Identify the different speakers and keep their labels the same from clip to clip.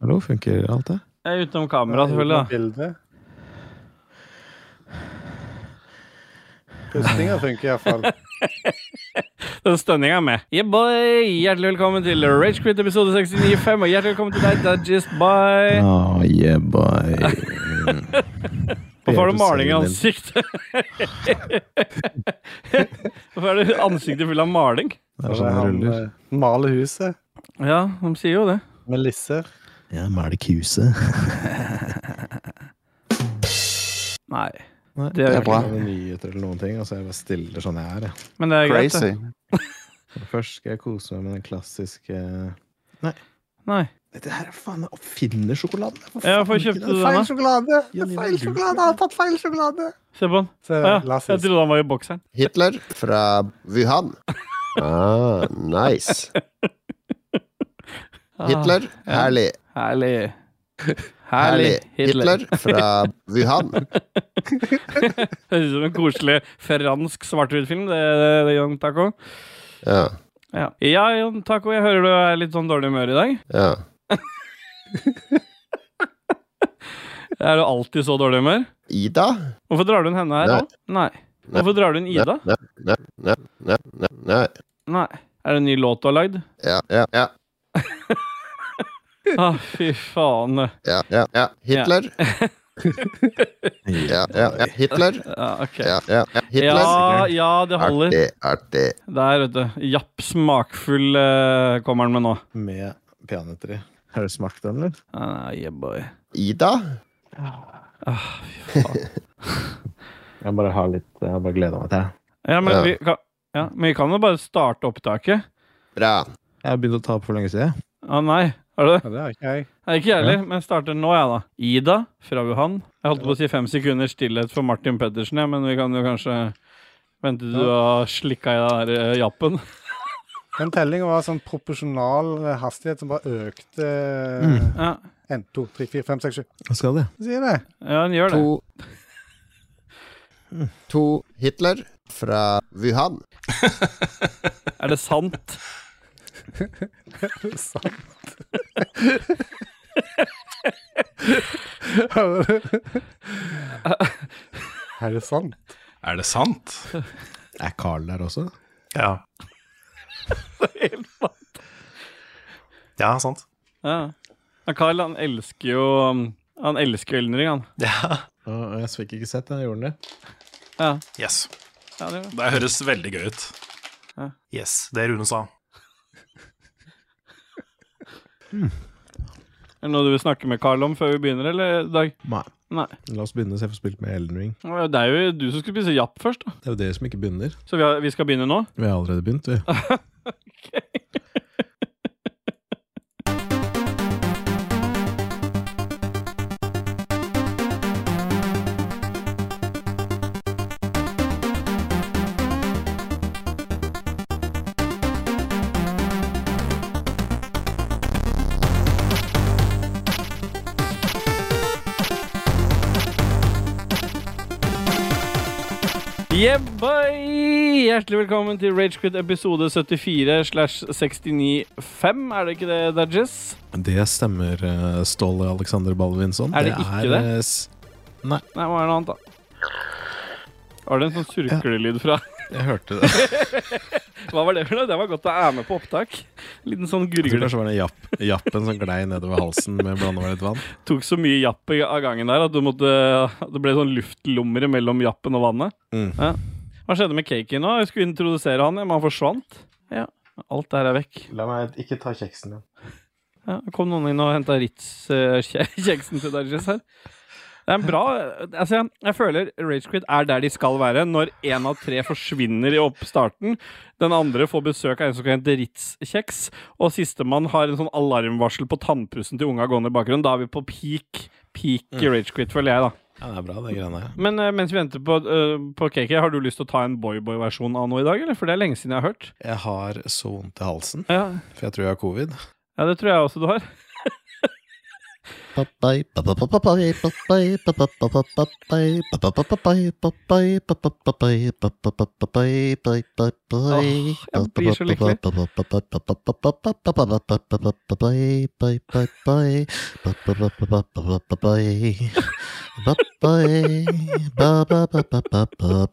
Speaker 1: Hallo, funker alt det?
Speaker 2: Jeg er utenom kamera, selvfølgelig. da.
Speaker 3: Bildet. Pustinga funker iallfall.
Speaker 2: Den stønninga er med. Yeah, boy! Hjertelig velkommen til Ragequit episode 69.5, og hjertelig velkommen til deg, Dudgist Bye.
Speaker 1: Oh, yeah, boy.
Speaker 2: Hvorfor har du maling i
Speaker 1: Bedre
Speaker 2: ansiktet? Hvorfor er det ansiktet fullt av maling?
Speaker 1: Det
Speaker 3: Det
Speaker 1: er
Speaker 3: er
Speaker 1: sånn det
Speaker 3: han
Speaker 1: ruller.
Speaker 3: eh, maler huset
Speaker 2: Ja, de sier jo det.
Speaker 3: med lisser.
Speaker 1: Ja, melkhuset.
Speaker 2: Nei.
Speaker 1: Nei,
Speaker 2: Det er
Speaker 1: jeg
Speaker 4: bra.
Speaker 1: ikke noen nyheter eller noen ting, og så er jeg bare stiller sånn jeg er. jeg.
Speaker 2: Men det er greit,
Speaker 4: Crazy.
Speaker 2: det.
Speaker 1: Først skal jeg kose meg med den klassiske
Speaker 2: Nei.
Speaker 1: Dette her er faen meg oppfinnersjokoladen. Hva
Speaker 2: Ja,
Speaker 1: faen
Speaker 2: hvorfor
Speaker 1: ikke
Speaker 2: kjøpte
Speaker 1: det?
Speaker 2: du
Speaker 3: Feil
Speaker 2: den, da?
Speaker 3: sjokolade! Det
Speaker 1: Ja,
Speaker 3: er
Speaker 1: men
Speaker 3: feil
Speaker 1: du-
Speaker 3: sjokolade! Han har tatt feil sjokolade!
Speaker 2: Se på den.
Speaker 3: Så
Speaker 2: Ah, ja. Jeg
Speaker 3: Lassis.
Speaker 2: trodde han var i bokseren.
Speaker 4: Hitler fra Wuhan. Ah, nice.
Speaker 2: Ah,
Speaker 4: Hitler. Herlig.
Speaker 2: Herlig. Herlig.
Speaker 4: Herlig.
Speaker 2: Hitler.
Speaker 4: Hitler fra Wuhan.
Speaker 2: Høres ut som en koselig fransk svart-hvitt-film, det, det, det Young Taco.
Speaker 4: Ja,
Speaker 2: Ja. ja, Young Taco, jeg hører du er litt sånn dårlig humør i dag.
Speaker 4: ja.
Speaker 2: Er du alltid så dårlig humør?
Speaker 4: Ida?
Speaker 2: Hvorfor drar du inn henne her
Speaker 4: Nei.
Speaker 2: òg? Nei. Hvorfor drar du inn Ida?
Speaker 4: Nei, nei, nei, nei, nei, nei.
Speaker 2: Nei. Er det en ny låt du har lagd?
Speaker 4: Ja, ja, ja,
Speaker 2: Ah, fy faen.
Speaker 4: ja, ja, ja. Hitler. Ja, ja, ja. Hitler.
Speaker 2: Ja, ok.
Speaker 4: Ja, ja, ja. Hitler.
Speaker 2: Ja, ja, det holder.
Speaker 4: Artig, artig.
Speaker 2: Der, vet du. Japp smakfull eh, kommer han med nå.
Speaker 1: Med peanøtter i. Har du smakt den, eller?
Speaker 2: Ah, yeah, boy.
Speaker 4: Ida?
Speaker 1: Jeg bare har litt Jeg har bare gleda meg til det.
Speaker 2: Ja, men
Speaker 4: Ja.
Speaker 2: vi kan ja, men vi kan jo bare starte opptaket.
Speaker 4: Bra.
Speaker 1: Jeg har begynt å ta opp for lenge siden.
Speaker 2: ah, nei. Har du det?
Speaker 3: Ja, det har ikke jeg.
Speaker 2: Nei, Ikke jeg heller, men jeg starter nå, jeg, da. Ida fra Wuhan. Jeg holdt på å si fem sekunder stillhet for Martin Pettersen, jeg, men vi kan jo kanskje vente til du har slikka i den der eh, jappen.
Speaker 3: Den tellinga var sånn proporsjonal eh, hastighet som bare økte eh, Mm.
Speaker 2: Ja,
Speaker 3: 1, 2, 3, 4, 5, 6, 7
Speaker 1: Hva skal det?
Speaker 3: Sier det.
Speaker 2: ja den gjør det.
Speaker 4: To To Hitler fra Wuhan.
Speaker 2: Er det sant?
Speaker 3: Sant. Hører du? Er det sant?
Speaker 5: Er det sant?
Speaker 1: Er Carl der også?
Speaker 5: Ja. Ja, sant.
Speaker 2: Ja. Ja, Carl, han elsker jo um, Han elsker Elden Ring, han.
Speaker 5: Ja.
Speaker 1: Å, Jeg fikk ikke sett den, gjorde den det?
Speaker 2: Ja,
Speaker 5: Yes.
Speaker 2: ja det gjør det.
Speaker 5: Det høres veldig gøy ut.
Speaker 2: Ja.
Speaker 5: Yes, det Rune sa.
Speaker 2: Er det noe du vil snakke med Carl om før vi begynner, eller, Dag?
Speaker 1: Nei.
Speaker 2: Nei.
Speaker 1: La oss begynne, så jeg får spilt med Elden Ring.
Speaker 2: Det er jo du som skulle spise japp først, da.
Speaker 1: Det er jo dere som ikke begynner.
Speaker 2: Så vi, har, vi skal begynne nå?
Speaker 1: Vi har allerede begynt, vi.
Speaker 2: Ah. Yeah, boy! Hjertelig velkommen til Ragequit episode 74 slash 69.5. Er det ikke det, Dudges?
Speaker 1: Det stemmer, eh, Ståle Alexander Balvinsson.
Speaker 2: Er det ikke det?
Speaker 1: eh, s-
Speaker 2: Nei, hva er det noe annet, da? Var det en sånn surklelyd fra
Speaker 1: Jeg hørte det.
Speaker 2: Hva var det for noe? Det var godt å være med på opptak. Liten sånn
Speaker 1: Jeg tror
Speaker 2: gurgle.
Speaker 1: kanskje det var den japp, jappen som glei nedover halsen med blanda med litt vann.
Speaker 2: tok så mye japp i- av gangen der at du måtte, at det ble sånn luftlommer mellom jappen og vannet.
Speaker 1: Mm.
Speaker 2: Ja. Hva skjedde med Cakey nå? Jeg skulle introdusere han, ja, men han forsvant. Ja, Alt der er vekk.
Speaker 1: La meg ikke ta kjeksen din.
Speaker 2: Ja, det kom noen inn og henta Ritz-kjeksen til Dajis her. Det er en bra altså jeg, jeg føler Ragequit er der de skal være når én av tre forsvinner i oppstarten. Den andre får besøk av en som kan hente Ritz-kjeks. Og sistemann har en sånn alarmvarsel på tannpussen til unga gående i bakgrunnen. Da er vi på peak, peak Ragequit, føler jeg, da.
Speaker 1: Ja, det er bra, det greiene her.
Speaker 2: Men eh, mens vi venter på, eh, på KK, har du lyst til å ta en boyboy-versjon av noe i dag, eller? For det er lenge siden jeg har hørt.
Speaker 1: Jeg har så vondt i halsen,
Speaker 2: Ja,
Speaker 1: for jeg tror jeg har covid.
Speaker 2: ja det tror jeg også du har. jeg blir så lykkelig.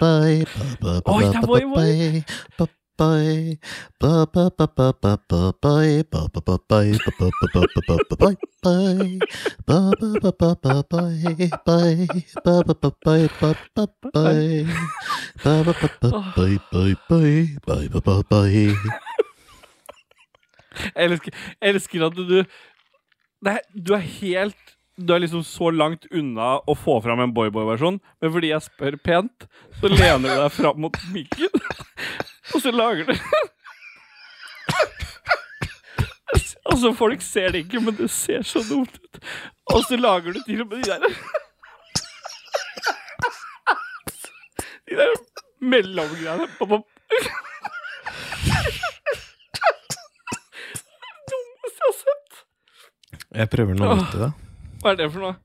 Speaker 2: Oi, der var jo vår. Jeg elsker, jeg elsker at du Nei, du er helt Du er liksom så langt unna å få fram en boyboy-versjon, men fordi jeg spør pent, så lener du deg fram mot mikken, og så lager du Altså, folk ser det ikke, men det ser så dumt ut. Og så lager du til og med de der De der mellomgreiene. Pop, pop. Dummeste jeg har sett.
Speaker 1: Jeg prøver
Speaker 2: Ah.
Speaker 1: noe nytt i det.
Speaker 2: Hva er det for noe?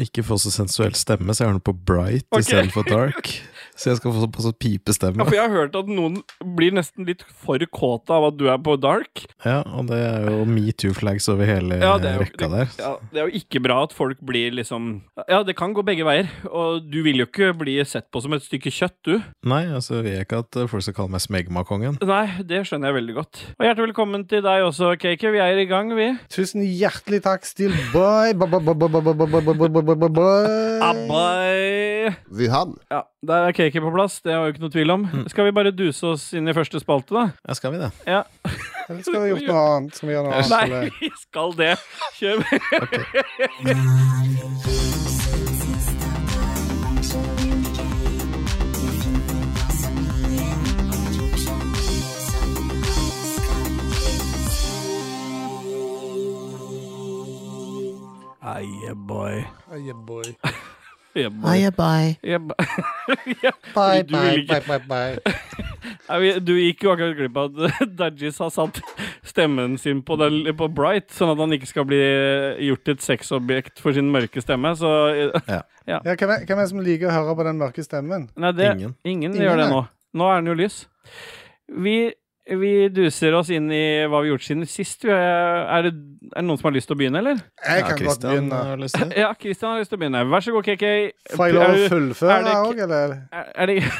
Speaker 1: Ikke få så sensuell stemme, så jeg har den på bright
Speaker 2: Ok.
Speaker 1: istedenfor dark. Så jeg skal få så, på så
Speaker 2: Ja,
Speaker 1: pipestemme.
Speaker 2: for jeg har hørt at noen blir nesten litt for kåte av at du er på dark.
Speaker 1: Ja, og det er jo metoo-flags over hele
Speaker 2: Ja, det er jo,
Speaker 1: Eh, rekka der.
Speaker 2: ja, det er jo ikke bra at folk blir liksom Ja, det kan gå begge veier, og du vil jo ikke bli sett på som et stykke kjøtt, du.
Speaker 1: Nei, altså, vil jeg ikke at eh, folk skal kalle meg Smegmakongen.
Speaker 2: Nei, det skjønner jeg veldig godt. Og hjertelig velkommen til deg også, Cake. Vi er i gang, vi.
Speaker 3: Tusen hjertelig takk, Steelboy. Ba, ba, ba, ba, ba, ba, ba, ba, ba, ba, ba, ba, ba.
Speaker 2: Abba.
Speaker 4: Wuhan.
Speaker 2: Ja, der er Cake på plass, det er jo ikke noe tvil om.
Speaker 1: Mm.
Speaker 2: Skal vi bare duse oss inn i første spalte, da?
Speaker 1: Ja, skal vi det?
Speaker 3: Eller skal vi gjort noe annet? Skal vi gjøre noe annet?
Speaker 2: Nei,
Speaker 3: eller?
Speaker 2: vi skal det. Kjør med. Eie, boy.
Speaker 3: Aye, boy.
Speaker 2: Eie, boy. Eie, boy.
Speaker 3: Bye,
Speaker 2: Du vil
Speaker 3: bye,
Speaker 2: ikke-
Speaker 3: bye, bye, bye.
Speaker 2: Nei, vi- Du gikk jo akkurat glipp av at Dajis har satt stemmen sin på, den, på Bright, sånn at han ikke skal bli eh, gjort til et sexobjekt for sin mørke stemme. Så eh,
Speaker 3: Ja, hvem, er, hvem er det som liker å høre på den mørke stemmen?
Speaker 2: Nei, det, ingen.
Speaker 1: Ingen.
Speaker 2: gjør det
Speaker 3: nei.
Speaker 2: nå. Nå er den jo lys. Vi, vi duser oss inn i hva vi har gjort siden sist. Vi er, er, det, er det noen som har lyst til å begynne, eller?
Speaker 3: Jeg kan godt
Speaker 1: Christian,
Speaker 3: begynne.
Speaker 1: har lyst til det?
Speaker 2: Ja, Christian har lyst til å begynne. Vær så god, KK.
Speaker 3: Får jeg lov
Speaker 2: Er
Speaker 3: å
Speaker 2: du- er
Speaker 3: fullføre
Speaker 2: det
Speaker 3: òg, eller?
Speaker 2: Er, er det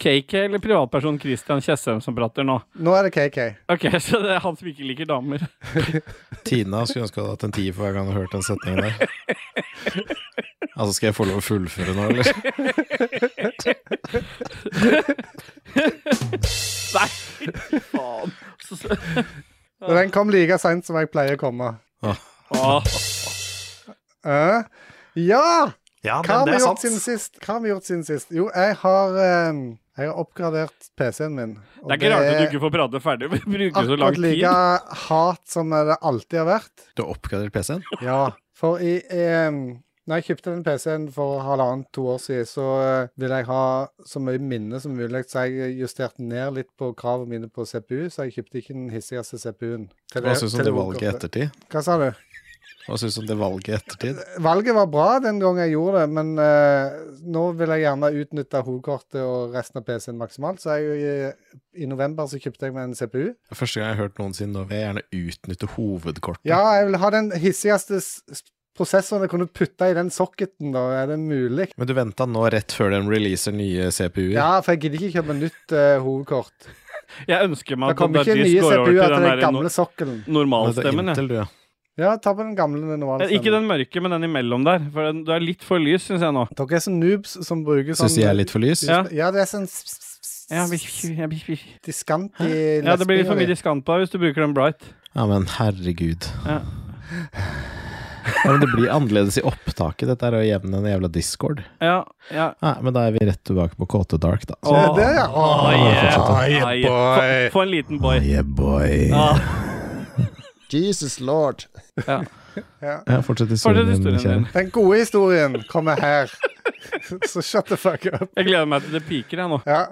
Speaker 2: KK eller privatperson Christian Tjessem som prater nå?
Speaker 3: Nå er det KK.
Speaker 2: Ok, så det er han som ikke liker damer.
Speaker 1: Tina skulle ønske hun hadde hatt en tier for hver gang hun hørte den setningen der. Altså, skal jeg få lov å fullføre nå, eller?
Speaker 2: Nei, fy faen. Så, så.
Speaker 3: Og den kom like seint som jeg pleier å komme.
Speaker 2: Åh,
Speaker 3: Eh? Ja!
Speaker 5: Ja,
Speaker 3: Hva
Speaker 5: det,
Speaker 3: har
Speaker 5: det
Speaker 3: vi
Speaker 5: er
Speaker 3: gjort
Speaker 5: sant.
Speaker 3: siden sist? Hva har vi gjort siden sist? Jo, jeg har, eh, jeg har oppgradert PC-en min. og
Speaker 2: det er ikke rart at du ikke får prate ferdig. Vi bruker så lang
Speaker 3: akkurat
Speaker 2: tid.
Speaker 3: like hat som det alltid har vært.
Speaker 1: Du har oppgradert PC-en?
Speaker 3: Ja, for i em, når jeg kjøpte den PC-en for halvannet-to år siden, så eh, ville jeg ha så mye minne som mulig, så jeg eh, justerte ned litt på kravene mine på CPU, så jeg kjøpte ikke den hissigste CPU-en. til
Speaker 1: Hva
Speaker 3: det-
Speaker 1: syns du om
Speaker 3: til
Speaker 1: det valget i
Speaker 3: hovedkortet.
Speaker 1: ettertid?
Speaker 3: Hva sa du?
Speaker 1: Hva syns du om det valget i ettertid?
Speaker 3: Valget var bra den gangen jeg gjorde det, men eh, nå vil jeg gjerne utnytte hovedkortet og resten av PC-en maksimalt, så jeg, eh, i november så kjøpte jeg meg en CPU.
Speaker 1: Første gang jeg har hørt noen si nå vil jeg gjerne utnytte hovedkortet.
Speaker 3: Ja, jeg vil ha den hissigste s- s- prosessoren jeg kunne putte i den socketen, da. Er det mulig?
Speaker 1: Men du venta nå rett før den releaser nye CPU-er?
Speaker 3: Ja, for jeg gidder ikke kjøpe nytt eh, hovedkort.
Speaker 2: Jeg ønsker meg
Speaker 3: Det
Speaker 2: at
Speaker 3: kommer ikke
Speaker 2: Dajis
Speaker 3: nye
Speaker 2: går over til
Speaker 3: CPU-er til den
Speaker 2: den
Speaker 3: gamle
Speaker 2: der
Speaker 3: sokkelen.
Speaker 2: normalstemmen. ja.
Speaker 1: Intel, du, ja.
Speaker 3: Ja, ta på den gamle normale
Speaker 2: Eh, Ikke
Speaker 3: stemmen.
Speaker 2: den mørke, men den imellom der. For den, du er litt for lys, syns jeg nå.
Speaker 3: Dere er sånn noobs som bruker sånn
Speaker 1: Syns jeg er litt for lys?
Speaker 2: Ja.
Speaker 3: Ja, det er sånn s- s- s-
Speaker 2: Ja, vi- ja, vi- vi-
Speaker 3: diskant i
Speaker 2: ja, det blir for mye
Speaker 3: lesbinga di.
Speaker 2: diskant på deg hvis du bruker den bright.
Speaker 1: Ja, men herregud.
Speaker 2: Ja.
Speaker 1: Ja, men det blir annerledes i opptaket. Dette er å jevne en jævla discord.
Speaker 2: Ja, ja.
Speaker 1: Nei, men da er vi rett tilbake på KT Dark, da.
Speaker 3: Det
Speaker 2: Åh.
Speaker 3: er det, ja. Åh,
Speaker 2: Åh,
Speaker 3: ja,
Speaker 2: yeah.
Speaker 3: ja,
Speaker 2: Ah,
Speaker 3: boy.
Speaker 2: yeah. Få, få en liten boy.
Speaker 1: Yeah, boy.
Speaker 2: Ah,
Speaker 4: Jesus lord.
Speaker 1: Ja, fortsett
Speaker 2: Fortsett
Speaker 1: historien din,
Speaker 2: historien din.
Speaker 1: kjære.
Speaker 3: Den gode historien kommer her. Så shut the fuck up.
Speaker 2: Jeg gleder meg til det piker, jeg nå.
Speaker 3: Ja.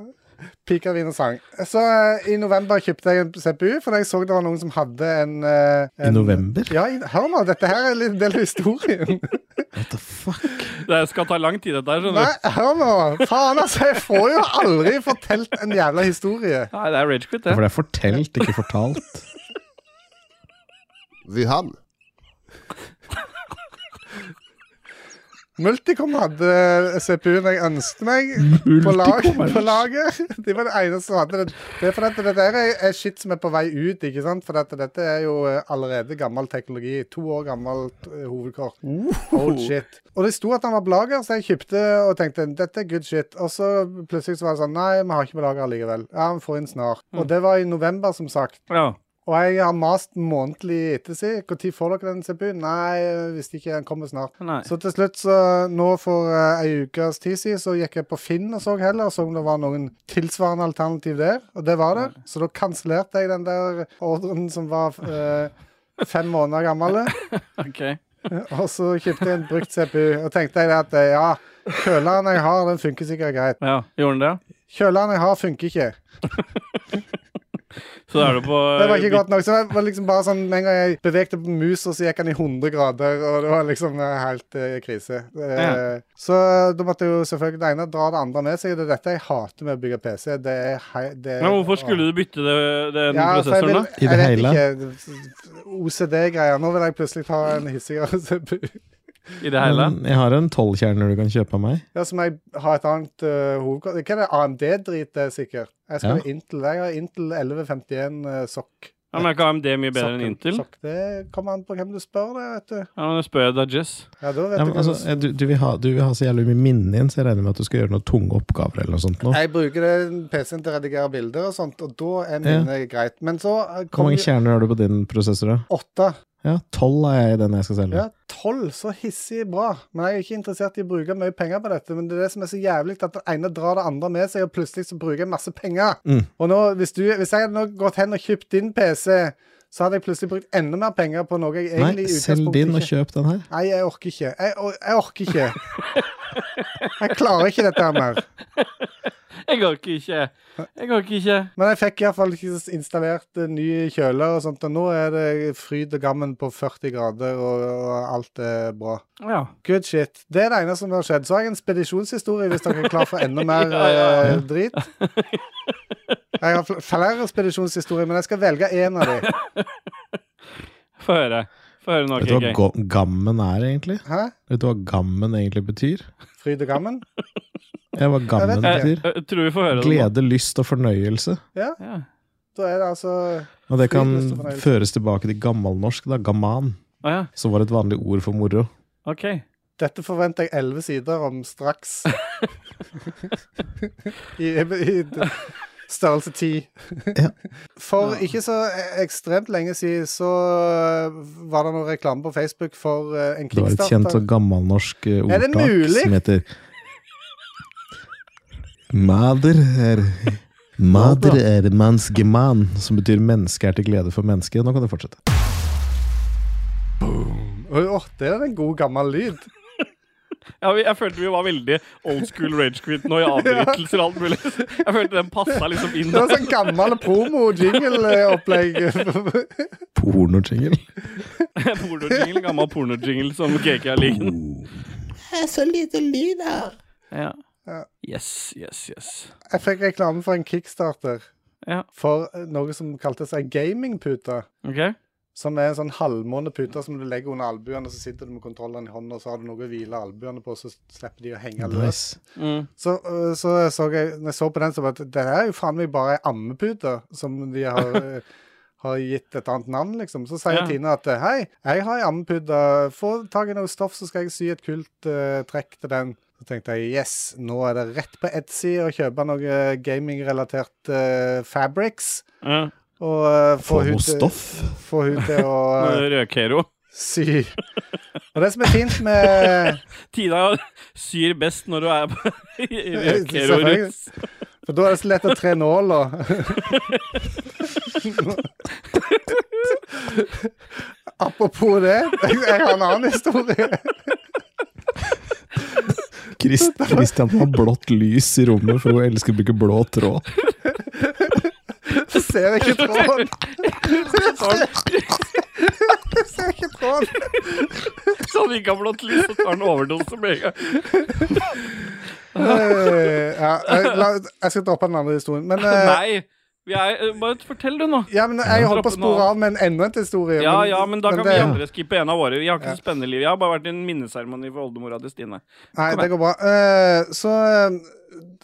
Speaker 3: Pika vinersang. Så eh, i november kjøpte jeg en CPU, for jeg så det var noen som hadde en, eh,
Speaker 1: I
Speaker 3: en
Speaker 1: november?
Speaker 3: Ja, i- hør nå, dette her er en del av historien.
Speaker 1: What the fuck?
Speaker 2: Det skal ta lang tid, dette her, skjønner
Speaker 3: Nei,
Speaker 2: du.
Speaker 3: hør nå! Faen, altså, jeg får jo aldri fortalt en jævla historie.
Speaker 2: Nei, det er ragequit,
Speaker 1: For
Speaker 2: det.
Speaker 1: det er fortelt, ikke fortalt.
Speaker 4: Wuhan.
Speaker 3: Multicom hadde eh, CPU-en jeg ønsket meg på, lag, på laget. De var det eneste som hadde det. Det er fordi at dette her er- er shit som er på vei ut, ikke sant? For at dette er jo eh, allerede gammel teknologi. To år gammelt eh, hovedkort. Old shit. Og det sto at han var på lager, så jeg kjøpte og tenkte dette er good shit. Og så plutselig så var det sånn nei, vi har ikke på lager likevel. Ja, vi får inn snart. Og det var i november, som sagt.
Speaker 2: Ja.
Speaker 3: Og jeg har mast månedlig etter seg. Når får dere den CPU-en? Nei, jeg visste ikke. Den kommer snart.
Speaker 2: Nei.
Speaker 3: Så til slutt, så nå for eh, ei ukes tid siden, så gikk jeg på Finn og så heller, så om det var noen tilsvarende alternativ der. Og det var det. Så da kansellerte jeg den der ordren som var eh, fem måneder gammel.
Speaker 2: Ok.
Speaker 3: Og så kjøpte jeg en brukt CPU, og tenkte jeg at eh, ja, kjøleren jeg har, den funker sikkert greit.
Speaker 2: Ja, Gjorde den det?
Speaker 3: Kjøleren jeg har, funker ikke.
Speaker 2: Så da er du på
Speaker 3: Det var ikke godt nok. Så det var liksom bare sånn, Med en gang jeg bevegte på musa, så gikk han i 100 grader, og det var liksom eh, helt eh, krise. Eh,
Speaker 2: Ja.
Speaker 3: Så da måtte jo selvfølgelig det ene dra det andre med seg. og Det er dette jeg hater med å bygge PC. Det er, hei- det er
Speaker 2: Men hvorfor skulle du bytte det, den
Speaker 3: for altså, jeg
Speaker 2: prosessoren, da?
Speaker 3: vil-
Speaker 1: I det
Speaker 3: Jeg vet ikke. OCD-greier. Nå vil jeg plutselig ta en hissigere CPU.
Speaker 2: I det hele?
Speaker 1: Men jeg har en tolvkjerner du kan kjøpe av meg.
Speaker 3: Ja, så må jeg ha et annet uh, hovedkort. Hva er det AMD-drit, det er eh, sikkert? Jeg skal
Speaker 1: Ja.
Speaker 3: ha Intel. Jeg har Intel 1151 eh, sokk.
Speaker 2: Ja, men Er ikke AMD mye bedre enn
Speaker 3: Sokken.
Speaker 2: Intel?
Speaker 3: Sokk. Det kommer an på hvem du spør, det, vet du.
Speaker 2: Ja, men da spør jeg Dajess.
Speaker 3: Ja, da vet
Speaker 1: Ja,
Speaker 3: du
Speaker 1: men,
Speaker 3: hva
Speaker 1: altså,
Speaker 3: du-
Speaker 1: du, du, vil ha, du vil ha så jævlig mye minne inn, så jeg regner med at du skal gjøre noen tunge oppgaver eller noe sånt. Nå.
Speaker 3: Jeg bruker den PC-en til å redigere bilder og sånt, og da er minnet greit. Men så eh,
Speaker 1: Hvor
Speaker 3: kom
Speaker 1: mange
Speaker 3: jo
Speaker 1: kjerner har du på din prosessor? da?
Speaker 3: åtte.
Speaker 1: Ja, tolv har jeg i den jeg skal selge.
Speaker 3: Ja, tolv. Så hissig bra. Men jeg er ikke interessert i å bruke mye penger på dette. Men det er det som er så jævlig, at det ene drar det andre med seg, og plutselig så bruker jeg masse penger.
Speaker 1: Mm.
Speaker 3: Og nå, hvis, du, hvis jeg hadde nå gått hen og kjøpt din PC, så hadde jeg plutselig brukt enda mer penger på noe jeg
Speaker 1: Nei,
Speaker 3: egentlig i
Speaker 1: selg din og
Speaker 3: utgangspunktet ikke
Speaker 1: kjøp den her.
Speaker 3: Nei, jeg orker ikke. Jeg, or jeg orker ikke. Jeg klarer ikke dette her mer.
Speaker 2: Jeg orker ikke. Jeg orker ikke.
Speaker 3: Men jeg fikk iallfall installert eh, ny kjøler og sånt, og nå er det fryd og gammen på 40 grader, og, og alt er bra.
Speaker 2: Ja.
Speaker 3: Good shit. Det er det ene som har skjedd. Så har jeg en spedisjonshistorie, hvis dere er klar for enda mer
Speaker 2: Ja, ja,
Speaker 3: eh, drit. Jeg har fl- flere spedisjonshistorier, men jeg skal velge én av dem.
Speaker 2: Få høre. Få høre noe
Speaker 1: Vet du hva
Speaker 2: gøy.
Speaker 1: go- gammen er, egentlig?
Speaker 3: Hæ?
Speaker 1: Vet du hva gammen egentlig betyr?
Speaker 3: Fryd og gammen?
Speaker 1: Ja, hva gammen
Speaker 3: Jeg
Speaker 2: Jeg,
Speaker 1: betyr?
Speaker 2: jeg Eh, tror vi får høre det. nå.
Speaker 1: Glede, lyst og fornøyelse.
Speaker 3: Ja,
Speaker 2: Ja.
Speaker 3: da er det altså
Speaker 1: Og det kan
Speaker 3: Fryd, lyst og fornøyelse.
Speaker 1: føres tilbake til gammelnorsk, da. Gaman.
Speaker 2: Å ja.
Speaker 1: Som var et vanlig ord for moro.
Speaker 2: OK.
Speaker 3: Dette forventer jeg elleve sider om straks. I, i, i størrelse ti.
Speaker 1: Ja.
Speaker 3: For ikke så e, ekstremt lenge siden så eh, var det noe reklame på Facebook for eh, en
Speaker 1: Det var et kjent
Speaker 3: kickstarter.
Speaker 1: og gammelnorsk eh,
Speaker 3: Er det
Speaker 1: ordtak
Speaker 3: mulig?
Speaker 1: som heter Mader er Mader er mans geman, som betyr menneske er til glede for mennesket. Nå kan du fortsette. sånn-
Speaker 3: Åh, åh, det er en god gammel lyd.
Speaker 2: Ja, vi, jeg følte vi var veldig old school ragequit nå i avbrytelser og alt mulig. Jeg følte den passa liksom inn.
Speaker 3: Det var sånn gammel promo-jingle-opplegg.
Speaker 1: Pornojingle.
Speaker 2: Pornojingle, gammel pornojingle som KK har liggende. Det er så lite lyd her. Ja.
Speaker 3: Ja.
Speaker 2: Yes, yes, yes.
Speaker 3: Jeg fikk reklame for en kickstarter
Speaker 2: Ja.
Speaker 3: for noe som kaltes ei gamingpute.
Speaker 2: OK?
Speaker 3: Som er en sånn halvmåne pute som du legger under albuene, så sitter du med kontrolleren i hånda, og så har du noe å hvile albuene på, så slipper de å henge løs.
Speaker 1: Nice.
Speaker 2: Mm.
Speaker 3: Så, øh, så så jeg, når jeg så på den, så bare at det her er jo faen meg bare ei ammepute som de har, øh, har gitt et annet navn, liksom. Så sier
Speaker 2: Ja.
Speaker 3: Tina at hei, jeg har ei ammepute, få tak i noe stoff, så skal jeg sy et kult øh, trekk til den. Så tenkte jeg yes, nå er det rett på Etsy å kjøpe noe gamingrelatert øh, fabrics.
Speaker 2: Ja.
Speaker 3: Og øh, få
Speaker 1: Få
Speaker 3: hun
Speaker 1: noe
Speaker 3: til-
Speaker 1: stoff.
Speaker 3: få hun til å øh,
Speaker 2: Rødkero.
Speaker 3: Sy. Og det som er fint med
Speaker 2: Tina syr best når du er på i rødkero-rus.
Speaker 3: Selvfølgelig. For da er det så lett å tre nåler. Apropos det, jeg har en annen historie.
Speaker 1: Christ, Christian har blått lys i rommet, for hun elsker å bruke blå tråd.
Speaker 3: Jeg ser ikke tråden! Jeg ser ikke tråden!
Speaker 2: Så han ikke har blått lys, så tar han overdose med en gang.
Speaker 3: Eh, Ja, eh, la, jeg skal droppe den andre historien. Men, eh,
Speaker 2: Nei! Vi er, eh, bare fortell det nå.
Speaker 3: ja, men jeg holdt
Speaker 2: Droppe
Speaker 3: på å
Speaker 2: den
Speaker 3: spore av med en enda en historie.
Speaker 2: Ja, ja, men da kan vi
Speaker 3: det-
Speaker 2: andre skippe en av våre. Vi har ikke så spennende liv. Jeg har bare vært i en minneseremoni for oldemora til Stine.
Speaker 3: Nei,
Speaker 2: Kom
Speaker 3: det går bra. Eh, så eh,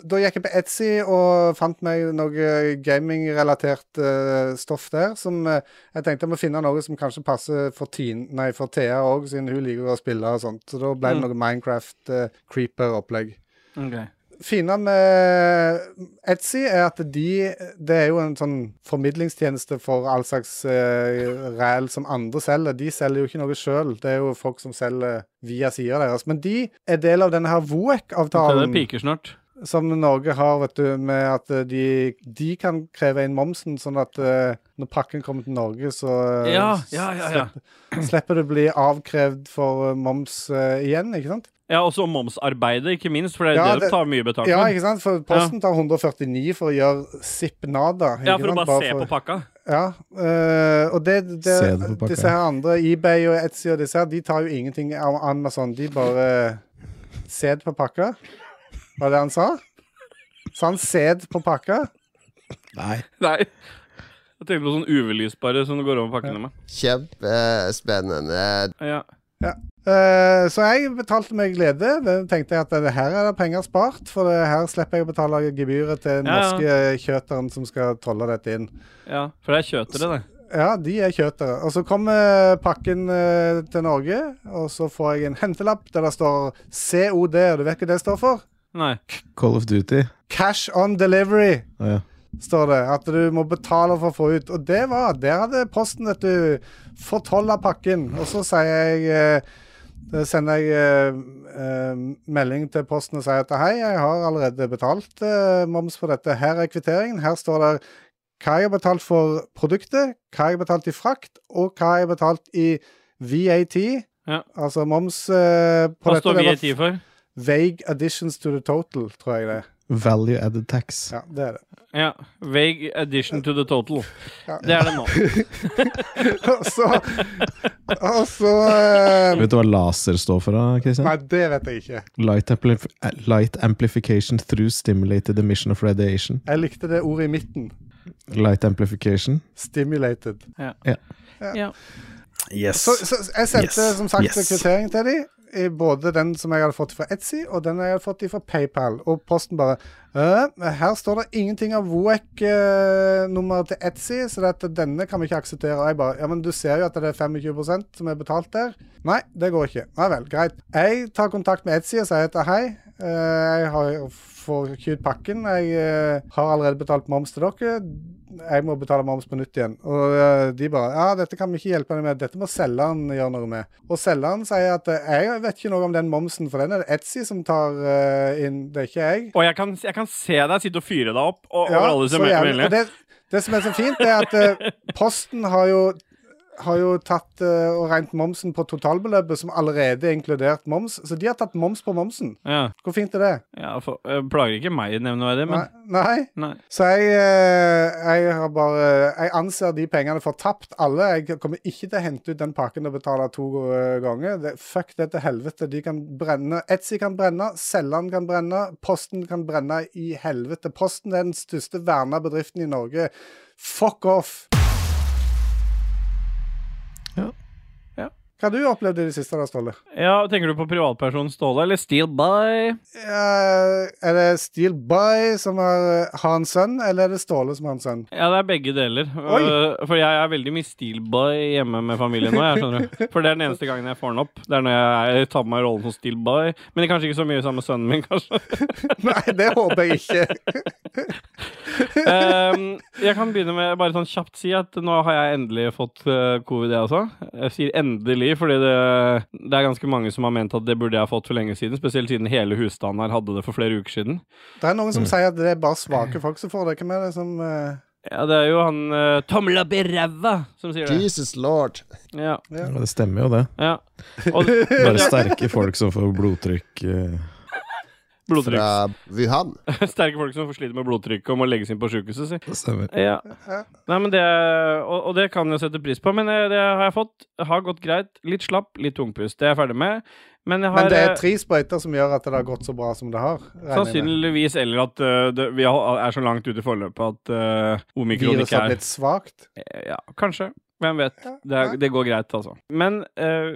Speaker 3: da gikk jeg på Etsy og fant meg noe gamingrelatert eh, stoff der. Som eh, jeg tenkte jeg må finne noe som kanskje passer for, Tin, nei, for Thea òg, siden hun liker å spille og sånt. Så da ble det noe eh, Minecraft-creeper-opplegg. Fina med Etsy er at de Det er jo en sånn formidlingstjeneste for all slags uh, ræl som andre selger. De selger jo ikke noe sjøl, det er jo folk som selger via sida deres. Men de er del av denne her
Speaker 2: Så det
Speaker 3: WOEC-avtalen
Speaker 2: piker snart.
Speaker 3: som Norge har, vet du, med at eh, de, de kan kreve inn momsen, sånn at eh, når pakken kommer til Norge, så eh,
Speaker 2: Ja, ja, ja. ja.
Speaker 3: slipper det å bli avkrevd for eh, moms eh, igjen, ikke sant?
Speaker 2: Ja, også momsarbeidet, ikke minst, for det er
Speaker 3: Ja,
Speaker 2: det
Speaker 3: det-
Speaker 2: du tar mye betalt
Speaker 3: Ja,
Speaker 2: for.
Speaker 3: ikke sant? For Posten tar 149 for å gjøre sipp nada.
Speaker 2: Ja,
Speaker 3: ikke
Speaker 2: for å
Speaker 3: sant?
Speaker 2: bare se på pakka.
Speaker 3: Ja, øh, og det, det,
Speaker 1: Se det på pakka.
Speaker 3: disse her andre, eBay og Etsy og disse her, de tar jo ingenting av Amazon. De bare Sæd på pakka. Var det han sa? Sa han sæd på pakka?
Speaker 1: Nei.
Speaker 2: Nei. Jeg tenkte på sånn UV-lysbare som du går over pakkene med.
Speaker 4: Kjempespennende.
Speaker 2: Ja.
Speaker 3: Eh, så jeg betalte med glede. Det tenkte jeg at det her er det penger spart, for det her slipper jeg å betale gebyret til den
Speaker 2: Ja, ja.
Speaker 3: norske kjøteren som skal tolle dette inn.
Speaker 2: ja. For det er kjøtere, det.
Speaker 3: Ja, de er kjøtere. Og så kommer pakken eh, til Norge, og så får jeg en hentelapp der det står COD, og du vet hva det står for?
Speaker 2: Nei.
Speaker 1: Call of Duty.
Speaker 3: Cash on delivery,
Speaker 1: Å ja.
Speaker 3: står det. At du må betale for å få ut. Og det var Der hadde Posten, vet du, fortolla pakken. Og så sier jeg eh, da sender jeg eh, eh, melding til Posten og sier at hei, jeg har allerede betalt eh, moms på dette. Her er kvitteringen. Her står det hva jeg har betalt for produktet, hva jeg har betalt i frakt, og hva jeg har betalt i VAT,
Speaker 2: Ja.
Speaker 3: altså moms eh, på
Speaker 2: Hva
Speaker 3: dette.
Speaker 2: står vi
Speaker 3: Det
Speaker 2: i
Speaker 3: var
Speaker 2: tid for?
Speaker 3: Vague additions to the total, tror jeg det. er.
Speaker 1: Value added tax.
Speaker 3: Ja, det er det.
Speaker 2: Ja. Vague addition to the total.
Speaker 3: Ja.
Speaker 2: Det er det nå.
Speaker 3: Og så, og så eh,
Speaker 1: Vet du hva laser står for, da, Christian?
Speaker 3: Nei, det vet jeg ikke.
Speaker 1: Light, ampli light amplification through stimulated emission of radiation.
Speaker 3: Jeg likte det ordet i midten.
Speaker 1: Light amplification.
Speaker 3: Stimulated.
Speaker 2: Ja.
Speaker 5: Yes.
Speaker 3: Så, så jeg sendte
Speaker 5: Yes.
Speaker 3: som sagt
Speaker 5: Yes.
Speaker 3: kvittering til dem. Både den som jeg hadde fått fra Etsy, og den jeg hadde fått fra PayPal. Og posten bare «Øh, Her står det ingenting av WOEC-nummeret til Etsy, så dette, denne kan vi ikke akseptere. Og jeg bare Ja, men du ser jo at det er 25 som er betalt der. Nei, det går ikke. Nei vel, greit. Jeg tar kontakt med Etsy og sier at hei, eh, jeg har får ikke ut pakken. Jeg eh, har allerede betalt moms til dere. Jeg må betale moms på nytt igjen. Og eh, de bare ja, dette kan vi ikke hjelpe deg med. Dette må selgeren gjøre noe med. Og selgeren sier at eh, jeg vet ikke noe om den momsen, for den er det Etsy som tar eh, inn, det er ikke jeg.
Speaker 2: Og jeg kan, jeg kan se deg sitte og fyre deg opp og,
Speaker 3: Ja,
Speaker 2: over alle
Speaker 3: så
Speaker 2: som er
Speaker 3: jævlig. Og
Speaker 2: meldingene.
Speaker 3: det, det som er så fint, er at eh, Posten har jo har jo tatt eh, og regnet momsen på totalbeløpet, som allerede er inkludert moms. Så de har tatt moms på momsen.
Speaker 2: Ja.
Speaker 3: Hvor fint er det?
Speaker 2: ja for, eh, plager ikke meg nevneverdig, men
Speaker 3: Nei? Nei?
Speaker 2: Nei.
Speaker 3: Så jeg, eh, jeg har bare Jeg anser de pengene for tapt, alle. Jeg kommer ikke til å hente ut den pakken og betale to eh, ganger. Det, fuck det til helvete. De kan brenne. Etsy kan brenne, Selland kan brenne, Posten kan brenne i helvete. Posten er den største verna bedriften i Norge. Fuck off!
Speaker 1: Ja.
Speaker 2: Ja.
Speaker 3: Hva har du opplevd i det siste, da, Ståle?
Speaker 2: Ja, tenker du på privatpersonen Ståle eller Steel By?
Speaker 3: Eh, er det Steel By som har, har en sønn, eller er det Ståle som har en sønn?
Speaker 2: Ja, det er begge deler.
Speaker 3: Oi!
Speaker 2: Øh, For jeg er veldig mye steelboy hjemme med familien nå. Jeg skjønner du. For det er den eneste gangen jeg får den opp. Det er når jeg tar på meg rollen som steelboy. Men kanskje ikke så mye sammen med sønnen min, kanskje.
Speaker 3: Nei, det håper jeg ikke.
Speaker 2: Ehm, jeg kan begynne med bare sånn kjapt si at nå har jeg endelig fått øh, covid, jeg også. Jeg sier endelig, fordi det, det er ganske mange som har ment at det burde jeg ha fått for lenge siden. Spesielt siden hele husstanden her hadde det for flere uker siden.
Speaker 3: Det er noen som sier at det er bare svake folk som får det. Hvem er det som eh,
Speaker 2: Ja, det er jo han uh, Tomla Bereva som sier det.
Speaker 4: Jesus lord.
Speaker 2: Ja,
Speaker 1: Ja, det stemmer jo, det.
Speaker 2: ja. Og,
Speaker 1: Bare sterke folk som får blodtrykk eh,
Speaker 2: Blodtrykk.
Speaker 4: fra Wuhan.
Speaker 2: Sterke folk som sliter med blodtrykket og må legges inn på sjukehuset, si.
Speaker 1: Det stemmer.
Speaker 2: Ja. Nei, men det, og, og det kan jeg sette pris på, men eh, det har jeg fått. Har gått greit. Litt slapp, litt tungpust. Det er jeg ferdig med. Men jeg har
Speaker 3: Men det
Speaker 2: eh,
Speaker 3: er tre sprøyter som gjør at det har gått så bra som det har. regner jeg med.
Speaker 2: Sannsynligvis, eller at eh, det, vi har- er så langt ute i forløpet at eh, omikron
Speaker 3: Viruset
Speaker 2: ikke
Speaker 3: har
Speaker 2: er
Speaker 3: blitt svakt.
Speaker 2: Eh, Ja, kanskje. Hvem vet.
Speaker 3: Ja,
Speaker 2: Det, er,
Speaker 3: ja.
Speaker 2: det går greit, altså. Men eh,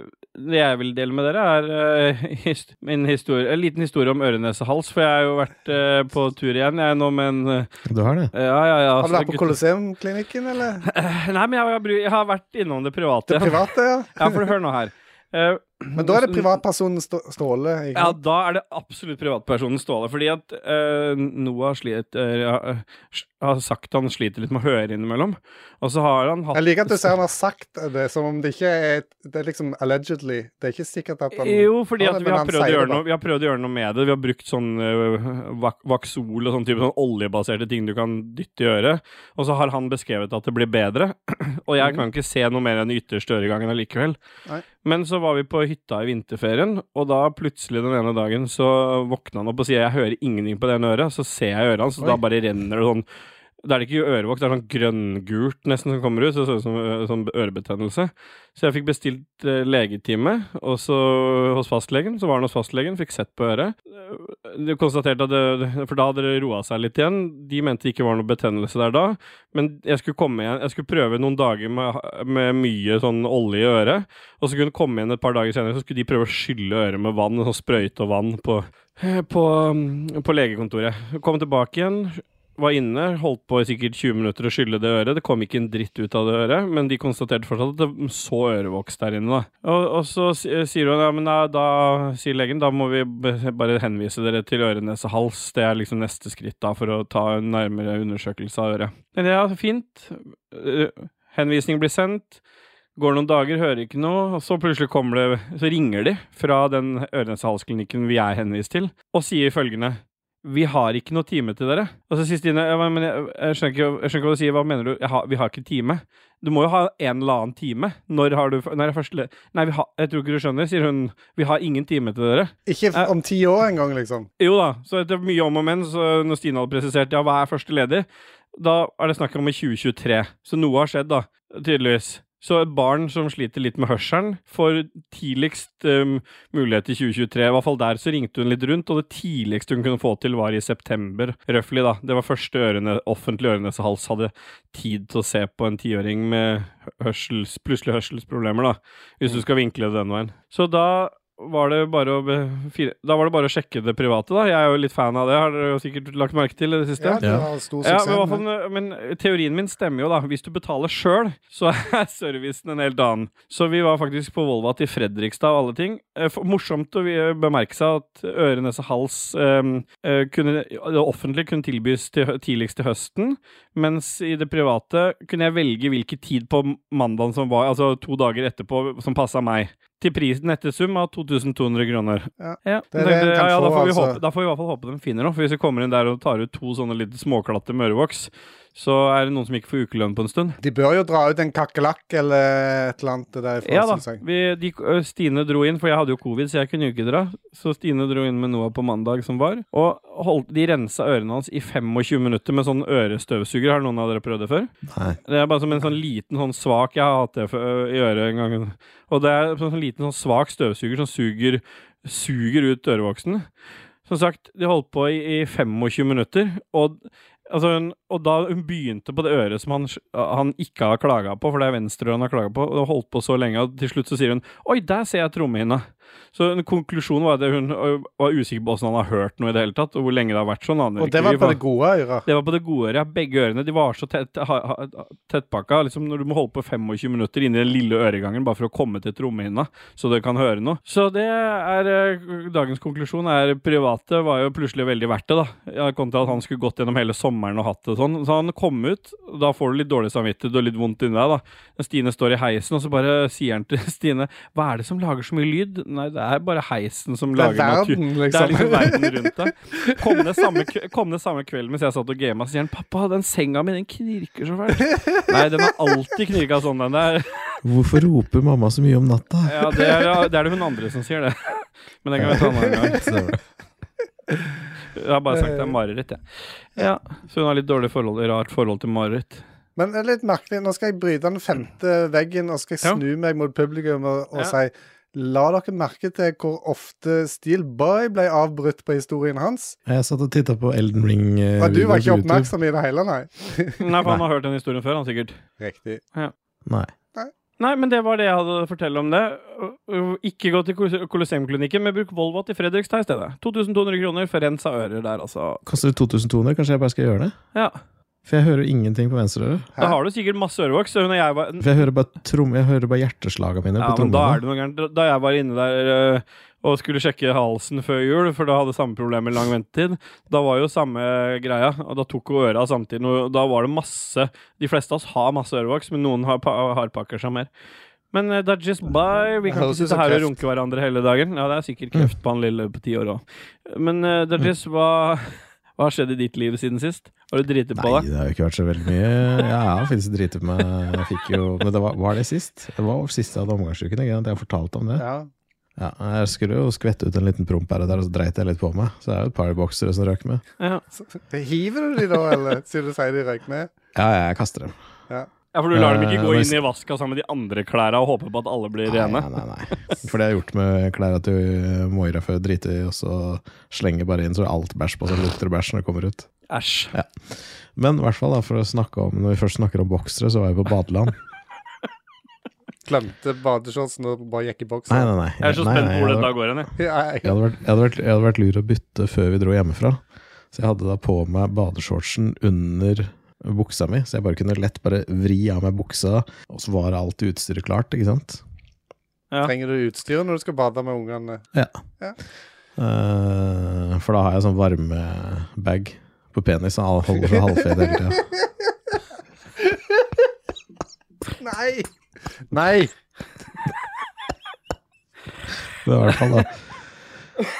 Speaker 2: det jeg vil dele med dere, er eh, hist min historie, en liten historie om ørenesehals. For jeg har jo vært eh, på tur igjen, jeg nå med en eh,
Speaker 1: Du har det?
Speaker 2: Ja, ja, ja.
Speaker 3: Har du
Speaker 2: så
Speaker 3: vært på
Speaker 2: gutter-
Speaker 3: Colosseum-klinikken, eller?
Speaker 2: Nei, men jeg, har- jeg har vært innom det private.
Speaker 3: Det private, ja.
Speaker 2: Ja, for hør nå her. Eh,
Speaker 3: Men da er det privatpersonen Stå- Ståle. ikke
Speaker 2: Ja,
Speaker 3: sant?
Speaker 2: da er det absolutt privatpersonen Ståle. Fordi at eh, Noah slit, eh, har sagt han sliter litt med å høre innimellom. Og så har han hatt
Speaker 3: Jeg liker at du sier han har sagt det, som om det ikke er Det er liksom allegedly. Det er ikke sikkert at han
Speaker 2: Jo, fordi
Speaker 3: Ja,
Speaker 2: at
Speaker 3: men
Speaker 2: vi har,
Speaker 3: han
Speaker 2: prøvd å
Speaker 3: sier det
Speaker 2: gjøre
Speaker 3: da.
Speaker 2: noe, vi har prøvd å gjøre noe med det. Vi har brukt sånn øh, vak Vaxol og sånn type sånn oljebaserte ting du kan dytte i øret. Og så har han beskrevet at det blir bedre. og jeg kan ikke se noe mer enn de ytterste øregangen allikevel.
Speaker 3: Mhm. Nei.
Speaker 2: Men så var vi på hytta i vinterferien, og da plutselig den ene dagen så våkna han opp og sier jeg hører ingenting på det ene øret. Så ser jeg øret hans, og da bare renner det sånn da er det ikke ørevoks, det er sånn grønngult nesten som kommer ut. Så det ser ut som ø, sånn ørebetennelse. Så jeg fikk bestilt eh, legetime og så hos fastlegen. Så var han hos fastlegen, fikk sett på øret. Eh, De konstaterte at det, For da hadde det roa seg litt igjen. De mente det ikke var noe betennelse der da. Men jeg skulle komme igjen Jeg skulle prøve noen dager med, med mye sånn olje i øret. Og så kunne jeg komme igjen et par dager senere, så skulle de prøve å skylle øret med vann. Sånn sprøyte og vann på, på, på legekontoret. Kom tilbake igjen, var inne, holdt på i sikkert 20 minutter å skylle det øret. Det kom ikke en dritt ut av det øret, men de konstaterte fortsatt at det så ørevoks der inne. da. Og, og så si- eh, sier hun ja, men da, da sier legen da må vi b- bare henvise dere til øre, nese, hals. Det er liksom neste skritt da for å ta en nærmere undersøkelse av øret. Men ja, fint. Eh, Henvisning blir sendt. Går noen dager, hører ikke noe, og så plutselig kommer det, så ringer de fra den øre-nese-hals-klinikken vi er henvist til, og sier følgende vi har ikke noe time til dere. Og så sier Stine «Ja, men jeg, jeg, skjønner ikke, jeg skjønner ikke hva du sier. Hva mener du? Jeg har, vi har ikke time. Du må jo ha en eller annen time. Når har du Når er første le- Nei, vi har, jeg tror ikke du skjønner, sier hun. Vi har ingen time til dere.
Speaker 3: Ikke f- om ti år engang, liksom.
Speaker 2: Jo da, så etter mye om og men, så når Stine hadde presisert ja, hva er første leder, da er det snakk om i 2023. Så noe har skjedd, da, tydeligvis. Så et barn som sliter litt med hørselen, får tidligst um, mulighet i 2023. I hvert fall der så ringte hun litt rundt, og det tidligste hun kunne få til, var i september. Røffelig, da. Det var første ørene, offentlig ørenesehals hadde tid til å se på en tiåring med hørsels, plutselig hørselsproblemer, da. Hvis du skal vinkle det den veien. Så da var det bare å be- fire- Da var det bare å sjekke det private, da. Jeg er jo litt fan av det, har dere jo sikkert lagt merke til i det siste.
Speaker 3: Ja, det har stor
Speaker 2: Ja, men, i
Speaker 3: suksess.
Speaker 2: hvert fall, men teorien min stemmer jo, da. Hvis du betaler sjøl, så er servicen en helt annen. Så vi var faktisk på Volvat i Fredrikstad og alle ting. Eh, for- Morsomt å vi- bemerke seg at øre, nese, hals ehm, eh, kunne, det offentlige kunne tilbys til, hø- tidligst til høsten, mens i det private kunne jeg velge hvilken tid på mandagen som var, altså to dager etterpå, som passa meg. Til prisen nettesum av 2200 kroner.
Speaker 3: Ja, det
Speaker 2: Men
Speaker 3: er det
Speaker 2: tenkte
Speaker 3: en
Speaker 2: jeg,
Speaker 3: kan
Speaker 2: ja, da,
Speaker 3: få,
Speaker 2: får vi
Speaker 3: altså.
Speaker 2: håpe, da får vi i hvert fall håpe de finner noe. For hvis vi kommer inn der og tar ut to sånne litt småklatter med ørevoks, så er det noen som ikke får ukelønn på en stund.
Speaker 3: De bør jo dra ut en kakerlakk eller et eller annet derifra,
Speaker 2: Ja da.
Speaker 3: synes jeg.
Speaker 2: Vi, de, ø, Stine dro inn, for jeg hadde jo covid, så jeg kunne jo ikke dra. Så Stine dro inn med Noah på mandag som var. Og holdt, de rensa ørene hans i 25 minutter med sånn ørestøvsuger. Har noen av dere prøvd det før?
Speaker 1: Nei.
Speaker 2: Det er bare som en sånn liten sånn svak Jeg har hatt det for, ø, i øret en gang. Og det er en sånn liten sånn svak støvsuger som suger, suger ut ørevoksen. Som sagt, de holdt på i, i 25 minutter. Og, altså hun, og da hun begynte på det øret som han, han ikke har klaga på, for det er venstre han har klaga på, og holdt på så lenge at til slutt så sier hun Oi, der ser jeg trommehinna. Så en konklusjon var at hun ø, var usikker på åssen han har hørt noe i det hele tatt, og hvor lenge det har vært sånn. aner
Speaker 3: Og
Speaker 2: ikke
Speaker 3: det
Speaker 2: vi,
Speaker 3: var
Speaker 2: for-
Speaker 3: på det gode øret.
Speaker 2: det var på det gode øret. ja. Begge ørene de var så tett, ha, ha, tettpakka. Liksom når du må holde på 25 minutter inni den lille øregangen bare for å komme til trommehinna, så dere kan høre noe. Så det er eh, dagens konklusjon. er Private var jo plutselig veldig verdt det, da. Jeg kom til at han skulle gått gjennom hele sommeren og hatt det sånn. Så han kom ut, og da får du litt dårlig samvittighet og litt vondt inni deg, da. Men Stine står i heisen, og så bare sier han til Stine Hva er det som lager så mye lyd? Nei, det er bare heisen som
Speaker 3: Det er
Speaker 2: lager natur...
Speaker 3: verden, liksom.
Speaker 2: Det er liksom verden rundt deg. Kom ned samme, kve- kom ned samme kveld mens jeg satt og gama, så sier han 'Pappa, den senga mi, den knirker så fælt'. Nei, den har alltid knirka sånn, den der.
Speaker 1: Hvorfor roper mamma så mye om natta?
Speaker 2: Ja, det er det er det hun andre som sier, det. Men det kan vi ta en annen gang.
Speaker 1: Stemmer.
Speaker 2: Jeg har bare sagt det er mareritt, jeg. Ja, så hun har litt dårlig forhold, rart forhold til mareritt.
Speaker 3: Men det er litt merkelig. Nå skal jeg bryte den femte veggen og skal jeg
Speaker 2: Ja.
Speaker 3: snu meg mot publikum og, og
Speaker 2: Ja.
Speaker 3: si La dere merke til hvor ofte Steelboy ble avbrutt på historien hans.
Speaker 1: Jeg satt og titta på Elden Ring. eh,
Speaker 3: Og du
Speaker 1: videoer på
Speaker 3: var ikke
Speaker 1: YouTube.
Speaker 3: oppmerksom i det hele, nei?
Speaker 2: Nei, for han har hørt den historien før, han sikkert.
Speaker 3: Riktig.
Speaker 1: Nei.
Speaker 2: Nei, men det var det jeg hadde å fortelle om det. Uh, Ikke gå til Kolosse- Colosseumklinikken, men bruk Volvat i Fredrikstad i stedet. 2200 kroner for rens av ører der, altså.
Speaker 1: Koster det 2200? Kanskje jeg bare skal gjøre det?
Speaker 2: Ja.
Speaker 1: For jeg hører ingenting på venstreøret.
Speaker 2: Da har du sikkert masse ørevoks. så Hun og jeg var
Speaker 1: For jeg hører bare, trom, jeg hører bare hjerteslagene mine
Speaker 2: Ja,
Speaker 1: på
Speaker 2: men da er
Speaker 1: trommene.
Speaker 2: det noe gærent. Da jeg var inne der øh, og skulle sjekke halsen før jul, for da hadde samme problem med lang ventetid, da var jo samme greia, og da tok hun øra samtidig, og da var det masse De fleste av oss har masse ørevoks, men noen har pa hardpakker seg mer. Men uh, that's just by. Vi kan ikke
Speaker 3: Høres ut
Speaker 2: sitte
Speaker 3: som
Speaker 2: her og
Speaker 3: kreft.
Speaker 2: runke hverandre hele dagen. Ja, det er
Speaker 1: Mm.
Speaker 2: sikkert kreft på han lille på ti år òg. Men uh, that's just hva, hva har skjedd i ditt liv siden sist? Har du driti på
Speaker 1: Nei,
Speaker 2: deg?
Speaker 1: det har jo ikke vært så veldig mye. Ja, jeg har faktisk driti på meg. Jeg fikk jo, men det var, var det sist? Det var siste jeg hadde omgangsuken. Ikke sant? Jeg har fortalt om det.
Speaker 3: Ja.
Speaker 1: Ja, jeg skulle jo skvette ut en liten promp her og der, og så dreit jeg litt på meg. Så det er jo et par boksere som røk med.
Speaker 2: Ja.
Speaker 3: Så, hiver du de da, eller? Siden du sier de røyk med?
Speaker 1: Ja, jeg kaster dem.
Speaker 2: ja, for du lar dem
Speaker 1: Eh,
Speaker 2: ikke gå
Speaker 1: men-
Speaker 2: inn i vaska sammen med de andre klærne og håpe på at alle blir
Speaker 1: Nei,
Speaker 2: rene?
Speaker 1: nei, nei, nei. For det har jeg gjort med klærne til Moira før jeg driter i, og så slenger jeg bare inn så er alt bæsj på, så lukter det bæsj når det kommer ut.
Speaker 2: Æsj.
Speaker 1: Men i hvert fall da, for å snakke om, når vi først snakker om boksere, så var jeg på badeland.
Speaker 3: Glemte badeshortsen og bare gikk i boksen?
Speaker 1: Nei, nei, nei.
Speaker 2: Jeg er så
Speaker 1: Nei,
Speaker 2: spent
Speaker 1: nei,
Speaker 2: på hvor
Speaker 1: jeg hadde
Speaker 2: dette går hen, jeg.
Speaker 3: Ja,
Speaker 1: Jeg hadde, vært, jeg, hadde vært, jeg hadde vært lur å bytte før vi dro hjemmefra. Så jeg hadde da på meg badeshortsen under buksa mi, så jeg bare kunne lett bare vri av meg buksa, og så var alt utstyret klart, ikke sant?
Speaker 2: Ja.
Speaker 3: Trenger du utstyr når du skal bade med ungene?
Speaker 1: Eh, for da har jeg sånn varmebag på penis, og han holder for halvfet hele tida.
Speaker 3: Nei! Nei!
Speaker 1: Men i hvert fall, da.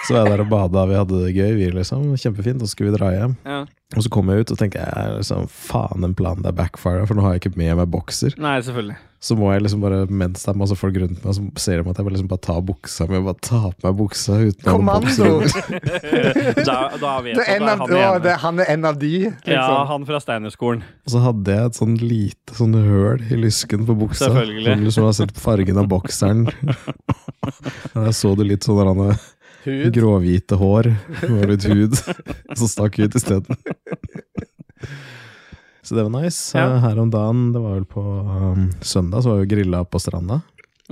Speaker 1: Så var jeg der og bada, vi hadde det gøy, vi, liksom. Kjempefint, og så skulle vi dra hjem.
Speaker 2: Ja.
Speaker 1: Og så kom jeg ut og tenkte jeg, liksom, faen, den planen der backfire, for nå har jeg ikke med meg bokser.
Speaker 2: Nei, selvfølgelig.
Speaker 1: så må jeg liksom bare, mens det er masse folk rundt meg, så ser de at jeg bare liksom bare tar buksa mi og bare tar på meg buksa uten å ha noen bukser
Speaker 3: Kommando!
Speaker 1: under.
Speaker 2: Eh, da, da vet
Speaker 3: Det er
Speaker 2: jeg
Speaker 3: en
Speaker 2: at
Speaker 3: av,
Speaker 2: det
Speaker 3: å,
Speaker 2: er han
Speaker 3: det,
Speaker 2: ene.
Speaker 3: han er en av de,
Speaker 2: Ja,
Speaker 3: liksom.
Speaker 2: han fra Steinerskolen.
Speaker 1: Og så hadde jeg et sånn lite sånn høl i lysken på buksa.
Speaker 2: Selvfølgelig.
Speaker 1: Som du liksom har sett på fargen av bokseren. Der så du litt sånn der han har
Speaker 3: Hud.
Speaker 1: gråhvite hår og litt hud som stakk ut isteden. Så det var nice. Eh,
Speaker 2: Ja.
Speaker 1: Her om dagen, det var vel på um, søndag, så var vi grilla på stranda.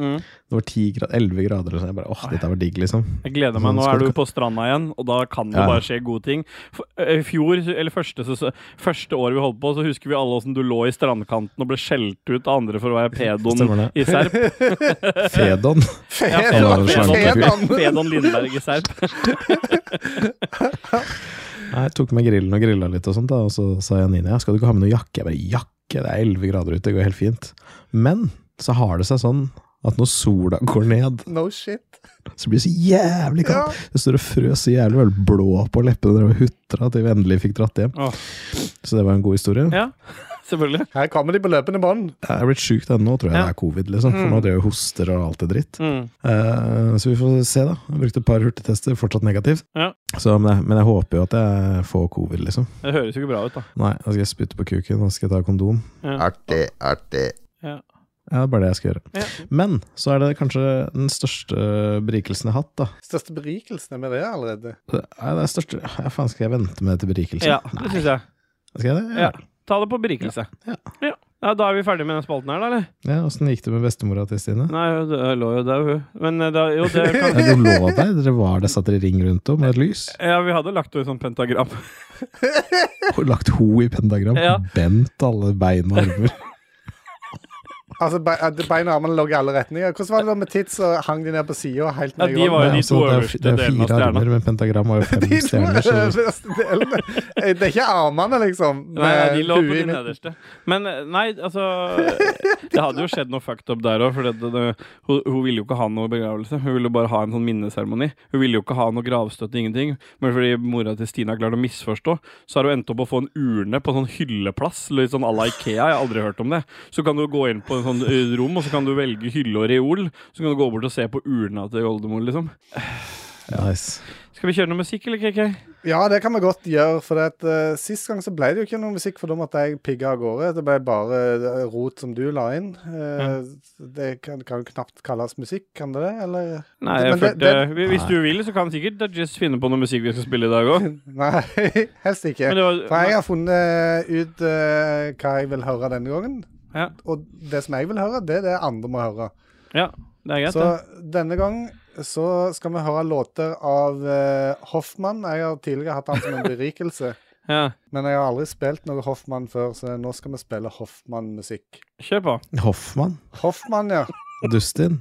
Speaker 2: Mm.
Speaker 1: Det var 10 grader, 11 grader, og sånn. jeg bare åh, dette var digg, liksom.
Speaker 2: Jeg gleder meg. Nå er du på stranda igjen, og da kan det
Speaker 1: Ja.
Speaker 2: bare skje gode ting. For, eh, I fjor, eller første, ses- første året vi holdt på, så husker vi alle åssen du lå i strandkanten og ble skjelt ut av andre for å være
Speaker 1: Stemmer
Speaker 2: pedoen
Speaker 1: det.
Speaker 2: i Serp.
Speaker 1: Fedon.
Speaker 2: Ja,
Speaker 1: Fedon.
Speaker 2: Fedon
Speaker 3: Fedon.
Speaker 2: Fedon Lindberg i Serp.
Speaker 1: Nei, Jeg tok med grillen og grilla litt, og sånt da, og så sa Janine ja, skal du ikke ha med noe jakke. Jeg bare jakke, det er 11 grader ute, det går helt fint. Men så har det seg sånn at når sola går ned,
Speaker 3: No shit.
Speaker 1: så blir det så jævlig kaldt. Det står og frøs så jævlig vel blå på leppene og hutra til vi endelig fikk dratt hjem.
Speaker 2: Åh.
Speaker 1: Så det var en god historie.
Speaker 2: Ja, selvfølgelig.
Speaker 3: Her kommer de på løpende bånd.
Speaker 1: Jeg er blitt sjuk ennå, tror jeg
Speaker 2: Ja.
Speaker 1: det er covid, liksom. For nå driver jeg og hoster og alt det dritt.
Speaker 2: Mm.
Speaker 1: Eh, så vi får se, da. Jeg brukte et par hurtigtester, fortsatt negativt.
Speaker 2: Ja.
Speaker 1: Så, men, jeg, men jeg håper jo at jeg får covid, liksom.
Speaker 2: Det høres jo ikke bra ut, da.
Speaker 1: Nei, da skal jeg spytte på kuken, da skal jeg ta kondom.
Speaker 4: Artig, artig.
Speaker 1: Ja, det er bare det jeg skal gjøre.
Speaker 2: Ja.
Speaker 1: Men så er det kanskje den største berikelsen jeg har hatt, da.
Speaker 3: Største berikelsen er med det allerede.
Speaker 1: Det er det største Ja, faen, skal jeg vente med det til berikelse?
Speaker 2: Ja, det syns jeg.
Speaker 1: Skal jeg det?
Speaker 2: Ja. Ta det på berikelse.
Speaker 1: Ja.
Speaker 2: Ja. ja, Da er vi ferdige med den spalten her, da, eller?
Speaker 1: Ja, Åssen gikk det med bestemora til Stine?
Speaker 2: Nei, det lå jo der, hun. Men eh, da, jo, det kan
Speaker 1: Ja, du lå der, dere var der, satt dere i ring rundt om med et lys?
Speaker 2: Ja, vi hadde lagt henne i sånn pentagram.
Speaker 1: Og lagt ho i pentagram?
Speaker 2: Ja.
Speaker 1: Bent alle bein og armer?
Speaker 3: Altså, be- at Beina og armene lå i alle retninger. Hvordan var det da med tits og hang de ned på sida helt
Speaker 2: Ja,
Speaker 3: ned i
Speaker 2: de var jo
Speaker 1: Nei,
Speaker 3: gulvet?
Speaker 2: de
Speaker 1: altså,
Speaker 2: to
Speaker 1: det er-
Speaker 2: øverste
Speaker 1: Det er
Speaker 2: delene av
Speaker 1: fire
Speaker 2: stjerna.
Speaker 1: armer, men pentagram har jo
Speaker 3: De
Speaker 1: fem
Speaker 3: to
Speaker 1: stjerner. Så
Speaker 3: øverste delene. Eh, Det er ikke armene, liksom.
Speaker 2: Nei, nei, de lå på
Speaker 3: huet i
Speaker 2: de
Speaker 3: midten.
Speaker 2: nederste. Men eh, nei, altså Det hadde jo skjedd noe fucked up der òg, for det, det, det, hun, hun ville jo ikke ha noe begravelse. Hun ville jo bare ha en sånn minneseremoni. Hun ville jo ikke ha noe gravstøtte, ingenting. Men fordi mora til Stina klarte å misforstå, så har hun endt opp å få en urne på en sånn hylleplass, litt sånn à la Ikea. Jeg har aldri hørt om det. Så kan du gå inn på en sånn eh, rom, og så kan du velge hylle og reol. Så kan du gå bort og se på urna til oldemor, liksom.
Speaker 1: Nice.
Speaker 2: Skal vi kjøre noe musikk, eller, KK?
Speaker 3: Ja, det kan vi godt gjøre. For det at, eh, sist gang så ble det jo ikke noe musikk, for da måtte jeg pigge av gårde. Det ble bare eh, rot som du la inn. Eh,
Speaker 2: Mm.
Speaker 3: Det kan, kan jo knapt kalles musikk, kan det det? Eller
Speaker 2: Nei, jeg
Speaker 3: Men det-
Speaker 2: følte Hvis du vil, så kan vi sikkert Dajis finne på noe musikk vi skal spille i dag òg.
Speaker 3: Nei, helst ikke. For jeg har funnet ut eh, hva jeg vil høre denne gangen.
Speaker 2: Ja.
Speaker 3: Og det som jeg vil høre, det er det andre må høre.
Speaker 2: Ja, det er greit,
Speaker 3: Så
Speaker 2: det.
Speaker 3: denne gang så skal vi høre låter av eh, Hoffmann. Jeg har tidligere hatt han som en berikelse.
Speaker 2: Ja.
Speaker 3: Men jeg har aldri spilt noe Hoffmann før, så nå skal vi spille Hoffmann-musikk.
Speaker 2: Kjør på.
Speaker 1: Hoffmann.
Speaker 3: Hoffmann, ja.
Speaker 1: Dustin.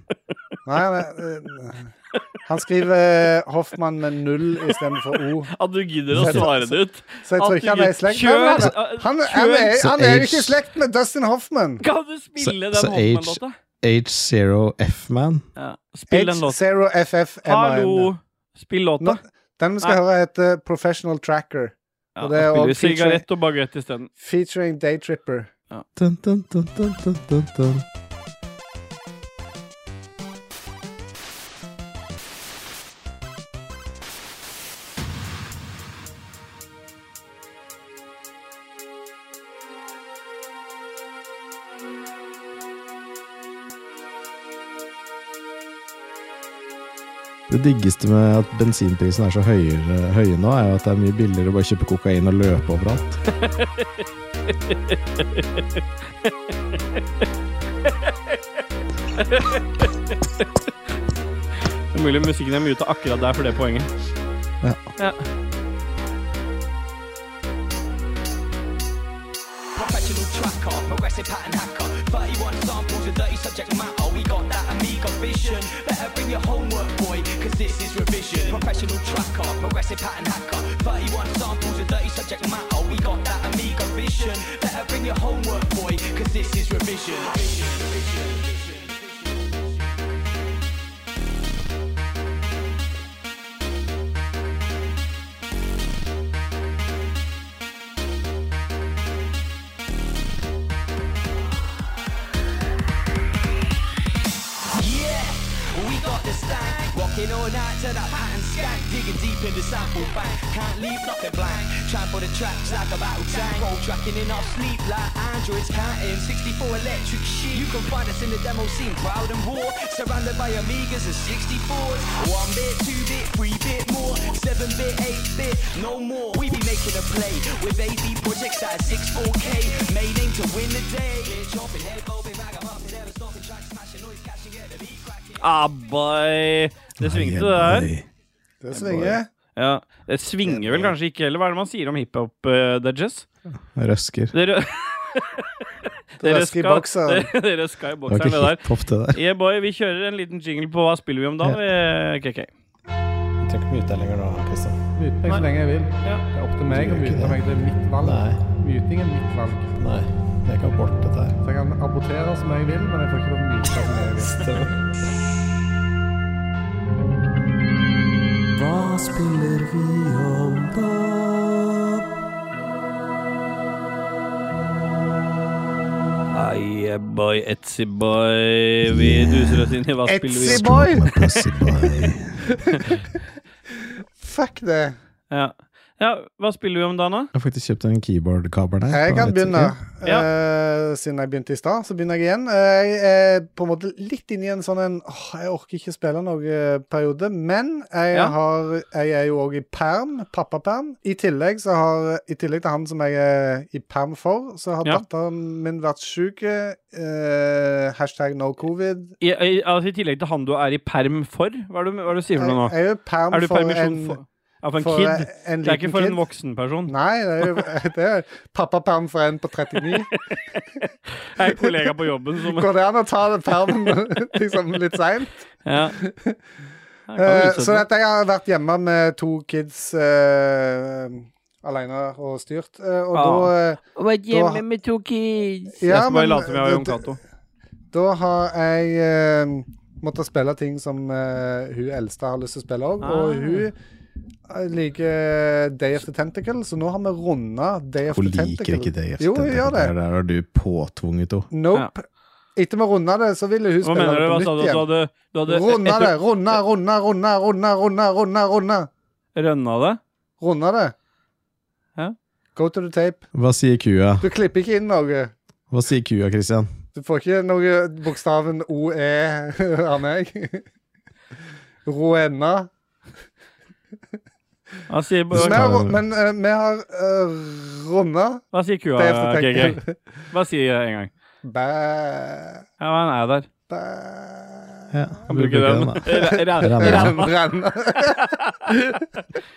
Speaker 3: Nei, nei, eh, han skriver eh, Hoffmann med null istedenfor O.
Speaker 2: At du gidder å
Speaker 3: Så-
Speaker 2: svare det ut.
Speaker 3: Så jeg tror ikke han er i slekt. Nei,
Speaker 2: Kjør!
Speaker 3: nei, nei. Han, han, er, han er jo ikke i slekt med Dustin Hoffman.
Speaker 2: Kan du spille
Speaker 1: Så- så
Speaker 2: den Hoffmann-låta?
Speaker 1: H0F-man.
Speaker 2: Ja. Spill den låta.
Speaker 3: H0FFMIN.
Speaker 2: Hallo! Spill låta.
Speaker 3: Den vi
Speaker 2: Nei.
Speaker 3: skal høre, heter Professional Tracker,
Speaker 2: Ja,
Speaker 3: og det er
Speaker 2: da spiller
Speaker 3: også
Speaker 2: vi sigarett og bagett isteden.
Speaker 3: featuring Daytripper.
Speaker 1: Dun, dun, dun, dun, dun, dun, dun. Det diggeste med at bensinprisen er så høyere, høye nå, er jo at det er mye billigere å bare kjøpe kokain og løpe overalt.
Speaker 2: Det er mulig musikken er mye av akkurat der for det poenget.
Speaker 1: Ja.
Speaker 2: Ja.
Speaker 6: Professional tracker, progressive pattern hacker. 31 samples with 30 subject matter. We got that amigo vision. Better bring your homework, boy, cause this is revision. Professional tracker, progressive pattern hacker. 31 samples with 30 subject matter. We got that amigo vision. Better bring your homework, boy, cause this is revision. Yeah, we got the stank. Rocking all night to that pattern skank. Digging deep in the sample bank. Can't leave nothing blank. Trample the tracks like a battle tank. Roll tracking in our sleep like androids counting. 64 electric sheep. You can find us in the demo scene, proud and raw. Surrounded by Amigas and 64s. One bit, two bit, three bit more. Seven bit, eight bit, no more. We be making a play with AV projects that are 64K. Made aim to win the day. Bitch, hopping, head bobbing, rag 'em up, and never stopping. Track smashing, noise catching, get the beat cracking.
Speaker 2: Abbai! Det svingte, det der.
Speaker 3: Det svinger.
Speaker 2: Ja. Det svinger vel kanskje ikke heller. Hva er det man sier om hiphop, uh, Dudges?
Speaker 1: Røsker.
Speaker 2: Dere
Speaker 3: Det
Speaker 2: Dere
Speaker 3: røsker i
Speaker 2: skal-
Speaker 3: bokseren.
Speaker 2: Dere- Dere skal i
Speaker 1: Det var
Speaker 2: bokseren,
Speaker 1: ikke
Speaker 2: det der.
Speaker 1: hiphop, det der.
Speaker 2: Yeah, boy, vi kjører en liten jingle på hva spiller vi om da. vi- KK.
Speaker 1: Du trenger ikke mute deg lenger nå, Kristian.
Speaker 3: Mute meg så lenge jeg vil. Det er opp til meg
Speaker 1: Du gjør ikke
Speaker 3: å mute
Speaker 1: det.
Speaker 3: meg. Det er mitt valg.
Speaker 1: Nei.
Speaker 3: Muting er mitt valg.
Speaker 1: Nei, det er ikke abort, dette her.
Speaker 3: Så jeg kan abortere som jeg vil, men jeg får ikke lov til å mute som jeg vil.
Speaker 2: Ah, yeah, boy, Etsy boy. Vi duser oss inn i hva spiller vi om.
Speaker 3: Etsy boy!
Speaker 1: My pussy boy.
Speaker 3: Fuck det.
Speaker 2: Ja. ja, hva spiller vi om da, Anna?
Speaker 1: Jeg har faktisk kjøpt en keyboard-kabel her.
Speaker 3: Jeg
Speaker 1: på
Speaker 3: kan
Speaker 1: Etsy.
Speaker 3: begynne.
Speaker 2: Ja.
Speaker 3: Eh, siden jeg begynte i stad, så begynner jeg igjen. Eh, jeg er på en måte litt inne i en sånn en åh, jeg orker ikke spille noe-periode. Men jeg,
Speaker 2: Ja.
Speaker 3: har, jeg er jo òg i perm. Pappaperm. I tillegg så har I tillegg til han som jeg er i perm for, så har
Speaker 2: Ja.
Speaker 3: datteren min vært sjuk. eh, hashtag no covid.
Speaker 2: I, i, altså, I tillegg til han du er i perm for, hva er det du, hva er det du sier for
Speaker 3: Jeg,
Speaker 2: noe nå?
Speaker 3: jeg er jo perm
Speaker 2: Er du i
Speaker 3: for
Speaker 2: permisjon
Speaker 3: en,
Speaker 2: for, ja, for en
Speaker 3: for
Speaker 2: kid?
Speaker 3: en
Speaker 2: Det er ikke
Speaker 3: liten
Speaker 2: for en
Speaker 3: kid.
Speaker 2: voksen person.
Speaker 3: Nei, det er jo det er pappaperm for en på 39.
Speaker 2: Jeg er en kollega på jobben som
Speaker 3: Går det an å ta den permen liksom litt seint?
Speaker 2: ja. Jeg kan
Speaker 3: Eh,
Speaker 2: utsette
Speaker 3: så
Speaker 2: det.
Speaker 3: dette, jeg har vært hjemme med to kids eh, alene og styrt. eh, og
Speaker 2: Ah.
Speaker 3: da, eh,
Speaker 2: Vært
Speaker 3: hjemme
Speaker 2: med to kids.
Speaker 3: Ja,
Speaker 2: jeg skal bare
Speaker 3: men-
Speaker 2: late som jeg var Jon
Speaker 3: det-
Speaker 2: Cato.
Speaker 3: da har jeg eh, måttet spille ting som eh, hun eldste har lyst til å spille òg.
Speaker 2: Ah.
Speaker 3: Og hun eh, liker Day of the Tentacle, så nå har vi runda Day of
Speaker 1: Hun
Speaker 3: the Tentacle.
Speaker 1: liker ikke det. Jeff.
Speaker 3: Jo,
Speaker 1: Den
Speaker 3: hun gjør det.
Speaker 1: Der der har du påtvunget henne.
Speaker 3: Nope. Etter vi runda det, så ville hun
Speaker 2: Hva
Speaker 3: spille
Speaker 2: mener du? Altså,
Speaker 3: det
Speaker 2: Hva
Speaker 3: på
Speaker 2: sa du?
Speaker 3: nytt
Speaker 2: Du
Speaker 3: igjen.
Speaker 2: hadde, du hadde
Speaker 3: Runde
Speaker 2: altså, etter-
Speaker 3: det. Runde, runde, runde, runde, runde, runde. Runde
Speaker 2: Rønna det?
Speaker 3: Runde det.
Speaker 2: Ja.
Speaker 3: Go to the tape.
Speaker 1: Hva sier kua?
Speaker 3: Du klipper ikke inn noe.
Speaker 1: Hva sier kua, Christian?
Speaker 3: Du får ikke noe bokstaven OE av meg. Roenna.
Speaker 2: Hva sier,
Speaker 3: Men,
Speaker 1: Skal-
Speaker 3: vi har- men eh, vi har uh, runda.
Speaker 2: hva sier kua,
Speaker 3: Det er efter tenking.
Speaker 2: GG? Hva sier jeg en gang?
Speaker 3: Bæ,
Speaker 2: Ja, men han er der.
Speaker 3: bæ.
Speaker 1: Ja,
Speaker 2: Kan bruke den.
Speaker 1: da.
Speaker 2: Ra- ra-
Speaker 1: Ræva.
Speaker 2: ra-
Speaker 3: Renna.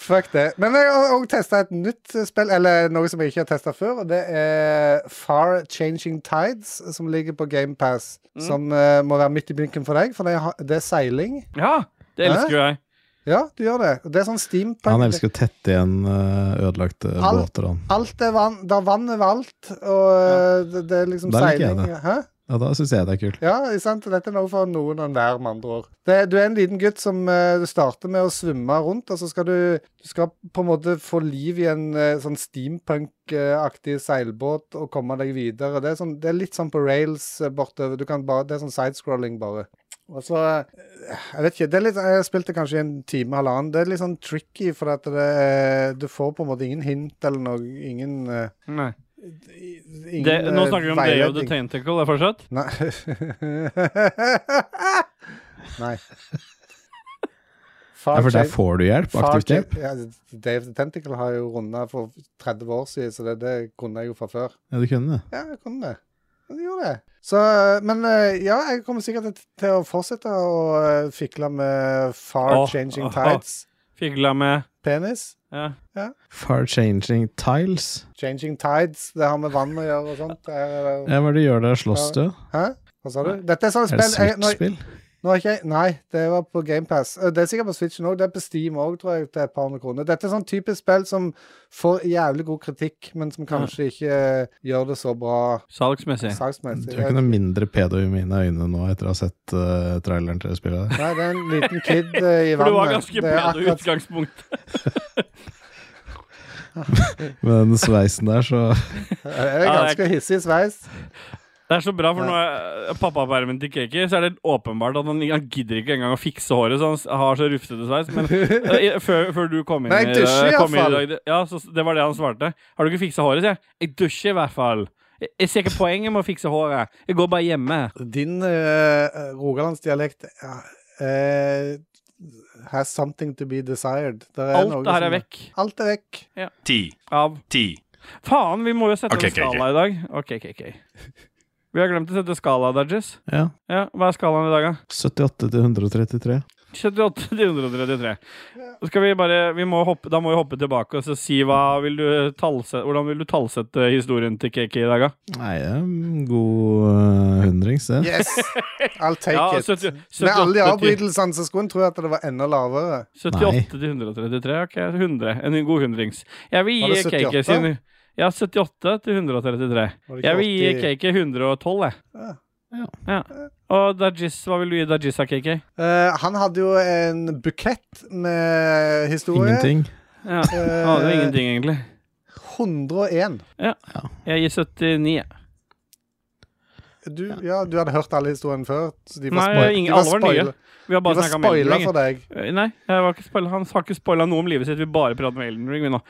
Speaker 3: Fuck det. Men jeg har òg testa et nytt spill, eller noe som jeg ikke har testa før. Og det er Far Changing Tides, som ligger på GamePass. Som eh, må være midt i blinken for deg, for det er, det er seiling.
Speaker 2: Ja, det elsker jo jeg.
Speaker 3: Ja, du gjør det. Og Det er sånn steampunk.
Speaker 1: Han elsker å tette igjen eh, ødelagte
Speaker 3: Alt.
Speaker 1: båter, han.
Speaker 3: Alt er vann, det er vann overalt, og eh, det, det er liksom
Speaker 1: Der liker jeg
Speaker 3: seiling.
Speaker 1: det.
Speaker 3: Hæ?
Speaker 1: Ja, da syns jeg det er kult.
Speaker 3: Ja, ikke sant? Dette er noe for noen og enhver, med andre ord. Det, du er en liten gutt som eh, du starter med å svømme rundt, og så skal du, du skal på en måte få liv i en eh, sånn steampunk-aktig seilbåt og komme deg videre. Det er, sånn, det er litt sånn på rails eh, bortover. Du kan bare, det er sånn sidescrolling, bare. Og så eh, Jeg vet ikke. det er litt, Jeg spilte kanskje en time, halvannen. Det er litt sånn tricky, for at det, er- du får på en måte ingen hint eller noe. Ingen, eh,
Speaker 2: Nei.
Speaker 3: i- ingen
Speaker 2: Det, nå
Speaker 3: eh,
Speaker 2: snakker vi om Day of the
Speaker 3: veiledning.
Speaker 2: Tentacle det er fortsatt.
Speaker 3: Nei. Nei.
Speaker 1: Ja,
Speaker 3: Far
Speaker 1: for der
Speaker 3: Jane-
Speaker 1: får du hjelp.
Speaker 3: Far
Speaker 1: Aktivt
Speaker 3: Jane-
Speaker 1: hjelp.
Speaker 3: Ja, Dave the Tentacle har jo runda for 30 år siden, så det, det kunne jeg jo fra før.
Speaker 1: Ja, du kunne det.
Speaker 3: Ja, jeg kunne det. Ja, Jeg gjorde det. Så, men eh, ja, jeg kommer sikkert til- til å fortsette å eh, fikle med
Speaker 2: Åh,
Speaker 3: Far Changing
Speaker 2: åh.
Speaker 3: Tides.
Speaker 2: Figla med
Speaker 3: Penis.
Speaker 2: ja.
Speaker 1: Far changing tiles.
Speaker 3: Changing Tides. Det har med vann å gjøre og sånt. Det er-
Speaker 1: Ja, hva er det du gjør der? Slåss du?
Speaker 3: Hæ? Hva sa du? Dette er sånne
Speaker 1: Er det
Speaker 3: spill jeg- når-
Speaker 1: switch-spill?
Speaker 3: Nå har ikke jeg, nei, det var på GamePass. Det er sikkert på Switchen òg. Det er på Steam òg, tror jeg, til et par hundre kroner. Dette er sånn typisk spill som får jævlig god kritikk, men som kanskje ikke eh, gjør det så bra
Speaker 2: salgsmessig.
Speaker 1: Du
Speaker 3: saksmessig.
Speaker 1: er ikke noe mindre pedo i mine øyne nå etter å ha sett eh, traileren til det spillet. der.
Speaker 3: Nei, det er en liten kid eh, i
Speaker 2: For
Speaker 3: vannet.
Speaker 2: det var ganske
Speaker 3: er
Speaker 2: pedo
Speaker 3: akkurat-
Speaker 2: utgangspunkt.
Speaker 1: Med den sveisen der, så
Speaker 3: Det er
Speaker 2: Ja, det er-
Speaker 3: ganske hissig sveis.
Speaker 2: Det er så bra, for nå er pappapermen til Kiki, så er det åpenbart at han, han gidder ikke engang å fikse håret, så han s- har så rufsete sveis. Men eh, i- før, før du kom inn
Speaker 3: Nei, jeg
Speaker 2: i- eh,
Speaker 3: dusjer i
Speaker 2: kom inn
Speaker 3: hvert fall.
Speaker 2: dag, det- Ja, så s- det var det han svarte. Har du ikke fiksa håret, sier jeg. Jeg dusjer i hvert fall. Jeg, jeg ser ikke poenget med å fikse håret. Jeg går bare hjemme.
Speaker 3: Din eh, rogalandsdialekt ja, eh, has something to be desired. Det er
Speaker 2: Alt
Speaker 3: noe
Speaker 2: det her
Speaker 3: som-
Speaker 2: er vekk.
Speaker 3: Alt er vekk.
Speaker 5: Ti.
Speaker 2: Av
Speaker 5: Ti.
Speaker 2: Faen, vi må jo sette
Speaker 5: Ok,
Speaker 2: en
Speaker 5: ok, ok.
Speaker 2: skala i dag. Ok, ok, ok. Vi har glemt å sette skala, Dodges.
Speaker 1: ja.
Speaker 2: Ja, hva er skalaen i dag, da?
Speaker 1: 78 til 133.
Speaker 2: 78 til 133. Skal vi bare, vi må hoppe, da må vi hoppe tilbake og så si hva vil du tallse- hvordan vil du tallsette historien til Kiki i dag, da?
Speaker 1: Nei, det er en god eh, hundrings, det.
Speaker 3: Yes! I'll take
Speaker 2: Ja,
Speaker 3: it.
Speaker 2: 70
Speaker 3: Med alle
Speaker 2: 78
Speaker 3: de
Speaker 2: til-
Speaker 3: avbrytelsene så skulle en tro at det var enda lavere.
Speaker 2: 78 til 133. Ok, 100. En god hundrings. Jeg vil
Speaker 3: Var det
Speaker 2: gi Kiki
Speaker 3: 78?
Speaker 2: sin Ja, 78 til 133.
Speaker 3: Var det ikke
Speaker 2: Jeg vil gi
Speaker 3: 80?
Speaker 2: Kiki 112, jeg.
Speaker 3: Ja.
Speaker 1: Ja.
Speaker 2: Ja. Og Dajis, hva vil du gi Dajis av Kiki?
Speaker 3: Eh, han hadde jo en bukett med historie.
Speaker 1: Ingenting.
Speaker 2: Ja.
Speaker 3: Eh,
Speaker 2: Han hadde jo ingenting, egentlig.
Speaker 3: 101.
Speaker 2: Jeg gir 79. jeg.
Speaker 3: Du, ja, du hadde hørt alle historiene før. Så de var
Speaker 2: Nei,
Speaker 3: spoil-
Speaker 2: ingen-
Speaker 3: de var
Speaker 2: alle var nye.
Speaker 3: spoil-
Speaker 2: Vi har
Speaker 3: De
Speaker 2: bare
Speaker 3: var
Speaker 2: snakka om Elden
Speaker 3: spoila
Speaker 2: Ring.
Speaker 3: for deg.
Speaker 2: Eh, Nei, jeg var ikke spoila. han har ikke spoila noe om livet sitt. Vi bare prater om Elden Ring vi nå.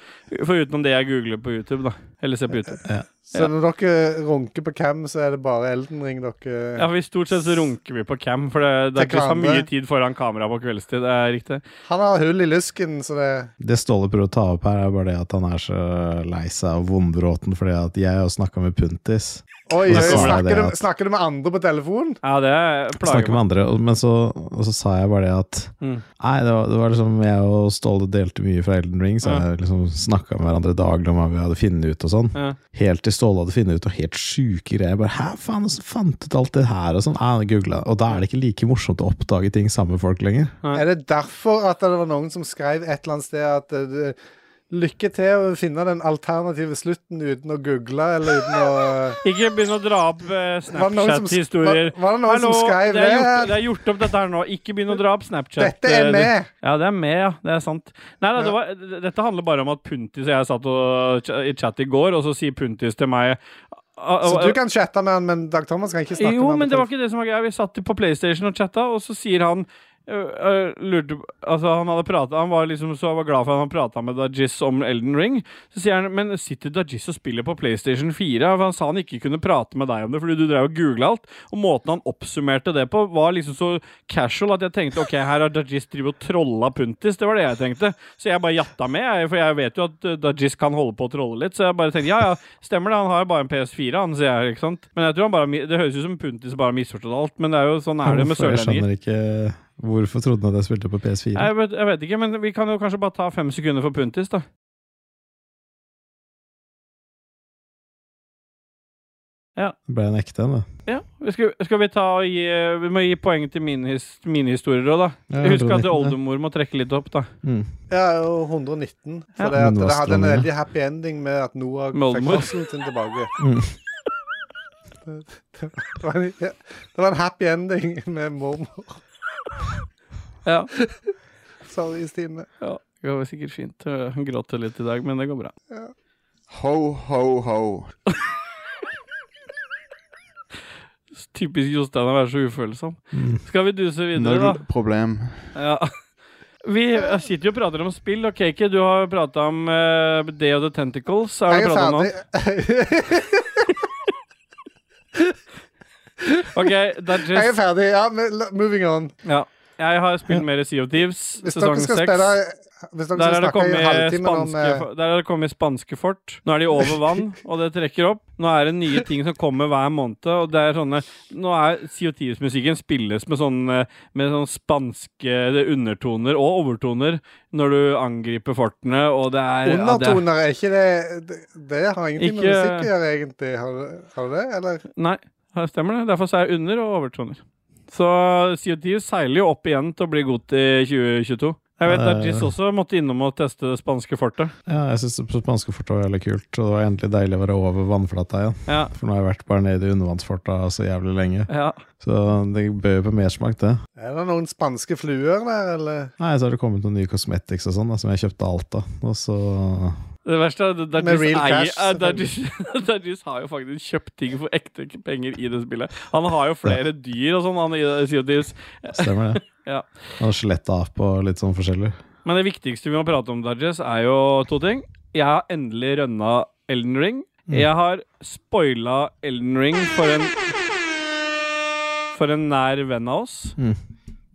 Speaker 2: Foruten det jeg googler på YouTube, da. Eller ser på
Speaker 3: Eh,
Speaker 2: YouTube.
Speaker 3: Så når dere runker på Cam, så er det bare Elden Ring dere
Speaker 2: Ja, for i Stort sett så runker vi på cam, for det, det er
Speaker 3: eh, Til
Speaker 2: ikke så mye
Speaker 3: hverandre.
Speaker 2: tid foran kamera på kveldstid. Det er riktig.
Speaker 3: Han har hull i lusken, så det
Speaker 1: Det Ståle prøver å ta opp her, er bare det at han er så lei seg av vondbråten fordi at jeg har snakka med Puntis.
Speaker 3: Oi, oi,
Speaker 1: Og så kommer det
Speaker 3: snakker,
Speaker 1: det
Speaker 3: du,
Speaker 1: at-
Speaker 3: snakker du med andre på telefon?
Speaker 2: Ja, det plager
Speaker 1: Snakke
Speaker 2: meg.
Speaker 1: med andre, og- men så, og så sa jeg bare det at
Speaker 2: Mm.
Speaker 1: Nei, det var, det var liksom Jeg og Ståle delte mye fra Elden Ring, så jeg liksom snakka med hverandre daglig om hva vi hadde funnet ut og sånn.
Speaker 2: Ja.
Speaker 1: Helt til Ståle hadde funnet ut og helt sjuke greier. Bare hæ, faen, hvordan fant du ut alt det her? Og sånn. Nei, han googlet. Og da er det ikke like morsomt å oppdage ting sammen med folk lenger.
Speaker 2: Nei.
Speaker 3: Er det derfor at det var noen som skrev et eller annet sted at eh, det- Lykke til å finne den alternative slutten uten å google eller uten å
Speaker 2: Ikke begynn å dra opp eh,
Speaker 3: Var det noen som-
Speaker 2: Snapchat-historier.
Speaker 3: var- var det noen som skrev
Speaker 2: det? Er gjort,
Speaker 3: det?
Speaker 2: det er gjort opp dette her nå. Ikke begynn å dra opp Snapchat.
Speaker 3: Dette er
Speaker 2: eh,
Speaker 3: med!
Speaker 2: Ja, det er med, ja. Det er sant. Nei, nei, det var, d- dette handler bare om at Puntis og jeg satt og, ch- i chat i går, og så sier Puntis til meg
Speaker 3: Så du kan chatte med han, men Dag Thomas kan ikke snakke
Speaker 2: Jo,
Speaker 3: med han
Speaker 2: men
Speaker 3: på
Speaker 2: det var
Speaker 3: telefon.
Speaker 2: ikke det som var greia. Vi satt på PlayStation og chatta, og så sier han øh, øh, lurte, altså Han hadde pratet, han var liksom så var glad for at han prata med Dajis om Elden Ring. Så sier han men sitter Dajis og spiller på PlayStation 4? For Han sa han ikke kunne prate med deg om det fordi du drev og googla alt. Og måten han oppsummerte det på, var liksom så casual at jeg tenkte ok, her har Dajis drevet og trolla Puntis. Det var det jeg tenkte. Så jeg bare jatta med, jeg, for jeg vet jo at øh, Dajis kan holde på å trolle litt. Så jeg bare tenkte ja, ja, Stemmer det, han har jo bare en PS4, han, sier jeg. ikke sant? Men jeg tror han bare, har mi- Det høres ut som Puntis bare har misforstått alt, men det er jo sånn er det med
Speaker 1: Hvorfor? jeg skjønner
Speaker 2: sørlendinger.
Speaker 1: ikke Hvorfor trodde han at jeg spilte på PS4?
Speaker 2: Nei, Jeg vet, jeg vet ikke, men vi kan jo kanskje bare ta fem sekunder for Puntis, da.
Speaker 1: Det ble en ekte en, da.
Speaker 2: Ja, Skal, skal vi ta og gi Vi må gi poeng til mine, his, mine historier òg, da.
Speaker 1: Ja,
Speaker 2: Husk at
Speaker 1: 119, ja.
Speaker 2: oldemor må trekke litt opp, da.
Speaker 1: Mm.
Speaker 3: Ja, og 119. For
Speaker 2: Ja.
Speaker 3: det, at
Speaker 1: Men det var
Speaker 3: det hadde en
Speaker 1: strømmende.
Speaker 3: veldig happy ending med at Noah
Speaker 2: Med
Speaker 3: fikk
Speaker 2: oldemor.
Speaker 3: fødselen sin tilbake.
Speaker 1: Mm.
Speaker 3: Det var, en, ja, det var en happy ending med mormor.
Speaker 2: Ja,
Speaker 3: Sorry, Stine.
Speaker 2: ja Det går sikkert fint. Hun gråter litt i dag, men det går bra.
Speaker 4: Ho, ho, ho.
Speaker 2: Typisk Jostein å være så ufølsom.
Speaker 3: Mm.
Speaker 2: Skal vi duse videre, da?
Speaker 4: Null-problem.
Speaker 2: Ja. Vi sitter jo og prater om spill, og Kake, du har prata om eh, Day of the Tentacles. Har
Speaker 3: Jeg
Speaker 2: du
Speaker 3: er
Speaker 2: pratet om noe?
Speaker 3: ferdig.
Speaker 2: Ok, that's
Speaker 3: Jeg er
Speaker 2: just,
Speaker 3: ferdig. Ja, men la- moving on.
Speaker 2: ja. Jeg har spilt mer Sea of Thieves,
Speaker 3: Hvis
Speaker 2: sesong
Speaker 3: dere skal
Speaker 2: seks.
Speaker 3: spille Hvis
Speaker 2: Der
Speaker 3: dere skal
Speaker 2: er, det
Speaker 3: snakke i
Speaker 2: kommet
Speaker 3: halvtimen om
Speaker 2: spanske,
Speaker 3: eh,
Speaker 2: for- der er det kommet spanske fort. Nå er de over vann, og det trekker opp. Nå er det nye ting som kommer hver måned. Og det er sånne, nå er CO2-musikken spilles med sånne, med sånne spanske undertoner og overtoner når du angriper fortene, og det er ja, det er-
Speaker 3: Undertoner, er ikke det Det, det har ingenting med
Speaker 2: Ikke-
Speaker 3: musikk å gjøre, egentlig. Har, det- har det det, eller?
Speaker 2: Nei, det stemmer det. Derfor så er jeg under og overtoner. Så CO2 seiler jo opp igjen til å bli god til 2022. Jeg vet
Speaker 1: Ja,
Speaker 2: at
Speaker 1: det er-
Speaker 2: Jizz også måtte innom og teste det spanske fortet.
Speaker 1: Ja, jeg syns spanske fort var veldig kult, og det var endelig deilig å være over vannflata igjen.
Speaker 2: Ja,
Speaker 1: For nå har jeg vært bare nede i undervannsforta så jævlig lenge.
Speaker 2: ja.
Speaker 1: Så det bød jo på mersmak, det.
Speaker 3: Er det noen spanske fluer der, eller?
Speaker 1: Nei, så har det kommet noen nye cosmetics og sånn, da, som jeg kjøpte alt av. Og så
Speaker 2: Det verste er at
Speaker 3: Med real cash,
Speaker 2: Dajis har jo faktisk kjøpt ting for ekte penger i det spillet. Han har jo flere dyr og sånn, han i CO2s.
Speaker 1: stemmer det.
Speaker 2: Ja.
Speaker 1: Og skjelettape og litt sånn forskjellig.
Speaker 2: Men det viktigste vi må prate om, Dajis, er jo to ting. Jeg har endelig rønna Elden Ring.
Speaker 3: Mm.
Speaker 2: Jeg har spoila Elden Ring for en For en nær venn av oss.
Speaker 1: Mm.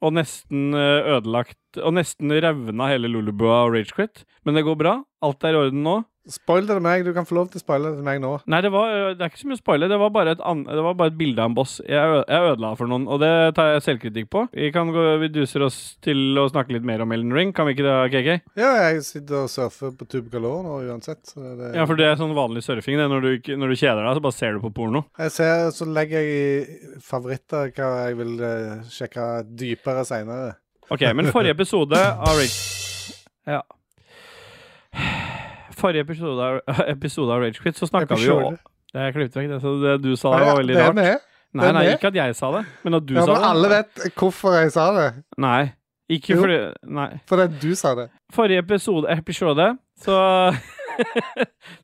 Speaker 2: Og nesten eh, ødelagt Og nesten revna hele Lulubua og Ragequit. Men det går bra. Alt er i orden nå.
Speaker 3: Spoil det til meg. Du kan få lov til å spoile det til meg nå.
Speaker 2: Nei, det, var, eh, det er ikke så mye å spoile. Det var bare et, an, det var bare et bilde av en boss. Jeg, ø- jeg ødela for noen, og det tar jeg selvkritikk på. Vi, kan gå, vi duser oss til å snakke litt mer om Elden Ring, kan vi ikke det, KK?
Speaker 3: Ja, jeg sitter og surfer på Tubegalore nå uansett. Så det,
Speaker 2: Ja, for det er sånn vanlig surfing. Det er når, du, ikke- når du kjeder deg, så bare ser du på porno.
Speaker 3: Jeg ser, så legger jeg i favoritter hva jeg vil eh, sjekke dypere seinere.
Speaker 2: Ok, men forrige episode av Rage Ja. Forrige episode av, episode av Rage Quit, så snakka vi jo Det er klippet vekk, det, så det du sa det var veldig
Speaker 3: det er
Speaker 2: rart.
Speaker 3: med.
Speaker 2: Nei, nei,
Speaker 3: med.
Speaker 2: ikke at jeg sa det, men at du
Speaker 3: Ja,
Speaker 2: sa
Speaker 3: men
Speaker 2: det.
Speaker 3: alle vet hvorfor jeg sa det.
Speaker 2: Nei. Ikke
Speaker 3: Jo.
Speaker 2: fordi Nei.
Speaker 3: Fordi du sa det.
Speaker 2: forrige episode, episode så,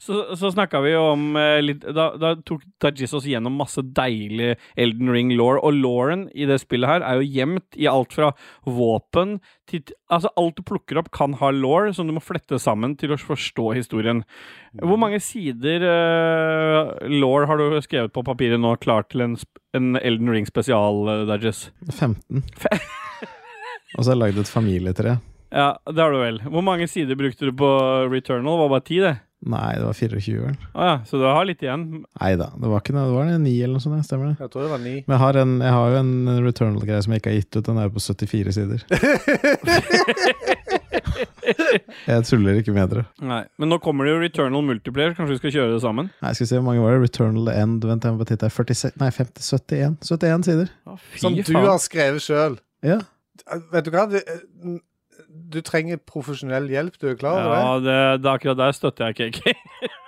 Speaker 2: så, så snakka vi jo om eh, litt Da, da tok Dajis oss gjennom masse deilig Elden Ring law. Og lawen i det spillet her er jo gjemt i alt fra våpen til Altså, alt du plukker opp, kan ha law, som du må flette sammen til å forstå historien. Hvor mange sider uh, law har du skrevet på papiret nå, klar til en, sp- en Elden Ring spesial, uh, Dajis?
Speaker 1: 15. og så har jeg lagd et familietre.
Speaker 2: Ja, det har du vel. Hvor mange sider brukte du på Returnal? Det var bare ti, det.
Speaker 1: Nei, det var 24, vel.
Speaker 2: Å ja, så du har litt igjen.
Speaker 1: Nei da, det var ikke noe. Det var 9 eller noe sånt, ja, stemmer det.
Speaker 3: Jeg tror det var ni.
Speaker 1: Men jeg har, en, jeg har jo en returnal-greie som jeg ikke har gitt ut. Den er jo på 74 sider. jeg tuller ikke med dere.
Speaker 2: Nei, Men nå kommer det jo Returnal Multiplayer, kanskje vi skal kjøre det sammen?
Speaker 1: Nei, skal vi se hvor mange var det? Returnal End, vent jeg må bare titte her. 46, nei, 50, 71. 71 sider.
Speaker 2: Å, fy
Speaker 3: Som du har skrevet sjøl.
Speaker 1: Ja.
Speaker 3: Vet du hva? Du, eh, du trenger profesjonell hjelp. Du er klar over
Speaker 2: Ja, det, det er akkurat der støtter jeg KK.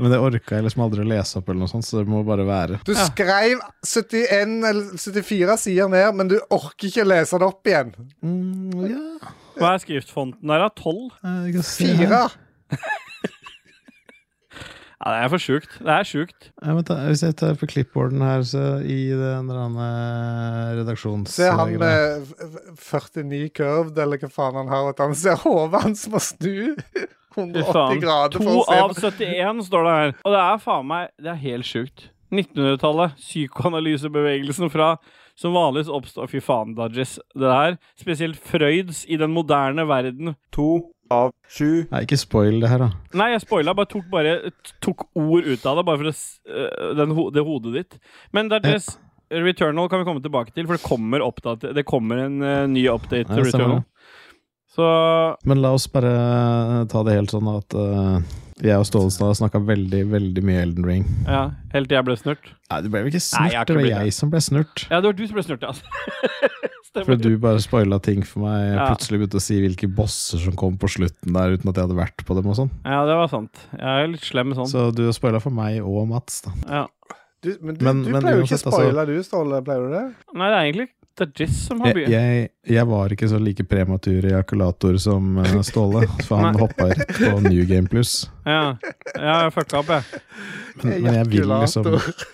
Speaker 1: Men det orka jeg liksom aldri å lese opp, eller noe sånt, så det må bare være.
Speaker 3: det? Du skrev 71 eller 74 sider ned, men du orker ikke lese det opp igjen.
Speaker 1: Mm, ja.
Speaker 2: Hva er skriftfonten der, da? Tolv?
Speaker 1: jeg kan se her.
Speaker 3: Fire.
Speaker 2: Ja, det er for sjukt. Det er sjukt.
Speaker 1: Ja, men ta, hvis jeg tar på clipboarden her, så i den der andre redaksjons...
Speaker 3: Se han
Speaker 1: greia.
Speaker 3: med f- f- 49 curved, eller hva faen han har, at han ser hodet hans må snu
Speaker 2: Fy faen.
Speaker 3: 180 grader
Speaker 2: To
Speaker 3: for å
Speaker 2: av
Speaker 3: se
Speaker 2: 71 står det her. Og det er faen meg Det er helt sjukt. 1900-tallet, psykoanalysebevegelsen fra som vanligvis oppstår Fy faen, Dodges. Det der. Spesielt Frøyds i den moderne verden.
Speaker 7: To av
Speaker 3: eh,
Speaker 7: sju.
Speaker 1: Nei, ikke spoil det her, da.
Speaker 2: Nei, jeg spoila. Bare tok, bare, tok ord ut av det, bare for å, s- øh, den, ho- det hodet ditt. Men Dodges, Returnal kan vi komme tilbake til, for det kommer, oppdate, det kommer en øh, ny update
Speaker 1: Ja,
Speaker 2: til
Speaker 1: det stemmer
Speaker 2: Returnal.
Speaker 1: det.
Speaker 2: Så
Speaker 1: Men la oss bare eh, ta det helt sånn at eh, jeg og Stålestad har snakka veldig, veldig mye Elden Ring.
Speaker 2: ja, helt til jeg ble snurt.
Speaker 1: Nei, det ble vel ikke
Speaker 2: Nei,
Speaker 1: snurt,
Speaker 2: jeg har ikke
Speaker 1: det var
Speaker 2: blitt det.
Speaker 1: jeg som ble snurt.
Speaker 2: Ja, det var du som ble snurt, altså. Stemmer.
Speaker 1: Fordi du bare spoila ting for meg. Jeg
Speaker 2: Ja.
Speaker 1: plutselig begynte å si hvilke bosser som kom på slutten der, uten at jeg hadde vært på dem og sånn.
Speaker 2: Ja, det var sant. Jeg er litt slem med sånn.
Speaker 1: Så du spoila for meg og Mats, da.
Speaker 2: Ja.
Speaker 3: Du, men du,
Speaker 1: Men-
Speaker 3: du
Speaker 1: men
Speaker 3: pleier jo ikke å
Speaker 1: uansett, altså-
Speaker 3: spoile, du, Ståle. Pleier du det?
Speaker 2: Nei, det er egentlig Dajis som har
Speaker 1: Jeg,
Speaker 2: begynt.
Speaker 1: jeg, jeg var ikke så like prematur ejakulator som eh, Ståle, for han
Speaker 2: Nei.
Speaker 1: hoppa rett på New Game Plus.
Speaker 2: Ja. ja, jeg fucka opp, jeg.
Speaker 1: Men, men jeg vil liksom
Speaker 3: Ejakulator.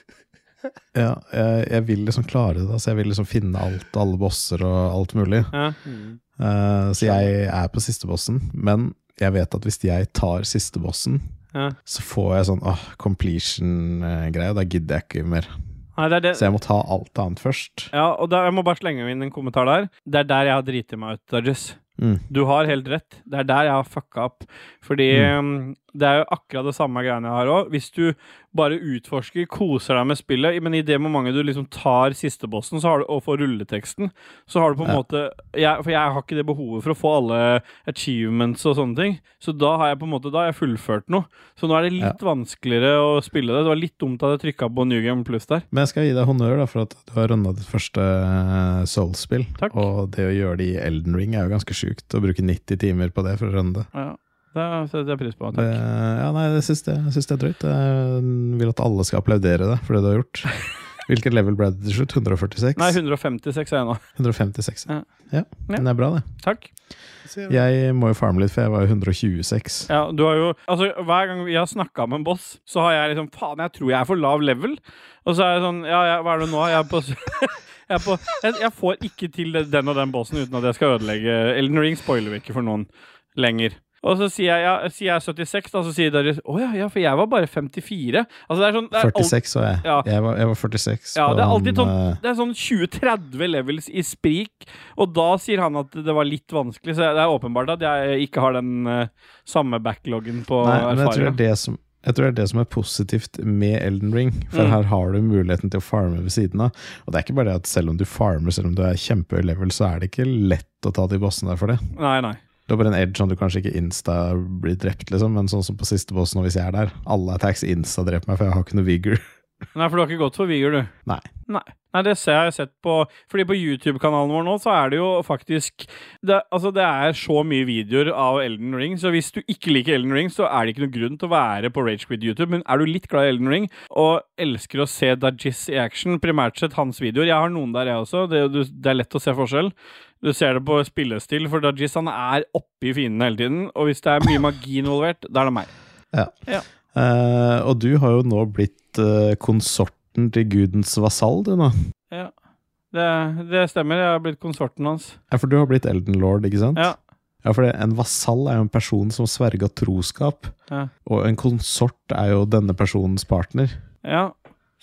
Speaker 1: ja, jeg, jeg vil liksom klare det. Altså, jeg vil liksom finne alt, alle bosser og alt mulig.
Speaker 2: Ja. Mm.
Speaker 1: Eh, så jeg er på siste bossen, men jeg vet at hvis jeg tar siste bossen,
Speaker 2: Ja.
Speaker 1: så får jeg sånn åh, completion-greie, og da gidder jeg ikke mer.
Speaker 2: Nei, det er det.
Speaker 1: Så jeg må ta alt annet først.
Speaker 2: Ja, og da, jeg må bare slenge inn en kommentar der. Det er der jeg har driti meg ut, Dajis.
Speaker 1: Mm.
Speaker 2: Du har helt rett. Det er der jeg har fucka opp. Fordi
Speaker 1: Mm.
Speaker 2: um, det er jo akkurat det samme greiene jeg har òg. Hvis du bare utforsker, koser deg med spillet, men i det momentet du liksom tar sistebossen så har du, og får rulleteksten, så har du på en
Speaker 1: Ja.
Speaker 2: måte jeg, For jeg har ikke det behovet for å få alle achievements og sånne ting. Så da har jeg på en måte Da har jeg fullført noe. Så nå er det litt vanskeligere å spille det. Det var litt dumt at jeg trykka på New Game Plus der.
Speaker 1: Men jeg skal gi deg honnør da, for at du har runda ditt første eh, Souls-spill.
Speaker 2: Takk.
Speaker 1: Og det å gjøre det i Elden Ring er jo ganske sjukt. Å bruke 90 timer på det for å runde.
Speaker 2: Ja, det setter jeg pris på.
Speaker 1: Det,
Speaker 2: Takk.
Speaker 1: ja, nei, det syns jeg, jeg syns det er drøyt. Jeg vil at alle skal applaudere deg for det du har gjort. Hvilket level ble det til slutt? 146?
Speaker 2: Nei, 156 er jeg nå.
Speaker 1: 156.
Speaker 2: Ja.
Speaker 1: Ja. Men det er bra, det.
Speaker 2: Takk.
Speaker 1: Jeg må jo farme litt, for jeg var jo 126.
Speaker 2: Ja, du har jo Altså, hver gang vi har snakka med en boss, så har jeg liksom Faen, jeg tror jeg er for lav level. Og så er jeg sånn Ja, jeg, hva er det nå? Jeg er på Jeg, er på, jeg, jeg får ikke til det- den og den bossen uten at jeg skal ødelegge Elden Ring spoiler vi ikke for noen lenger. Og så sier jeg, ja, sier jeg 76, da, så sier dere Å ja, ja, for jeg var bare 54. Altså, det er sånn det er alt-
Speaker 1: 46 var jeg.
Speaker 2: Ja.
Speaker 1: Jeg, var, jeg var 46.
Speaker 2: Ja,
Speaker 1: på
Speaker 2: det er
Speaker 1: han,
Speaker 2: alltid sånn,
Speaker 1: eh,
Speaker 2: det er sånn 20-30 levels i sprik, og da sier han at det var litt vanskelig, så det er åpenbart at jeg ikke har den eh, samme backloggen på
Speaker 1: Nei, men jeg tror, det
Speaker 2: erfaring.
Speaker 1: er det som, jeg tror det er det som er positivt med Elden Ring. For
Speaker 2: Mm.
Speaker 1: her har du muligheten til å farme ved siden av. Og det er ikke bare det at selv om du farmer, selv om du er kjempehøy level, så er det ikke lett å ta de bossene der for det.
Speaker 2: Nei, nei.
Speaker 1: Det er bare en edge sånn du kanskje ikke insta blir drept, liksom. Men sånn som på siste bossen, og hvis jeg er der, alle attacks insta dreper meg, for jeg har ikke noe vigor.
Speaker 2: Nei, for du har ikke gått for Vigor, du.
Speaker 1: Nei.
Speaker 2: Nei. Nei, det ser jeg sett på Fordi på YouTube-kanalen vår nå, så er det jo faktisk det, Altså, det er så mye videoer av Elden Ring, så hvis du ikke liker Elden Ring, så er det ikke noen grunn til å være på Ragequid YouTube, men er du litt glad i Elden Ring og elsker å se Dajis i action, primært sett hans videoer Jeg har noen der, jeg også. Det, du, det er lett å se forskjell. Du ser det på spillestil, for Dajis han er oppi fiendene hele tiden, og hvis det er mye magi involvert, da er det meg.
Speaker 1: Eh, og du har jo nå blitt eh, konsorten til gudens vasall, du nå.
Speaker 2: Det, det stemmer, jeg har blitt konsorten hans.
Speaker 1: Ja, for du har blitt Elden Lord, ikke sant?
Speaker 2: Ja.
Speaker 1: Ja, for det, en vasall er jo en person som sverga troskap,
Speaker 2: Ja.
Speaker 1: og en konsort er jo denne personens partner.
Speaker 2: Ja,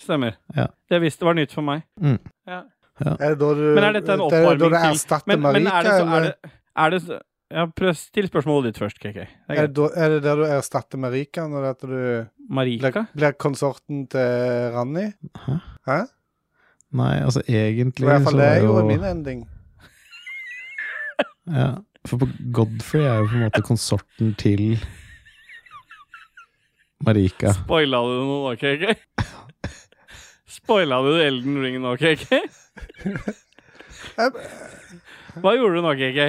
Speaker 2: stemmer.
Speaker 1: Ja.
Speaker 2: Det visste var nytt for meg.
Speaker 3: Er det da du,
Speaker 2: Men er dette en
Speaker 3: det er da
Speaker 2: oppvarming
Speaker 3: du
Speaker 2: til-
Speaker 3: erstatter
Speaker 2: Men, men er det
Speaker 3: Marika,
Speaker 2: så er
Speaker 3: eller?
Speaker 2: det, er det så, ja, prøv, Still spørsmålet ditt først, KK. Det er
Speaker 3: Er
Speaker 2: greit.
Speaker 3: det, da, er det der du erstatter Marika, når det er at du blir,
Speaker 2: Marika?
Speaker 3: blir konsorten til Ranni?
Speaker 1: Hæ?
Speaker 3: Hæ?
Speaker 1: Nei, altså
Speaker 3: Det
Speaker 1: egentlig
Speaker 3: var i hvert
Speaker 1: så
Speaker 3: fall det
Speaker 1: var
Speaker 3: jeg
Speaker 1: jo
Speaker 3: gjorde i min ending.
Speaker 1: ja, For på Godfrey er jo på en måte konsorten til Marika.
Speaker 2: Spoila du noe nå, KK? Spoila du Elden Ring nå, KK?
Speaker 3: Jeg,
Speaker 2: Hva gjorde du nå, KK?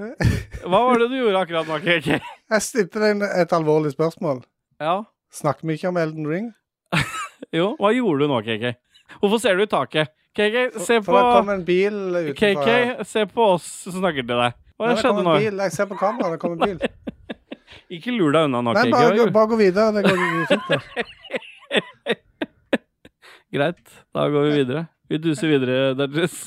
Speaker 2: Hva var det du gjorde akkurat nå, KK?
Speaker 3: jeg stilte deg en- et alvorlig spørsmål.
Speaker 2: Ja,
Speaker 3: Snakker vi ikke om Elden Ring?
Speaker 2: jo, hva gjorde du nå, KK? Hvorfor ser du i taket? KK,
Speaker 3: For,
Speaker 2: se
Speaker 3: for det kom
Speaker 2: på
Speaker 3: en bil utenfor her.
Speaker 2: KK, se på oss som snakker til deg.
Speaker 3: Nei,
Speaker 2: Hva
Speaker 3: det kom
Speaker 2: skjedde
Speaker 3: en
Speaker 2: nå?
Speaker 3: Bil. Jeg ser på kameraet, det kommer en bil.
Speaker 2: Ikke lur deg unna nå,
Speaker 3: Nei, bare, gå-
Speaker 2: Kiki.
Speaker 3: bare gå videre. Det går fint, det.
Speaker 2: Greit, da går vi videre. Vi duser videre, Dajis.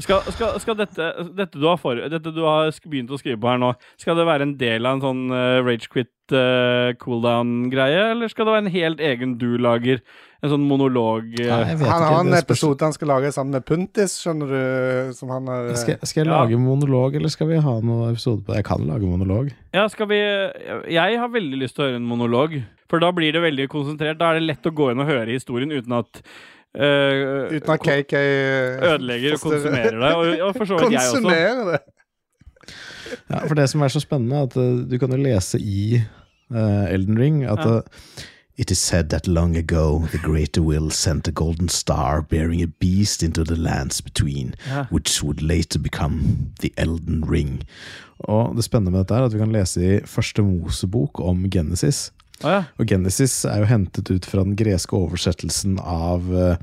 Speaker 2: Skal, skal, skal dette, dette, du har for, dette du har sk- begynt å skrive på her nå, skal det være en del av en sånn eh, rage quit eh, cooldown-greie, eller skal det være en helt egen du lager? En sånn monolog
Speaker 1: Nei,
Speaker 2: eh,
Speaker 1: jeg vet
Speaker 3: Han
Speaker 1: ikke,
Speaker 3: har en
Speaker 1: det spørs-
Speaker 3: episode han skal lage sammen med Puntis, skjønner du. Som han har,
Speaker 1: Skal, skal jeg
Speaker 2: Ja.
Speaker 1: lage monolog, eller skal vi ha noen episode på det? Jeg kan lage monolog.
Speaker 2: Ja, skal vi Jeg har veldig lyst til å høre en monolog, for da blir det veldig konsentrert. Da er det lett å gå inn og høre historien uten at eh,
Speaker 3: Uten at KK
Speaker 2: ødelegger og konsumerer det. Og, og for så vidt jeg også.
Speaker 3: Konsumerer det!
Speaker 1: Ja, for det som er så spennende, er at eh, du kan jo lese i eh, Elden Ring at eh, It is said that long ago the greater will sent a golden star bearing a beast into the lands between,
Speaker 2: Ja.
Speaker 1: which would later become the Elden Ring. Og det spennende med dette er at vi kan lese i første Mosebok om Genesis.
Speaker 2: Å ja.
Speaker 1: Og Genesis er jo hentet ut fra den greske oversettelsen av eh,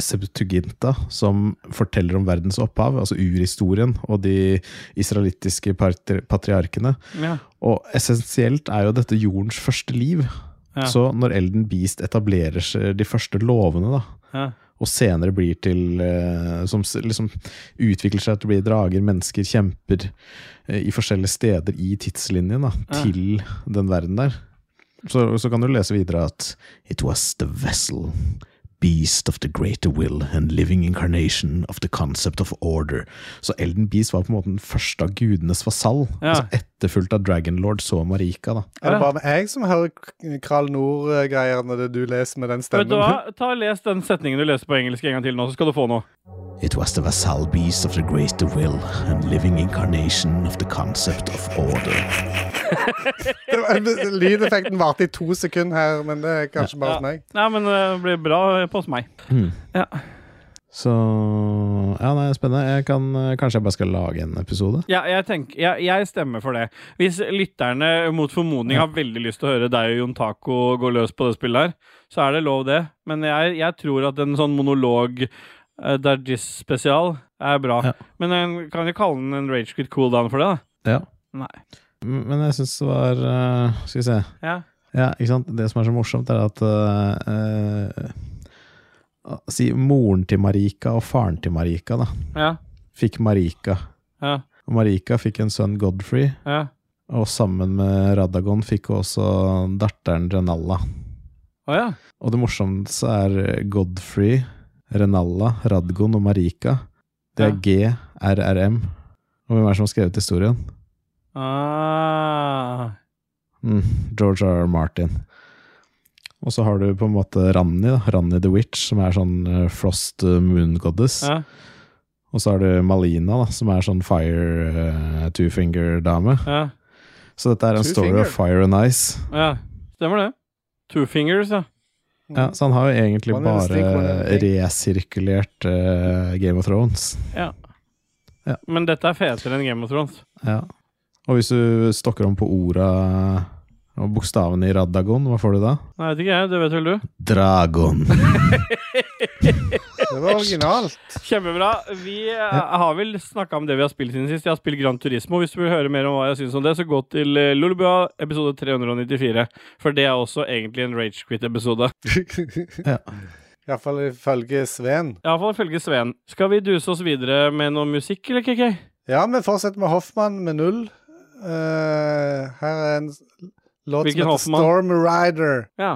Speaker 1: Septuaginta, som forteller om verdens opphav, altså urhistorien, og de israelittiske patri patriarkene.
Speaker 2: ja.
Speaker 1: Og essensielt er jo dette jordens første liv.
Speaker 2: Ja.
Speaker 1: Så når Elden Beast etablerer seg de første lovene, da,
Speaker 2: ja.
Speaker 1: og senere blir til eh, Som s- liksom utvikler seg til å bli drager, mennesker, kjemper eh, i forskjellige steder i tidslinjen da,
Speaker 2: Ja.
Speaker 1: til den verden der. Så, så kan du lese videre at It was the vessel, beast of the greater will and living incarnation of the concept of order. Så Elden Beast var på en måte den første av gudenes vasall.
Speaker 2: Ja.
Speaker 1: Altså etterfulgt av Dragonlord, så Marika, da.
Speaker 3: Er det bare jeg som hører K- Kral Nord-greier når det du leser med den
Speaker 2: Vet du
Speaker 3: stemmen?
Speaker 2: hva? Ta og Les den setningen du leser på engelsk en gang til nå, så skal du få noe.
Speaker 1: It was the vassal beast of the greater will and living incarnation of the concept of order.
Speaker 3: Det var- Lydeffekten varte i to sekunder her, men det er kanskje bare hos meg.
Speaker 2: Nei, men eh, det blir bra på hos meg. Ja.
Speaker 1: Så Ja, nei, spennende. Jeg kan, eh, kanskje jeg bare skal lage en episode?
Speaker 2: Ja, jeg, tenker, jeg, jeg stemmer for det. Hvis lytterne mot formodning har veldig lyst til å høre deg og Jon Taco gå løs på det spillet her, så er det lov, det. Men jeg, jeg tror at en sånn monolog uh, Dajis-spesial er bra.
Speaker 1: Ja.
Speaker 2: Men en, kan vi kalle den en rage quit cooldown for det, da?
Speaker 1: Ja.
Speaker 2: Nei.
Speaker 1: M- Men jeg syns det var eh, Skal vi se.
Speaker 2: Ja.
Speaker 1: Ja, ikke sant? Det som er så morsomt, er at eh, eh, Si moren til Marika og faren til Marika, da,
Speaker 2: Ja.
Speaker 1: fikk Marika.
Speaker 2: Ja.
Speaker 1: Og Marika fikk en sønn Godfrey,
Speaker 2: ja.
Speaker 1: og sammen med Radagon fikk også datteren Renalla.
Speaker 2: Å ja.
Speaker 1: Og det morsomste er Godfrey, Renalla, Radgon og Marika. Det er GRRM. Og hvem er det som har skrevet historien?
Speaker 2: Ah.
Speaker 1: Mm, George R. R. Martin. Og så har du på en måte Ranni, da. Ranni the Witch, som er sånn eh, Frost eh, Moon Goddess.
Speaker 2: Ja.
Speaker 1: Og så har du Malina, da, som er sånn Fire eh, Two-Finger-dame.
Speaker 2: Ja.
Speaker 1: Så dette er en story
Speaker 3: Two-Finger?
Speaker 1: of fire and ice.
Speaker 2: ja. Stemmer det. Two fingers, ja.
Speaker 1: Ja, så han har jo egentlig
Speaker 3: One in the stick, one in
Speaker 1: bare
Speaker 3: the thing.
Speaker 1: resirkulert eh, Game of Thrones.
Speaker 2: Men dette er fetere enn Game of Thrones.
Speaker 1: Ja. Og hvis du stokker om på orda og bokstavene i Radagon, hva får du da?
Speaker 2: Nei, vet ikke jeg. Det vet vel du.
Speaker 1: Dragon.
Speaker 3: Det var originalt.
Speaker 2: Kjempebra. Vi eh, har vel snakka om det vi har spilt siden sist. Jeg har spilt Gran Turismo. Hvis du vil høre mer om hva jeg syns om det, så gå til eh, Lulebua episode 394. For det er også egentlig en Ragequit-episode.
Speaker 3: Iallfall ifølge Sveen.
Speaker 2: Iallfall ifølge Sveen. Skal vi duse oss videre med noe musikk, eller KK?
Speaker 3: Ja, vi fortsetter med Hoffmann med null. Eh, her er en s- låt
Speaker 2: Hvilken
Speaker 3: som heter
Speaker 2: Hoffmann?
Speaker 3: Storm Rider.
Speaker 2: Ja.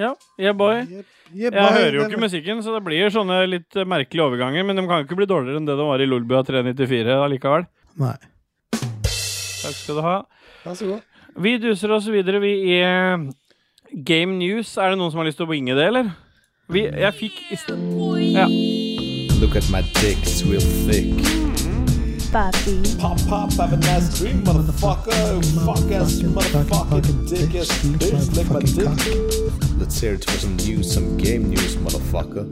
Speaker 2: Ja, yeah boy.
Speaker 3: Jeg
Speaker 2: Jeg hører jo ikke musikken, så det blir sånne litt eh, merkelige overganger. Men de kan jo ikke bli dårligere enn det de var i Lolbua 394 allikevel.
Speaker 1: Nei.
Speaker 2: Takk skal du ha.
Speaker 3: Vær så god.
Speaker 2: Vi duser oss videre, vi i eh, Game News. Er det noen som har lyst til å winge det, eller? Vi, jeg fikk i sted- ja.
Speaker 8: Look at my dick, it's real thick.
Speaker 9: Papi.
Speaker 8: Pop, pop, have a nice dream, motherfucker. Fuck ass, you motherfucking dick ass bitch, lick my dick. Let's hear it for some news, some game news, motherfucker.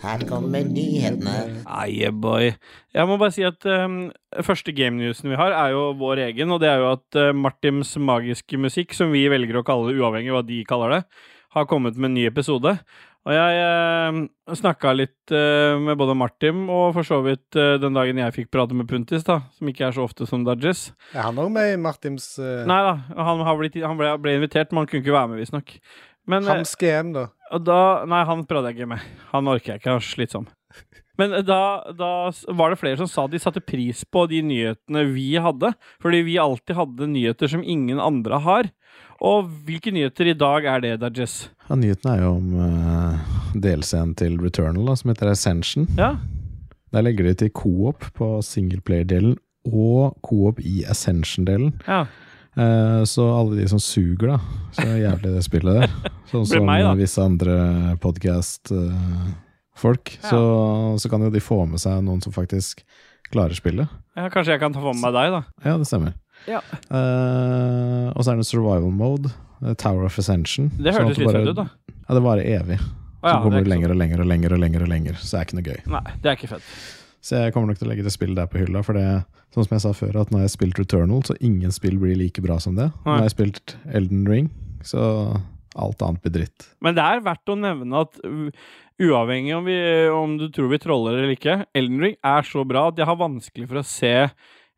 Speaker 9: Her kommer nyhetene.
Speaker 2: Ah, yeah, boy. Jeg må bare si at um, første game newsen vi har, er jo vår egen. Og det er jo at eh, Martims magiske musikk, som vi velger å kalle det uavhengig av hva de kaller det, har kommet med en ny episode. Og jeg eh, snakka litt eh, med både Martim og for så vidt eh, den dagen jeg fikk prate med Puntis, da, som ikke er så ofte som Dudges.
Speaker 3: Er han òg med i Martims uh,
Speaker 2: Nei da, han, har blitt, han ble, ble invitert, men han kunne ikke være med, visstnok. Men eh,
Speaker 3: Hams GM, da?
Speaker 2: og da Nei, han prøvde jeg ikke med. Han orker jeg ikke, han er slitsom. Men da, da s- var det flere som sa de satte pris på de nyhetene vi hadde. Fordi vi alltid hadde nyheter som ingen andre har. Og hvilke nyheter i dag er det, Dajess?
Speaker 1: Ja, nyheten er jo om uh, delscenen til Returnal, da, som heter Ascension.
Speaker 2: Ja.
Speaker 1: Der legger de til co-op på singleplayer-delen og co-op i Ascension-delen.
Speaker 2: Ja.
Speaker 1: Eh, så alle de som suger, da. Så er det jævlig det spillet der. Sånn
Speaker 2: Blir
Speaker 1: som
Speaker 2: meg, da.
Speaker 1: visse andre podkast-folk.
Speaker 2: Ja.
Speaker 1: Så, så kan jo de få med seg noen som faktisk klarer spillet.
Speaker 2: ja, Kanskje jeg kan ta for meg deg, da.
Speaker 1: Ja, det stemmer.
Speaker 2: Ja.
Speaker 1: Eh, og så er det survival mode. eh, Tower of Ascension.
Speaker 2: Det
Speaker 1: sånn at
Speaker 2: hørtes litt
Speaker 1: bare-
Speaker 2: søtt ut, da.
Speaker 1: Ja, det varer evig.
Speaker 2: Å, ja,
Speaker 1: så kommer det
Speaker 2: det er ikke
Speaker 1: lenger og lenger og lenger, og lenger og lenger så det er ikke noe gøy.
Speaker 2: så- Nei, det er ikke fett.
Speaker 1: Så jeg kommer nok til å legge det spillet der på hylla, for det Sånn som jeg sa før, at nå har jeg spilt Returnal, så ingen spill blir like bra som det. Nå
Speaker 2: Nei.
Speaker 1: har jeg spilt Elden Ring, så alt annet blir dritt.
Speaker 2: Men det er verdt å nevne at u- uavhengig om, vi, om du tror vi troller eller ikke, Elden Ring er så bra at jeg har vanskelig for å se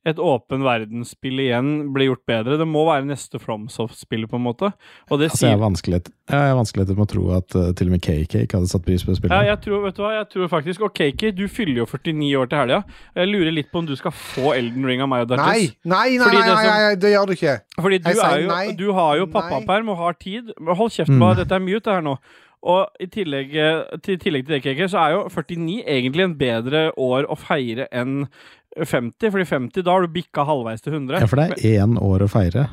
Speaker 2: et åpen verdensspill igjen bli gjort bedre. Det må være neste Fromsoft-spill, på en måte. Og det
Speaker 1: Altså, jeg
Speaker 2: sier
Speaker 1: har vanskelighet Jeg har vanskeligheter med å tro at eh, til og med KK hadde satt pris på det
Speaker 2: ja,
Speaker 1: spillet.
Speaker 2: jeg tror, vet du hva, jeg tror faktisk Og Kaki, du fyller jo 49 år til helga. Jeg lurer litt på om du skal få Elden Ring av meg og
Speaker 3: Nei,
Speaker 2: Dartis.
Speaker 3: nei, nei,
Speaker 2: Fordi det
Speaker 3: nei,
Speaker 2: sånn-
Speaker 3: nei,
Speaker 2: som-
Speaker 3: nei, det gjør du ikke.
Speaker 2: Fordi du,
Speaker 3: Jeg sier
Speaker 2: er jo,
Speaker 3: nei.
Speaker 2: du har jo
Speaker 3: Nei.
Speaker 2: pappaperm og har tid. Men Hold kjeft på
Speaker 1: Mm.
Speaker 2: dette er mute her nå. Og i tillegg eh, til, tillegg til det, KK, så er jo 49 egentlig en bedre år å feire enn 50. Fordi 50, da har du bikka halvveis til 100.
Speaker 1: Ja, for det er én år å feire.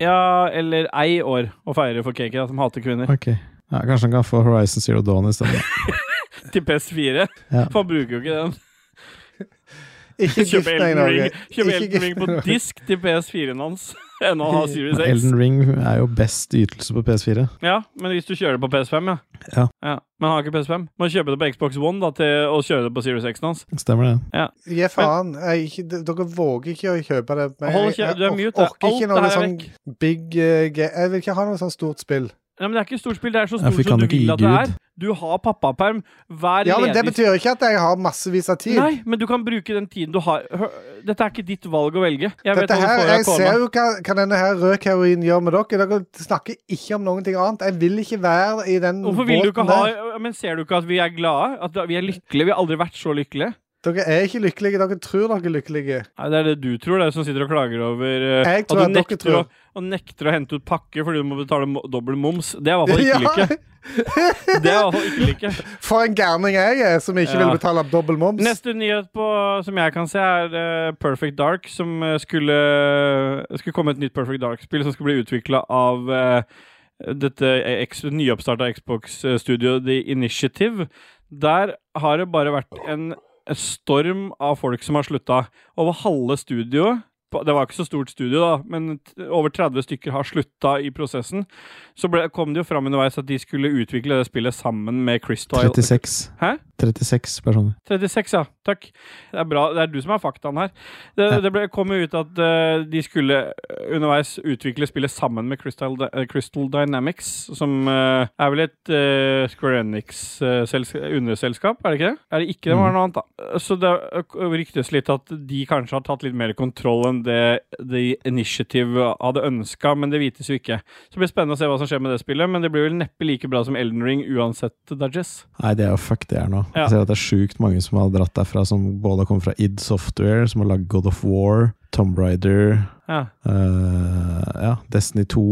Speaker 2: Ja, eller ei år å feire for KK, da, som hater kvinner.
Speaker 1: Ok ja, Kanskje han kan få Horizon Zero Dawn i stedet.
Speaker 2: Til PS4.
Speaker 1: Ja.
Speaker 2: For han bruker jo ikke den.
Speaker 3: Ikke gift
Speaker 2: Kjøp
Speaker 3: deg i
Speaker 2: Elden
Speaker 3: Norge.
Speaker 2: Ring, kjøp
Speaker 3: Ikke
Speaker 2: Elden Ring
Speaker 3: gift
Speaker 2: på
Speaker 3: deg i Norge.
Speaker 2: disk til PS4-en hans enn å ha Series X.
Speaker 1: Elden Ring er jo best ytelse på PS4.
Speaker 2: Ja, men hvis du kjører det på PS5, ja.
Speaker 1: Ja.
Speaker 2: Men han har ikke PS5. Må kjøpe det på Xbox One da, til å kjøre det på Series X-en hans.
Speaker 1: Stemmer det.
Speaker 3: Gi faen. Jeg, ikke, d- dere våger ikke å kjøpe det. men
Speaker 2: Hold
Speaker 3: jeg-
Speaker 2: kjeft, du er
Speaker 3: jeg
Speaker 2: mute.
Speaker 3: orker
Speaker 2: Alt
Speaker 3: ikke
Speaker 2: det
Speaker 3: noe
Speaker 2: her er
Speaker 3: sånn big eh, ge- Jeg vil ikke ha noe sånn stort spill.
Speaker 2: Nei, men Det er ikke et stort spill, det er så
Speaker 1: Ja, for vi
Speaker 2: stort
Speaker 1: kan
Speaker 2: som du
Speaker 1: jo ikke
Speaker 2: vil
Speaker 1: gi
Speaker 2: at det
Speaker 1: Gud.
Speaker 2: er. Du har pappaperm. Vær
Speaker 3: Ja, men det
Speaker 2: ledig.
Speaker 3: betyr ikke at jeg har massevis av tid.
Speaker 2: Nei, men du kan bruke den tiden du har. Hør, dette er ikke ditt valg å velge. Jeg
Speaker 3: Dette
Speaker 2: vet
Speaker 3: her,
Speaker 2: hvorfor
Speaker 3: jeg
Speaker 2: har
Speaker 3: ser
Speaker 2: kona.
Speaker 3: jo hva, hva denne her rødkaurin gjør med dere. Dere snakker ikke om noen ting annet. Jeg vil ikke være i den
Speaker 2: Hvorfor vil du ikke
Speaker 3: båten
Speaker 2: ha
Speaker 3: der.
Speaker 2: Men ser du ikke at vi er glade? At vi er lykkelige? Vi har aldri vært så lykkelige.
Speaker 3: Dere er ikke lykkelige. Dere tror dere er lykkelige.
Speaker 2: Nei, Det er det du tror, det er som sitter og klager over eh,
Speaker 3: Jeg
Speaker 2: at
Speaker 3: tror
Speaker 2: du
Speaker 3: at dere
Speaker 2: nekter,
Speaker 3: tror.
Speaker 2: Å, og nekter å hente ut pakke fordi du må betale mo- dobbel moms. Det er i hvert fall ikke lykke. Det er i hvert fall ikke lykke.
Speaker 3: for en gærning jeg er, som ikke
Speaker 2: Ja.
Speaker 3: vil betale dobbel moms.
Speaker 2: Neste nyhet på, som jeg kan se, er eh, Perfect Dark, som eh, skulle, eh, skulle komme et nytt Perfect Dark-spill som skulle bli utvikla av eh, dette eh, X- nyoppstarta Xbox-studioet The Initiative. Der har det bare vært en storm av folk som har slutta. Over halve studioet på- det var ikke så stort studio, da, men t- over 30 stykker har slutta i prosessen. Så ble, kom det jo fram underveis at de skulle utvikle det spillet sammen med Crystal.
Speaker 1: 36.
Speaker 2: Hæ?
Speaker 1: 36 personer.
Speaker 2: 36, ja. Takk. Det er bra. Det er du som har faktaen her. Det,
Speaker 1: Ja.
Speaker 2: det ble, kom jo ut at eh, de skulle eh, underveis utvikle spillet sammen med Crystal, Di- eh, Crystal Dynamics, som eh, er vel et eh, Square Enix-underselskap, er det ikke det? Er det ikke det, må være noe annet, da. Eh, Så det eh, ryktes litt at de kanskje har tatt litt mer kontroll enn det The Initiative hadde ønska, men det vites jo ikke. Så det blir spennende å se hva som skjer med det spillet, men det blir vel neppe like bra som Elden Ring uansett, Dudges.
Speaker 1: Nei, det er jo fuck det er nå.
Speaker 2: Ja.
Speaker 1: Jeg ser at det er sjukt mange som har dratt derfra, som både har kommet fra id Software, som har lagd God of War, Tomb Raider
Speaker 2: Ja.
Speaker 1: eh, ja, Destiny 2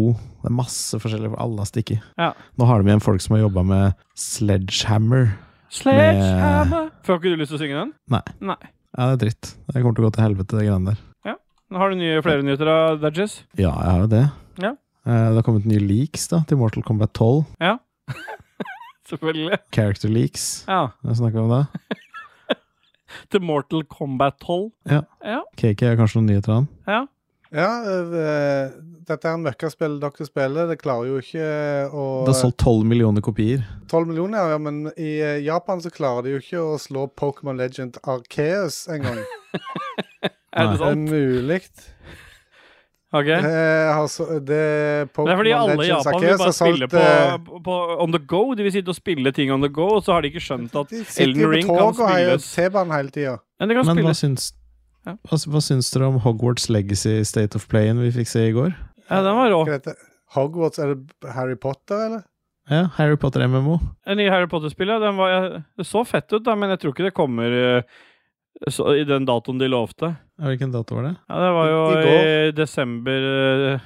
Speaker 1: Det er masse forskjellige for alle har stikket.
Speaker 2: Ja.
Speaker 1: Nå har de igjen folk som har jobba med Sledgehammer.
Speaker 2: Sledgehammer! Får ikke du lyst til å synge den?
Speaker 1: Nei.
Speaker 2: Nei.
Speaker 1: Ja, det er dritt. Det kommer til å gå til helvete, de greiene der.
Speaker 2: Har du nye, flere nyheter av Dudges?
Speaker 1: Ja, jeg har jo det.
Speaker 2: Ja.
Speaker 1: Eh, det har kommet nye leaks da, til Mortal Kombat 12.
Speaker 2: Ja. Selvfølgelig.
Speaker 1: Character leaks.
Speaker 2: Ja.
Speaker 1: Jeg snakka om det.
Speaker 2: Til Mortal Kombat 12.
Speaker 1: Ja.
Speaker 2: Ja.
Speaker 1: KK har kanskje noen nyheter av han?
Speaker 2: Ja.
Speaker 3: Ja, eh, dette er en møkkaspill dere spiller. Det klarer jo ikke å
Speaker 1: Det har solgt 12 millioner kopier.
Speaker 3: 12 millioner, ja, men i eh, Japan så klarer de jo ikke å slå Pokémon Legend Arceus engang.
Speaker 2: Er det
Speaker 3: Det er
Speaker 2: sant?
Speaker 3: mulig.
Speaker 2: Ok.
Speaker 3: Eh, altså, det
Speaker 2: Det er fordi
Speaker 3: Pokémon
Speaker 2: alle i
Speaker 3: Legends
Speaker 2: Japan vil
Speaker 3: Arceus
Speaker 2: bare
Speaker 3: har
Speaker 2: spille
Speaker 3: solgt
Speaker 2: på,
Speaker 3: eh,
Speaker 2: på on the go. De vil sitte og spille ting on the go, og så har de ikke skjønt at
Speaker 3: Sitter
Speaker 2: Elden
Speaker 3: jo på
Speaker 2: Ring kan
Speaker 3: tog og heier
Speaker 2: spilles.
Speaker 3: T-banen hele tida.
Speaker 2: Men det kan
Speaker 1: Men hva
Speaker 2: spilles.
Speaker 1: syns,
Speaker 2: Ja.
Speaker 1: hva, hva syns dere om Hogwarts Legacy State of Play-en vi fikk se i går?
Speaker 2: Ja, den var rå.
Speaker 3: Hva heter det? Hogwarts, er det Harry Potter, eller?
Speaker 1: Ja, Harry Potter MMO.
Speaker 2: En ny Harry Potter-spill, ja. Den var, det så fett ut, da, men jeg tror ikke det kommer eh, så, i den datoen de lovte.
Speaker 1: Ja, Hvilken dato var det?
Speaker 2: Ja, det var jo
Speaker 3: I- i
Speaker 2: i,
Speaker 3: går.
Speaker 2: desember eh,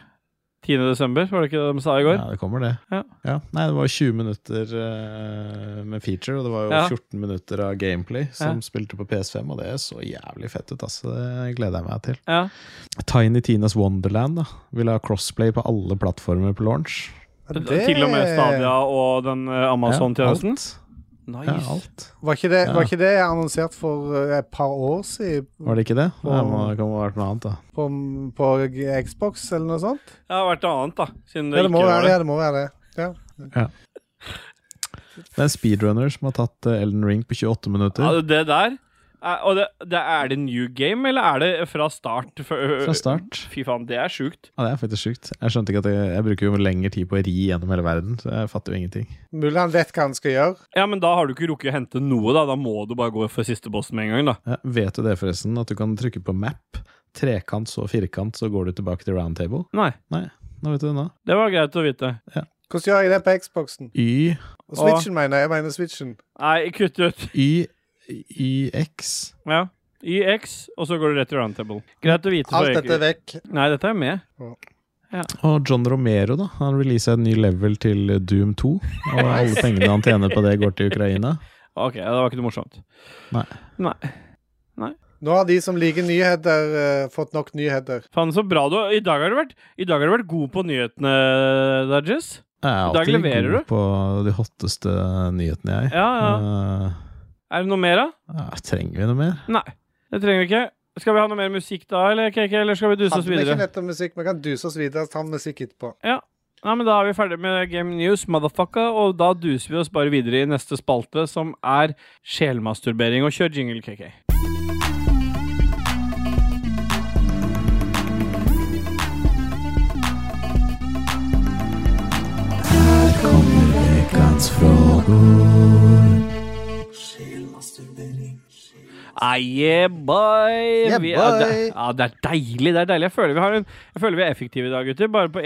Speaker 2: 10. desember, var det ikke det de sa i går?
Speaker 1: Ja, det kommer, det.
Speaker 2: Ja.
Speaker 1: Nei, det var jo 20 minutter eh, med feature, og det var jo
Speaker 2: Ja.
Speaker 1: 14 minutter av gameplay som spilte på PS5, og det så jævlig fett ut, altså. Det gleder jeg meg til.
Speaker 2: Ja.
Speaker 1: Tiny Tinas Wonderland da vil ha crossplay på alle plattformer på launch.
Speaker 2: Til og med Stadia og den eh,
Speaker 1: Ja,
Speaker 2: Amazon-tjenesten.
Speaker 1: alt. Ja,
Speaker 2: Nice.
Speaker 1: alt.
Speaker 3: Var ikke det,
Speaker 1: Ja.
Speaker 3: var ikke det annonsert for eh, et par år siden
Speaker 1: Var det ikke det?
Speaker 3: Og-
Speaker 1: Ja, det må- det kan ha vært noe annet, da.
Speaker 3: på, på G- Xbox eller noe sånt?
Speaker 2: Det har vært noe annet, da. Siden det,
Speaker 3: Ja, det må
Speaker 2: ikke var
Speaker 3: være det.
Speaker 2: det.
Speaker 3: Ja, det må være det. Ja.
Speaker 1: Det er en speedrunner som har tatt eh, Elden Ring på 28
Speaker 2: Ja,
Speaker 1: minutter.
Speaker 2: det der er- og det, det, Er det new game, eller er det fra start? For- øh,
Speaker 1: Fra start.
Speaker 2: Fy faen, det er sjukt.
Speaker 1: Ja, det er faktisk sjukt. Jeg skjønte ikke at jeg, jeg bruker jo lengre tid på å ri gjennom hele verden, så jeg fatter jo ingenting.
Speaker 3: Mulig han vet hva han skal gjøre.
Speaker 2: Ja, men da har du ikke rukket å hente noe, da. Da må du bare gå for siste bossen med en gang, da.
Speaker 1: Ja, vet du det, forresten, at du kan trykke på map, trekant, så firkant, så går du tilbake til round table?
Speaker 2: Nei.
Speaker 1: Nei, nå vet du det nå.
Speaker 2: Det var greit å vite.
Speaker 3: Hvordan gjør jeg det på Xboxen?
Speaker 1: Y,
Speaker 3: Og Switchen, mener jeg. Jeg mener Switchen.
Speaker 2: Nei, kutt ut.
Speaker 1: Y, YX.
Speaker 2: Ja. YX, og så går du rett til roundtable. Greit å vite. for
Speaker 3: Alt dette er
Speaker 2: egentlig-
Speaker 3: vekk.
Speaker 2: Nei, dette er med.
Speaker 1: Og John Romero, da. Han releasa en ny level til Doom 2, og alle pengene han tjener på det, går til Ukraina.
Speaker 2: OK, ja, det var ikke noe morsomt.
Speaker 3: Nå har de som liker nyheter, eh, fått nok nyheter.
Speaker 2: Faen, så bra du I dag har du vært I dag har du vært god på nyhetene, Dudges.
Speaker 1: Jeg er
Speaker 2: I dag
Speaker 1: alltid
Speaker 2: leverer
Speaker 1: god på de hotteste nyhetene, jeg.
Speaker 2: Ja, ja.
Speaker 1: Eh,
Speaker 2: Er det noe mer, da?
Speaker 1: ja, trenger vi noe mer?
Speaker 2: Nei. Det trenger vi ikke. Skal vi ha noe mer musikk da, eller, KK, eller skal vi duse oss
Speaker 3: Hadde vi ikke
Speaker 2: videre?
Speaker 3: nettopp musikk, men kan duse oss videre og ta musikk etterpå.
Speaker 2: Nei, men Da er vi ferdig med Game News, motherfucker, og da duser vi oss bare videre i neste spalte, som er sjelmasturbering. Og kjør jingle, KK. Ah, yeah, boy!
Speaker 3: Yeah,
Speaker 2: Vi, ja, det,
Speaker 3: boy.
Speaker 2: ja, det er deilig. det er deilig. Jeg føler vi, har en, jeg føler vi er effektive i dag, gutter. Bare på 1.07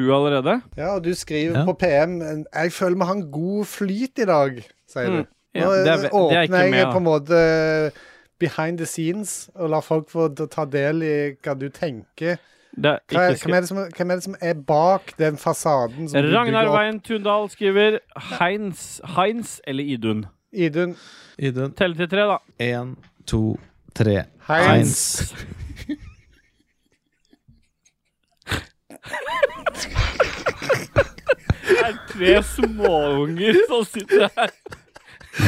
Speaker 2: allerede.
Speaker 3: Ja, og du skriver
Speaker 1: Ja.
Speaker 3: på PM en- Jeg føler vi har en god flyt i dag, sier du.
Speaker 2: Mm, ja,
Speaker 3: Nå eh,
Speaker 2: det er- det er
Speaker 3: åpner
Speaker 2: ikke
Speaker 3: jeg
Speaker 2: med, da.
Speaker 3: på en måte eh, behind the scenes og lar folk få d- ta del i hva du tenker.
Speaker 2: Det er
Speaker 3: Hva,
Speaker 2: ikke
Speaker 3: er- hvem, er det som, hvem er det som er bak den fasaden som
Speaker 2: Ragnar
Speaker 3: du bygger opp?
Speaker 2: Wein Tundal skriver Heinz, Heinz eller Idun.
Speaker 3: Idun.
Speaker 1: Idun.
Speaker 2: Telle til tre, da.
Speaker 1: Én, to, tre.
Speaker 3: Heinz.
Speaker 1: Heinz.
Speaker 2: Det er tre småunger som sitter her.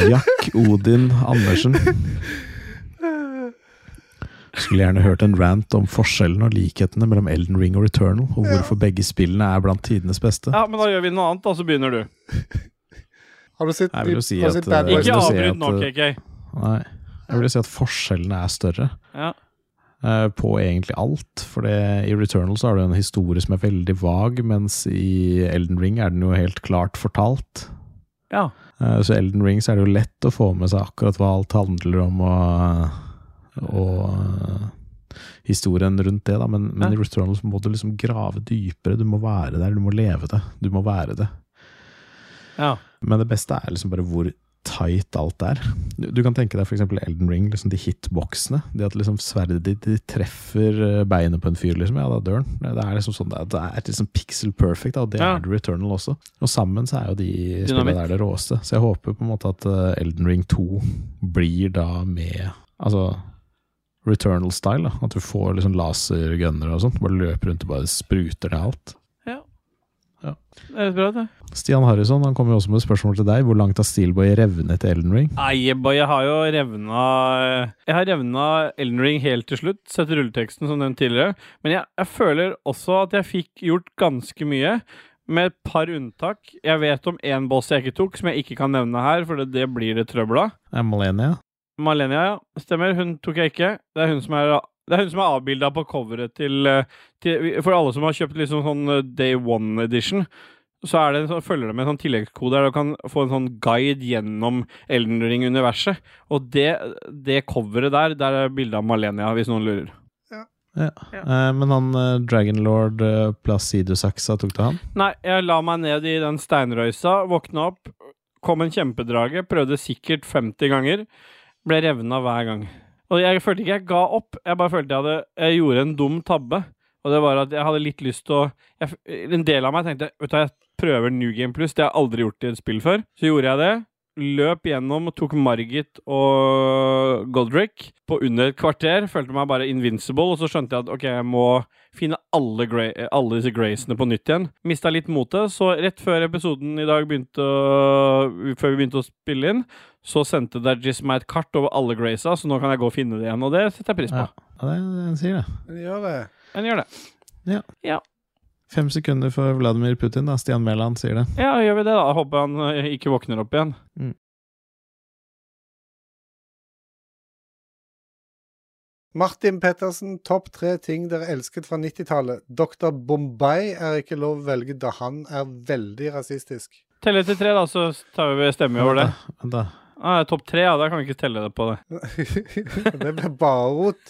Speaker 1: Jack Odin Andersen. Skulle gjerne hørt en rant om forskjellen og likhetene mellom Elden Ring og Returnal, og hvorfor begge spillene er blant tidenes beste.
Speaker 2: Ja, men da gjør vi noe annet, da, så begynner du.
Speaker 3: Har du sett,
Speaker 1: Jeg vil jo si
Speaker 3: har du
Speaker 1: at,
Speaker 3: sett Bad
Speaker 1: eh,
Speaker 3: Boys?
Speaker 2: Ikke
Speaker 1: vil si
Speaker 2: avbryt
Speaker 1: at,
Speaker 2: nå,
Speaker 1: eh,
Speaker 2: KK.
Speaker 1: Nei. Jeg vil jo si at forskjellene er større
Speaker 2: Ja.
Speaker 1: eh, på egentlig alt. For det, i Returnal så har du en historie som er veldig vag, mens i Elden Ring er den jo helt klart fortalt.
Speaker 2: ja.
Speaker 1: Eh, Så Elden Ring så er det jo lett å få med seg akkurat hva alt handler om, og, og eh, historien rundt det. Da. Men, men i Returnal så må du liksom grave dypere. Du må være der, du må leve det. Du må være det.
Speaker 2: ja.
Speaker 1: Men det beste er liksom bare hvor tight alt er. Du, du kan tenke deg f.eks. Elden Ring, liksom de hitboxene. Det at liksom sverdet ditt de treffer eh, beinet på en fyr, liksom. Ja, da dør han. Det er liksom sånn det er, det er liksom pixel perfect, da, og det
Speaker 2: Ja.
Speaker 1: er det Returnal også. Og sammen så er jo de spillene
Speaker 2: Dynamitt.
Speaker 1: der det råeste. Så jeg håper på en måte at eh, Elden Ring 2 blir da med Altså Returnal-style. da, At du får liksom lasergunner og sånt. Bare løper rundt og bare spruter ned alt.
Speaker 2: Det høres bra ut, det.
Speaker 1: Stian Harrison han kom jo også med et spørsmål til deg. Hvor langt har Steelboy revnet til Elden Ring?
Speaker 2: Nei, boy, jeg har jo revna Jeg har revna Elden Ring helt til slutt. Sett rulleteksten som nevnt tidligere. Men jeg, jeg føler også at jeg fikk gjort ganske mye. Med et par unntak. Jeg vet om én boss jeg ikke tok, som jeg ikke kan nevne her, for det, det blir det trøbbel av.
Speaker 1: Er Malenia?
Speaker 2: Malenia, ja. Stemmer. Hun tok jeg ikke. Det er hun som er det er hun som er avbilda på coveret til, eh, til For alle som har kjøpt liksom sånn eh, Day One Edition, så, er det, en sånn- følger det med en sånn tilleggskode der du kan få en sånn guide gjennom Elden Ring-universet. Og det, det coveret der, der er bilde av Malenia, hvis noen lurer.
Speaker 1: Ja. Eh, men han eh, Dragonlord eh, Placidusaxa, tok det han?
Speaker 2: Nei, jeg la meg ned i den steinrøysa, våkna opp, kom en kjempedrage, prøvde sikkert 50 ganger, ble revna hver gang. Og jeg følte ikke jeg ga opp, jeg bare følte jeg hadde Jeg gjorde en dum tabbe, og det var at jeg hadde litt lyst til å jeg, f- En del av meg tenkte vet du hva, jeg prøver New Game Plus, det har jeg aldri gjort i et spill før. Så gjorde jeg det. Løp gjennom, tok Margit og Godric på under et kvarter. Følte meg bare invincible, og så skjønte jeg at OK, jeg må finne alle, gra eh, alle disse graysene på nytt igjen. Mista litt motet, så rett før episoden i dag begynte å, Før vi begynte å spille inn, så sendte Dajis meg et kart over alle graysa, så nå kan jeg gå og finne det igjen, og det setter jeg pris på.
Speaker 1: Ja. Ja, det, det sier det.
Speaker 3: Men gjør det.
Speaker 2: Men gjør det.
Speaker 1: Fem sekunder for Vladimir Putin, da. Stian Mæland sier det.
Speaker 2: Ja, gjør vi det, da. Håper han eh, ikke våkner opp igjen.
Speaker 3: Martin Pettersen, topp tre ting dere elsket fra 90-tallet. Dr. Bombay er ikke lov å velge da han er veldig rasistisk.
Speaker 2: Telle til tre, da, så tar vi stemmer vi over det.
Speaker 1: Vent da.
Speaker 2: Ah, Topp tre, ja. Da kan vi ikke telle det på det.
Speaker 3: det blir bare rot.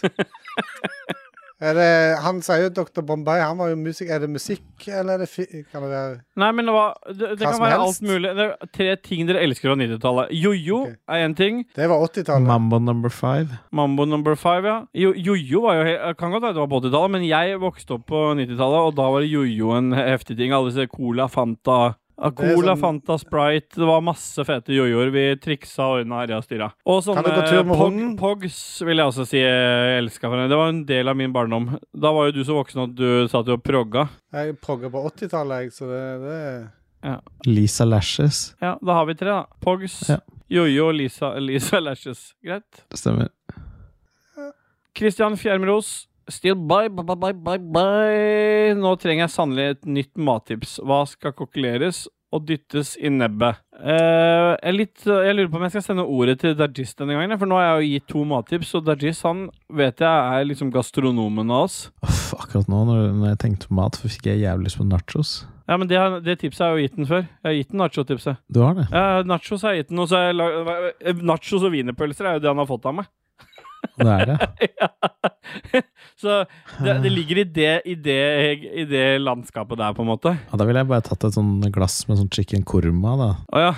Speaker 3: Er det, han sier jo Dr. Bombay, han var jo musikk. Er det musikk, eller er det fi... Kan det være
Speaker 2: Nei, men det, var, det, det
Speaker 3: Hva
Speaker 2: kan
Speaker 3: som
Speaker 2: være
Speaker 3: helst.
Speaker 2: alt mulig. Det er tre ting dere elsker fra 90-tallet. Jojo
Speaker 3: Ok.
Speaker 2: er én ting.
Speaker 3: Det var 80-tallet.
Speaker 1: Mambo number five.
Speaker 2: Mambo number five, ja. Jo- Jojo var jo he- Kan godt være det var på 80-tallet, men jeg vokste opp på 90-tallet, og da var det jojo en heftig ting. Alle disse Cola, Fanta ja,
Speaker 3: Det er
Speaker 2: Cola,
Speaker 3: sånn-
Speaker 2: Fanta, Sprite Det var masse fete jojoer. Vi triksa og ordna herja og styra. Og
Speaker 3: Kan du gå tur med
Speaker 2: sånne pog,
Speaker 3: hunden?
Speaker 2: Pogs vil jeg også si jeg elska. Det var en del av min barndom. Da var jo du så voksen at du satt jo og progga.
Speaker 3: Jeg progger på 80-tallet, jeg, så det, det
Speaker 1: Lisa Lashes.
Speaker 2: Ja, da har vi tre, da. Pogs,
Speaker 1: Ja.
Speaker 2: jojo og Lisa, Lisa Lashes. Greit.
Speaker 1: Stemmer.
Speaker 2: Christian Fjermros. Still bye, bye, bye, bye, bye, bye. Nå trenger jeg sannelig et nytt mattips. Hva skal kokkeleres og dyttes i nebbet? Eh, jeg, er litt, jeg lurer på om jeg skal sende ordet til Dajis denne gangen, for nå har jeg jo gitt to mattips, og Dajis han vet jeg er liksom gastronomen av oss.
Speaker 1: Uff, akkurat nå, når, når jeg tenkte på mat, fikk jeg jævlig lyst på nachos.
Speaker 2: Ja, men det, har- det tipset har jeg jo gitt den før. Jeg har gitt den nacho-tipset.
Speaker 1: Du har det?
Speaker 2: Ja, nachos har jeg gitt den, og så har jeg lag- eh, nachos og wienerpølser er jo det han har fått av meg.
Speaker 1: Det er det.
Speaker 2: Så det, det ligger i det, i, det, i det landskapet der, på en måte.
Speaker 1: Ja, da ville jeg bare tatt et sånn glass med sånn chicken kurma, da.
Speaker 2: Å ja.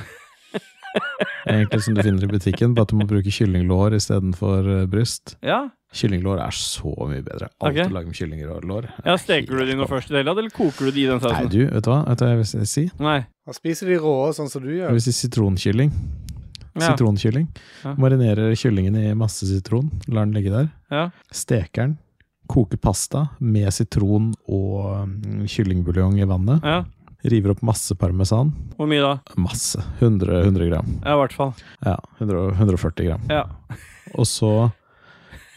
Speaker 1: Egentlig som du finner i butikken, bare at du må bruke kyllinglår istedenfor eh, bryst.
Speaker 2: Ja,
Speaker 1: Kyllinglår er så mye bedre. Alt
Speaker 2: Ok.
Speaker 1: å lage med kyllinglår. er
Speaker 2: ja Steker du
Speaker 1: helt
Speaker 2: de noe
Speaker 1: topp.
Speaker 2: først i det hele tatt, eller koker du de i den
Speaker 1: Nei,
Speaker 2: sausen?
Speaker 1: du, vet du hva? Vet du hva jeg vil si?
Speaker 2: Nei.
Speaker 3: Han spiser de råe, sånn som du
Speaker 1: Jeg
Speaker 3: gjør.
Speaker 1: vil si sitronkylling.
Speaker 2: Ja.
Speaker 1: Sitronkylling.
Speaker 2: Ja.
Speaker 1: Marinerer kyllingen i masse sitron, lar den ligge der.
Speaker 2: Ja.
Speaker 1: Steker den. Koker pasta med sitron og mm, kyllingbuljong i vannet.
Speaker 2: ja.
Speaker 1: River opp masse parmesan.
Speaker 2: Hvor mye da?
Speaker 1: Masse. 100, 100 gram.
Speaker 2: Ja, i hvert fall.
Speaker 1: Ja, 100, 140 gram.
Speaker 2: Ja.
Speaker 1: Og så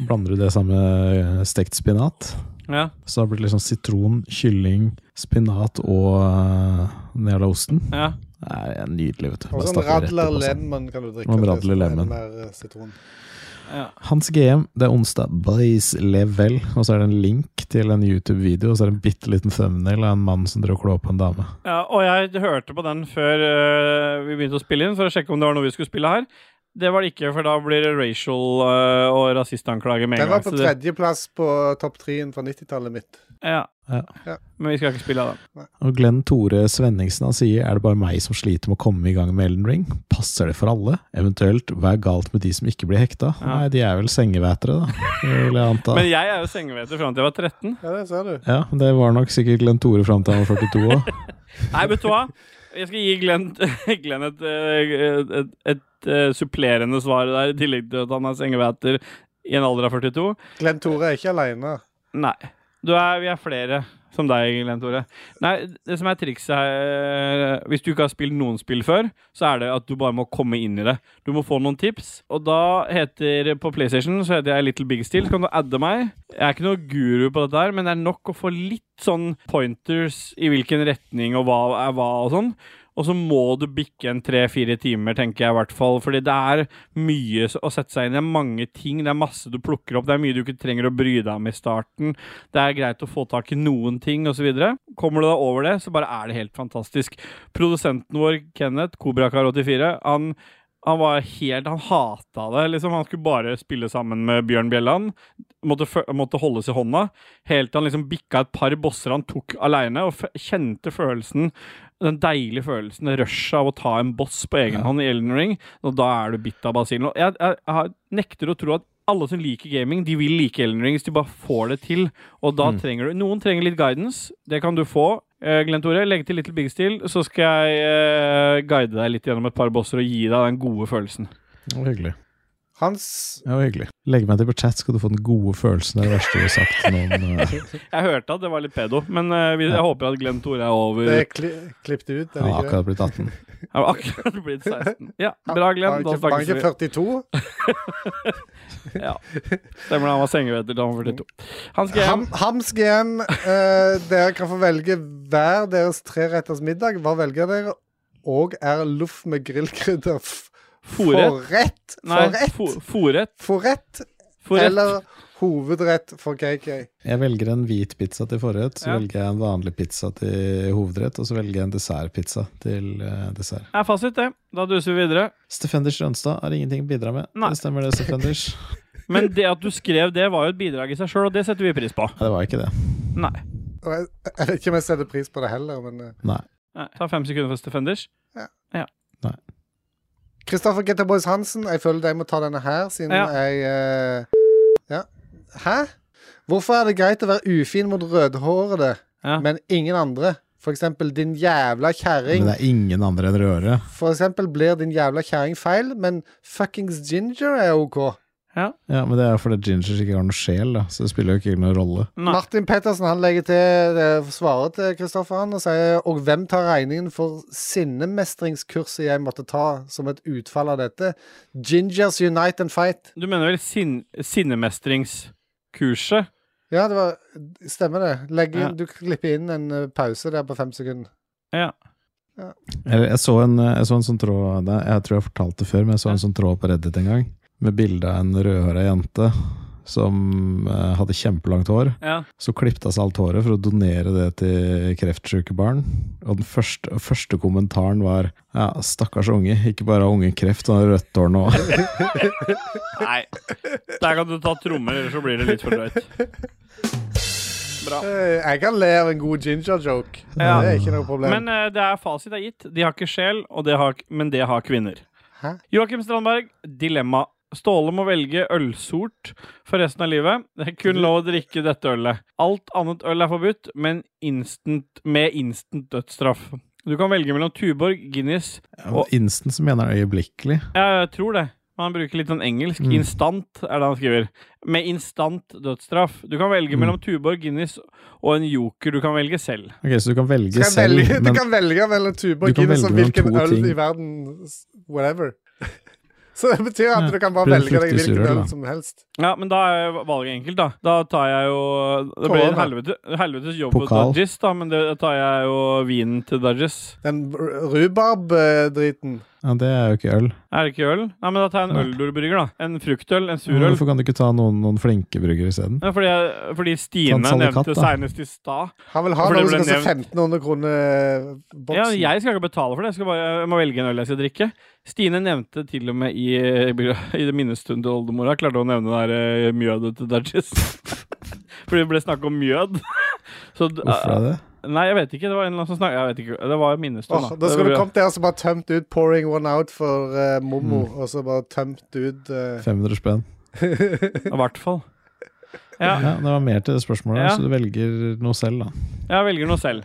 Speaker 1: blander du det sammen med eh, stekt spinat.
Speaker 2: ja.
Speaker 1: Så det blir liksom sitron, kylling, spinat og uh, den jævla osten.
Speaker 2: ja.
Speaker 1: Det er nydelig, vet du.
Speaker 3: Og
Speaker 1: Bare
Speaker 3: sånn
Speaker 1: stapper det rett i
Speaker 3: Radler
Speaker 1: posen.
Speaker 3: Lemon kan du drikke.
Speaker 1: Og en
Speaker 3: til,
Speaker 1: Radler
Speaker 3: så er det
Speaker 1: Lemon.
Speaker 3: Mer eh, sitron.
Speaker 1: Hans GM, det er onsdag. Boys, lev vel. Og så er det en link til en YouTube-video, og så er det en bitte liten thumbnail av en mann som driver og klår på en dame.
Speaker 2: eh, ja. Og jeg hørte på den før øh, vi begynte å spille inn, for å sjekke om det var noe vi skulle spille her. Det var det ikke, for da blir det racial eh, og rasistanklager med
Speaker 3: Den
Speaker 2: en
Speaker 3: var
Speaker 2: gang.
Speaker 3: på
Speaker 2: så det-
Speaker 3: tredjeplass på topp tre-en fra 90-tallet mitt.
Speaker 2: Ja.
Speaker 1: Ja.
Speaker 3: Ja.
Speaker 2: Men vi skal ikke spille av den.
Speaker 1: Og Glenn Tore Svenningsen han sier er det bare meg som sliter med å komme i gang med Elden Ring. Passer det for alle? Eventuelt hva er galt med de som ikke blir hekta?
Speaker 2: Ja.
Speaker 1: Nei, de er vel sengevætere, da. Vil jeg anta.
Speaker 2: Men jeg er jo sengeveter fram til jeg var 13.
Speaker 3: Ja, det ser du.
Speaker 1: Ja, det var nok sikkert Glenn Tore fram til han var 42 òg.
Speaker 2: Nei, vet du hva? Jeg skal gi Glenn, Glenn et, eh, et, et, eh, supplerende svar der, i tillegg til at han er sengeveter i en alder av 42.
Speaker 3: Glenn Tore er ikke aleine.
Speaker 2: Nei. Du er, vi er flere som deg, Glenn Tore. Nei, det som er trikset her eh, Hvis du ikke har spilt noen spill før, så er det at du bare må komme inn i det. Du må få noen tips. Og da heter På PlayStation så heter jeg Little Big Steel. Så kan du adde meg. Jeg er ikke noe guru på dette her, men det er nok å få litt sånn pointers i hvilken retning og hva er hva og sånn. Og så må du bikke en tre-fire timer, tenker jeg i hvert fall. Fordi det er mye s- å sette seg inn i. Det er mange ting. Det er masse du plukker opp. Det er mye du ikke trenger å bry deg om i starten. Det er greit å få tak i noen ting, osv. Kommer du deg over det, så bare er det helt fantastisk. Produsenten vår, Kenneth, Kobrakar84, han han var helt, han hata det. liksom Han skulle bare spille sammen med Bjørn Bjelland. Måtte, fø- måtte holdes i hånda. Helt til han liksom bikka et par bosser han tok aleine, og f kjente følelsen den deilige følelsen, det rushet av å ta en boss på egen hånd i Elden Ring, og da er du bitt av basillen. Og jeg, jeg, jeg har- nekter å tro at alle som liker gaming, de vil like Elden Ring hvis de bare får det til. Og da
Speaker 3: Mm.
Speaker 2: trenger du Noen trenger litt guidance. Det kan du få. Eh, Glenn Tore, legg til Little Big Steel, så skal jeg eh, guide deg litt gjennom et par bosser og gi deg den gode følelsen.
Speaker 1: Det var hyggelig.
Speaker 3: Hans
Speaker 1: Det var hyggelig. Legg meg til på chat, skal du få den gode følelsen. Det er det verste du har sagt til noen. eh.
Speaker 2: Jeg hørte at det var litt pedo, men eh, vi- jeg håper at Glenn Tore er over.
Speaker 3: Det er kli klippet ut,
Speaker 1: Han
Speaker 3: er det
Speaker 1: har
Speaker 3: ikke det?
Speaker 1: eh, akkurat blitt 18.
Speaker 2: Han var akkurat blitt 16. Ja, bra, Glenn.
Speaker 3: Var
Speaker 2: Da
Speaker 3: han ikke- var han
Speaker 2: snakkes vi.
Speaker 3: ikke 42?
Speaker 2: Ja. Stemmer det, han var sengeveter da han var
Speaker 3: Mm.
Speaker 2: 42. Han skal hjem.
Speaker 3: Ham, Hams GM, eh, dere kan få velge hver deres treretters middag. Hva velger dere? Og er loff med grillkrydder f-
Speaker 2: Forrett?
Speaker 3: forrett?
Speaker 2: Nei,
Speaker 3: Forrett?
Speaker 2: fo- forrett.
Speaker 3: Forrett
Speaker 2: Forrett.
Speaker 3: eller hovedrett for KK?
Speaker 1: Jeg velger en hvit pizza til forrett, så
Speaker 2: Ja.
Speaker 1: velger jeg en vanlig pizza til hovedrett, og så velger jeg en dessertpizza til eh, dessert.
Speaker 2: Er fasit, det. Da duser vi videre.
Speaker 1: Stefenders Rønstad har ingenting å bidra med.
Speaker 2: Nei.
Speaker 1: Det stemmer det, Stefenders.
Speaker 2: Men det at du skrev det, var jo et bidrag i seg sjøl, og det setter vi pris på.
Speaker 1: Nei, det var ikke det.
Speaker 2: Nei.
Speaker 3: Og Jeg jeg vet ikke om jeg setter pris på det heller, men eh.
Speaker 1: Nei.
Speaker 2: Nei. Ta fem sekunder for Stefenders.
Speaker 3: Kristoffer Getterboys Hansen, jeg føler jeg må ta denne her, siden
Speaker 2: Ja.
Speaker 3: jeg eh, Ja. Hæ? Hvorfor er det greit å være ufin mot rødhårede,
Speaker 2: Ja.
Speaker 3: men ingen andre? For eksempel din jævla kjerring.
Speaker 1: Men det er ingen andre enn Røre.
Speaker 3: For eksempel blir din jævla kjæring feil, men fuckings ginger er OK.
Speaker 1: Ja, Men det er jo fordi Ginger ikke har noe sjel, da, så det spiller jo ikke noen rolle.
Speaker 2: Nei.
Speaker 3: Martin Pettersen han legger til eh, svaret til Kristoffer han og sier Og hvem tar regningen for sinnemestringskurset jeg måtte ta som et utfall av dette? Gingers unite and fight.
Speaker 2: Du mener vel sin sinnemestringskurset?
Speaker 3: Ja, det var Stemmer det. Legg inn,
Speaker 2: Ja.
Speaker 3: Du klipper inn en eh, pause der på fem sekunder.
Speaker 2: Ja.
Speaker 1: Jeg, jeg, så en, jeg så en sånn tråd det- Jeg tror jeg har fortalt det før, men jeg så en sånn tråd på Reddit en gang. Med bilde av en rødhåra jente som eh, hadde kjempelangt hår.
Speaker 2: Ja.
Speaker 1: Så klippet hun seg alt håret for å donere det til kreftsyke barn. Og den første, første kommentaren var Ja, stakkars unge. Ikke bare har ungen kreft, han har rødt hår nå.
Speaker 2: Nei. Der kan du ta trommer, ellers så blir det litt for drøyt. Bra.
Speaker 3: Eh, Jeg kan le av en god ginger-joke.
Speaker 2: Ja.
Speaker 3: Det er ikke noe problem.
Speaker 2: Men eh, det er fasit er gitt. De har ikke sjel, og det har, men det har kvinner.
Speaker 3: Hæ?
Speaker 2: Joakim Strandberg, dilemma. Ståle må velge ølsort for resten av livet. Det er kun lov å drikke dette ølet. Alt annet øl er forbudt, men instant, med instant dødsstraff. Du kan velge mellom Tuborg, Guinness
Speaker 1: Og Instant som mener øyeblikkelig.
Speaker 2: Ja, Jeg tror det. Man bruker litt sånn engelsk.
Speaker 1: Mm.
Speaker 2: Instant er det han skriver. Med instant dødsstraff. Du kan velge
Speaker 1: Mm.
Speaker 2: mellom Tuborg, Guinness og en joker du kan velge selv.
Speaker 1: Ok, Så du kan velge
Speaker 3: du, kan
Speaker 1: selv,
Speaker 3: velge, du
Speaker 1: men
Speaker 3: kan velge mellom Tuborg
Speaker 1: Du kan
Speaker 3: Guinness
Speaker 1: velge
Speaker 3: og
Speaker 1: mellom
Speaker 3: hvilken
Speaker 1: to
Speaker 3: øl
Speaker 1: ting.
Speaker 3: i verden s- Whatever. Så det betyr at
Speaker 1: Ja,
Speaker 3: du kan bare
Speaker 1: blir det
Speaker 3: velge deg hvilken
Speaker 1: fruktesurøl, da.
Speaker 3: øl som helst.
Speaker 2: Ja, men da er valget enkelt, da. Da tar jeg jo Det blir
Speaker 3: Tårene.
Speaker 2: en helvete, helvetes jobb
Speaker 1: Pokal.
Speaker 2: for Dodges, da, men det, da tar jeg jo vinen til Dodges.
Speaker 3: Den r- rhubarb-driten.
Speaker 1: Ja, det er jo ikke øl.
Speaker 2: Er det ikke øl? Nei, men da tar jeg en
Speaker 1: Nei.
Speaker 2: øldorbrygger, da. En fruktøl,
Speaker 1: Men
Speaker 2: en surøl.
Speaker 1: Hvorfor kan du ikke ta noen, noen flinke bryggere isteden?
Speaker 2: Ja, fordi, jeg, fordi Stine
Speaker 1: Sånn salikatt,
Speaker 2: nevnte
Speaker 1: da.
Speaker 2: seinest i stad.
Speaker 3: Han vil ha
Speaker 2: Og fordi
Speaker 3: noen
Speaker 2: det
Speaker 3: som
Speaker 2: ble
Speaker 3: koster
Speaker 2: nevnt-
Speaker 3: 1500 kroner eh,
Speaker 2: Ja,
Speaker 3: boksen.
Speaker 2: jeg skal ikke betale for det. Jeg, skal bare, jeg må velge en øl jeg skal drikke. Stine nevnte til og med i, i det minnestunden til oldemora klarte hun å nevne det der eh, mjødet til Dudges. Fordi det ble snakk om mjød. Så, d-
Speaker 1: Hvorfor er det?
Speaker 2: Nei, jeg vet ikke. Det var en eller annen som snakket Jeg vet ikke. Det var minnestund,
Speaker 3: Åh, da skulle du kommet der som bare tømt ut 'pouring one out' for eh, Mommo,
Speaker 1: Mm.
Speaker 3: og så bare tømt ut eh,
Speaker 1: 500 spenn.
Speaker 2: I hvert fall.
Speaker 1: Ja.
Speaker 2: Ja,
Speaker 1: det var mer til det spørsmålet,
Speaker 2: Ja.
Speaker 1: så du velger noe selv, da.
Speaker 2: jeg velger noe selv.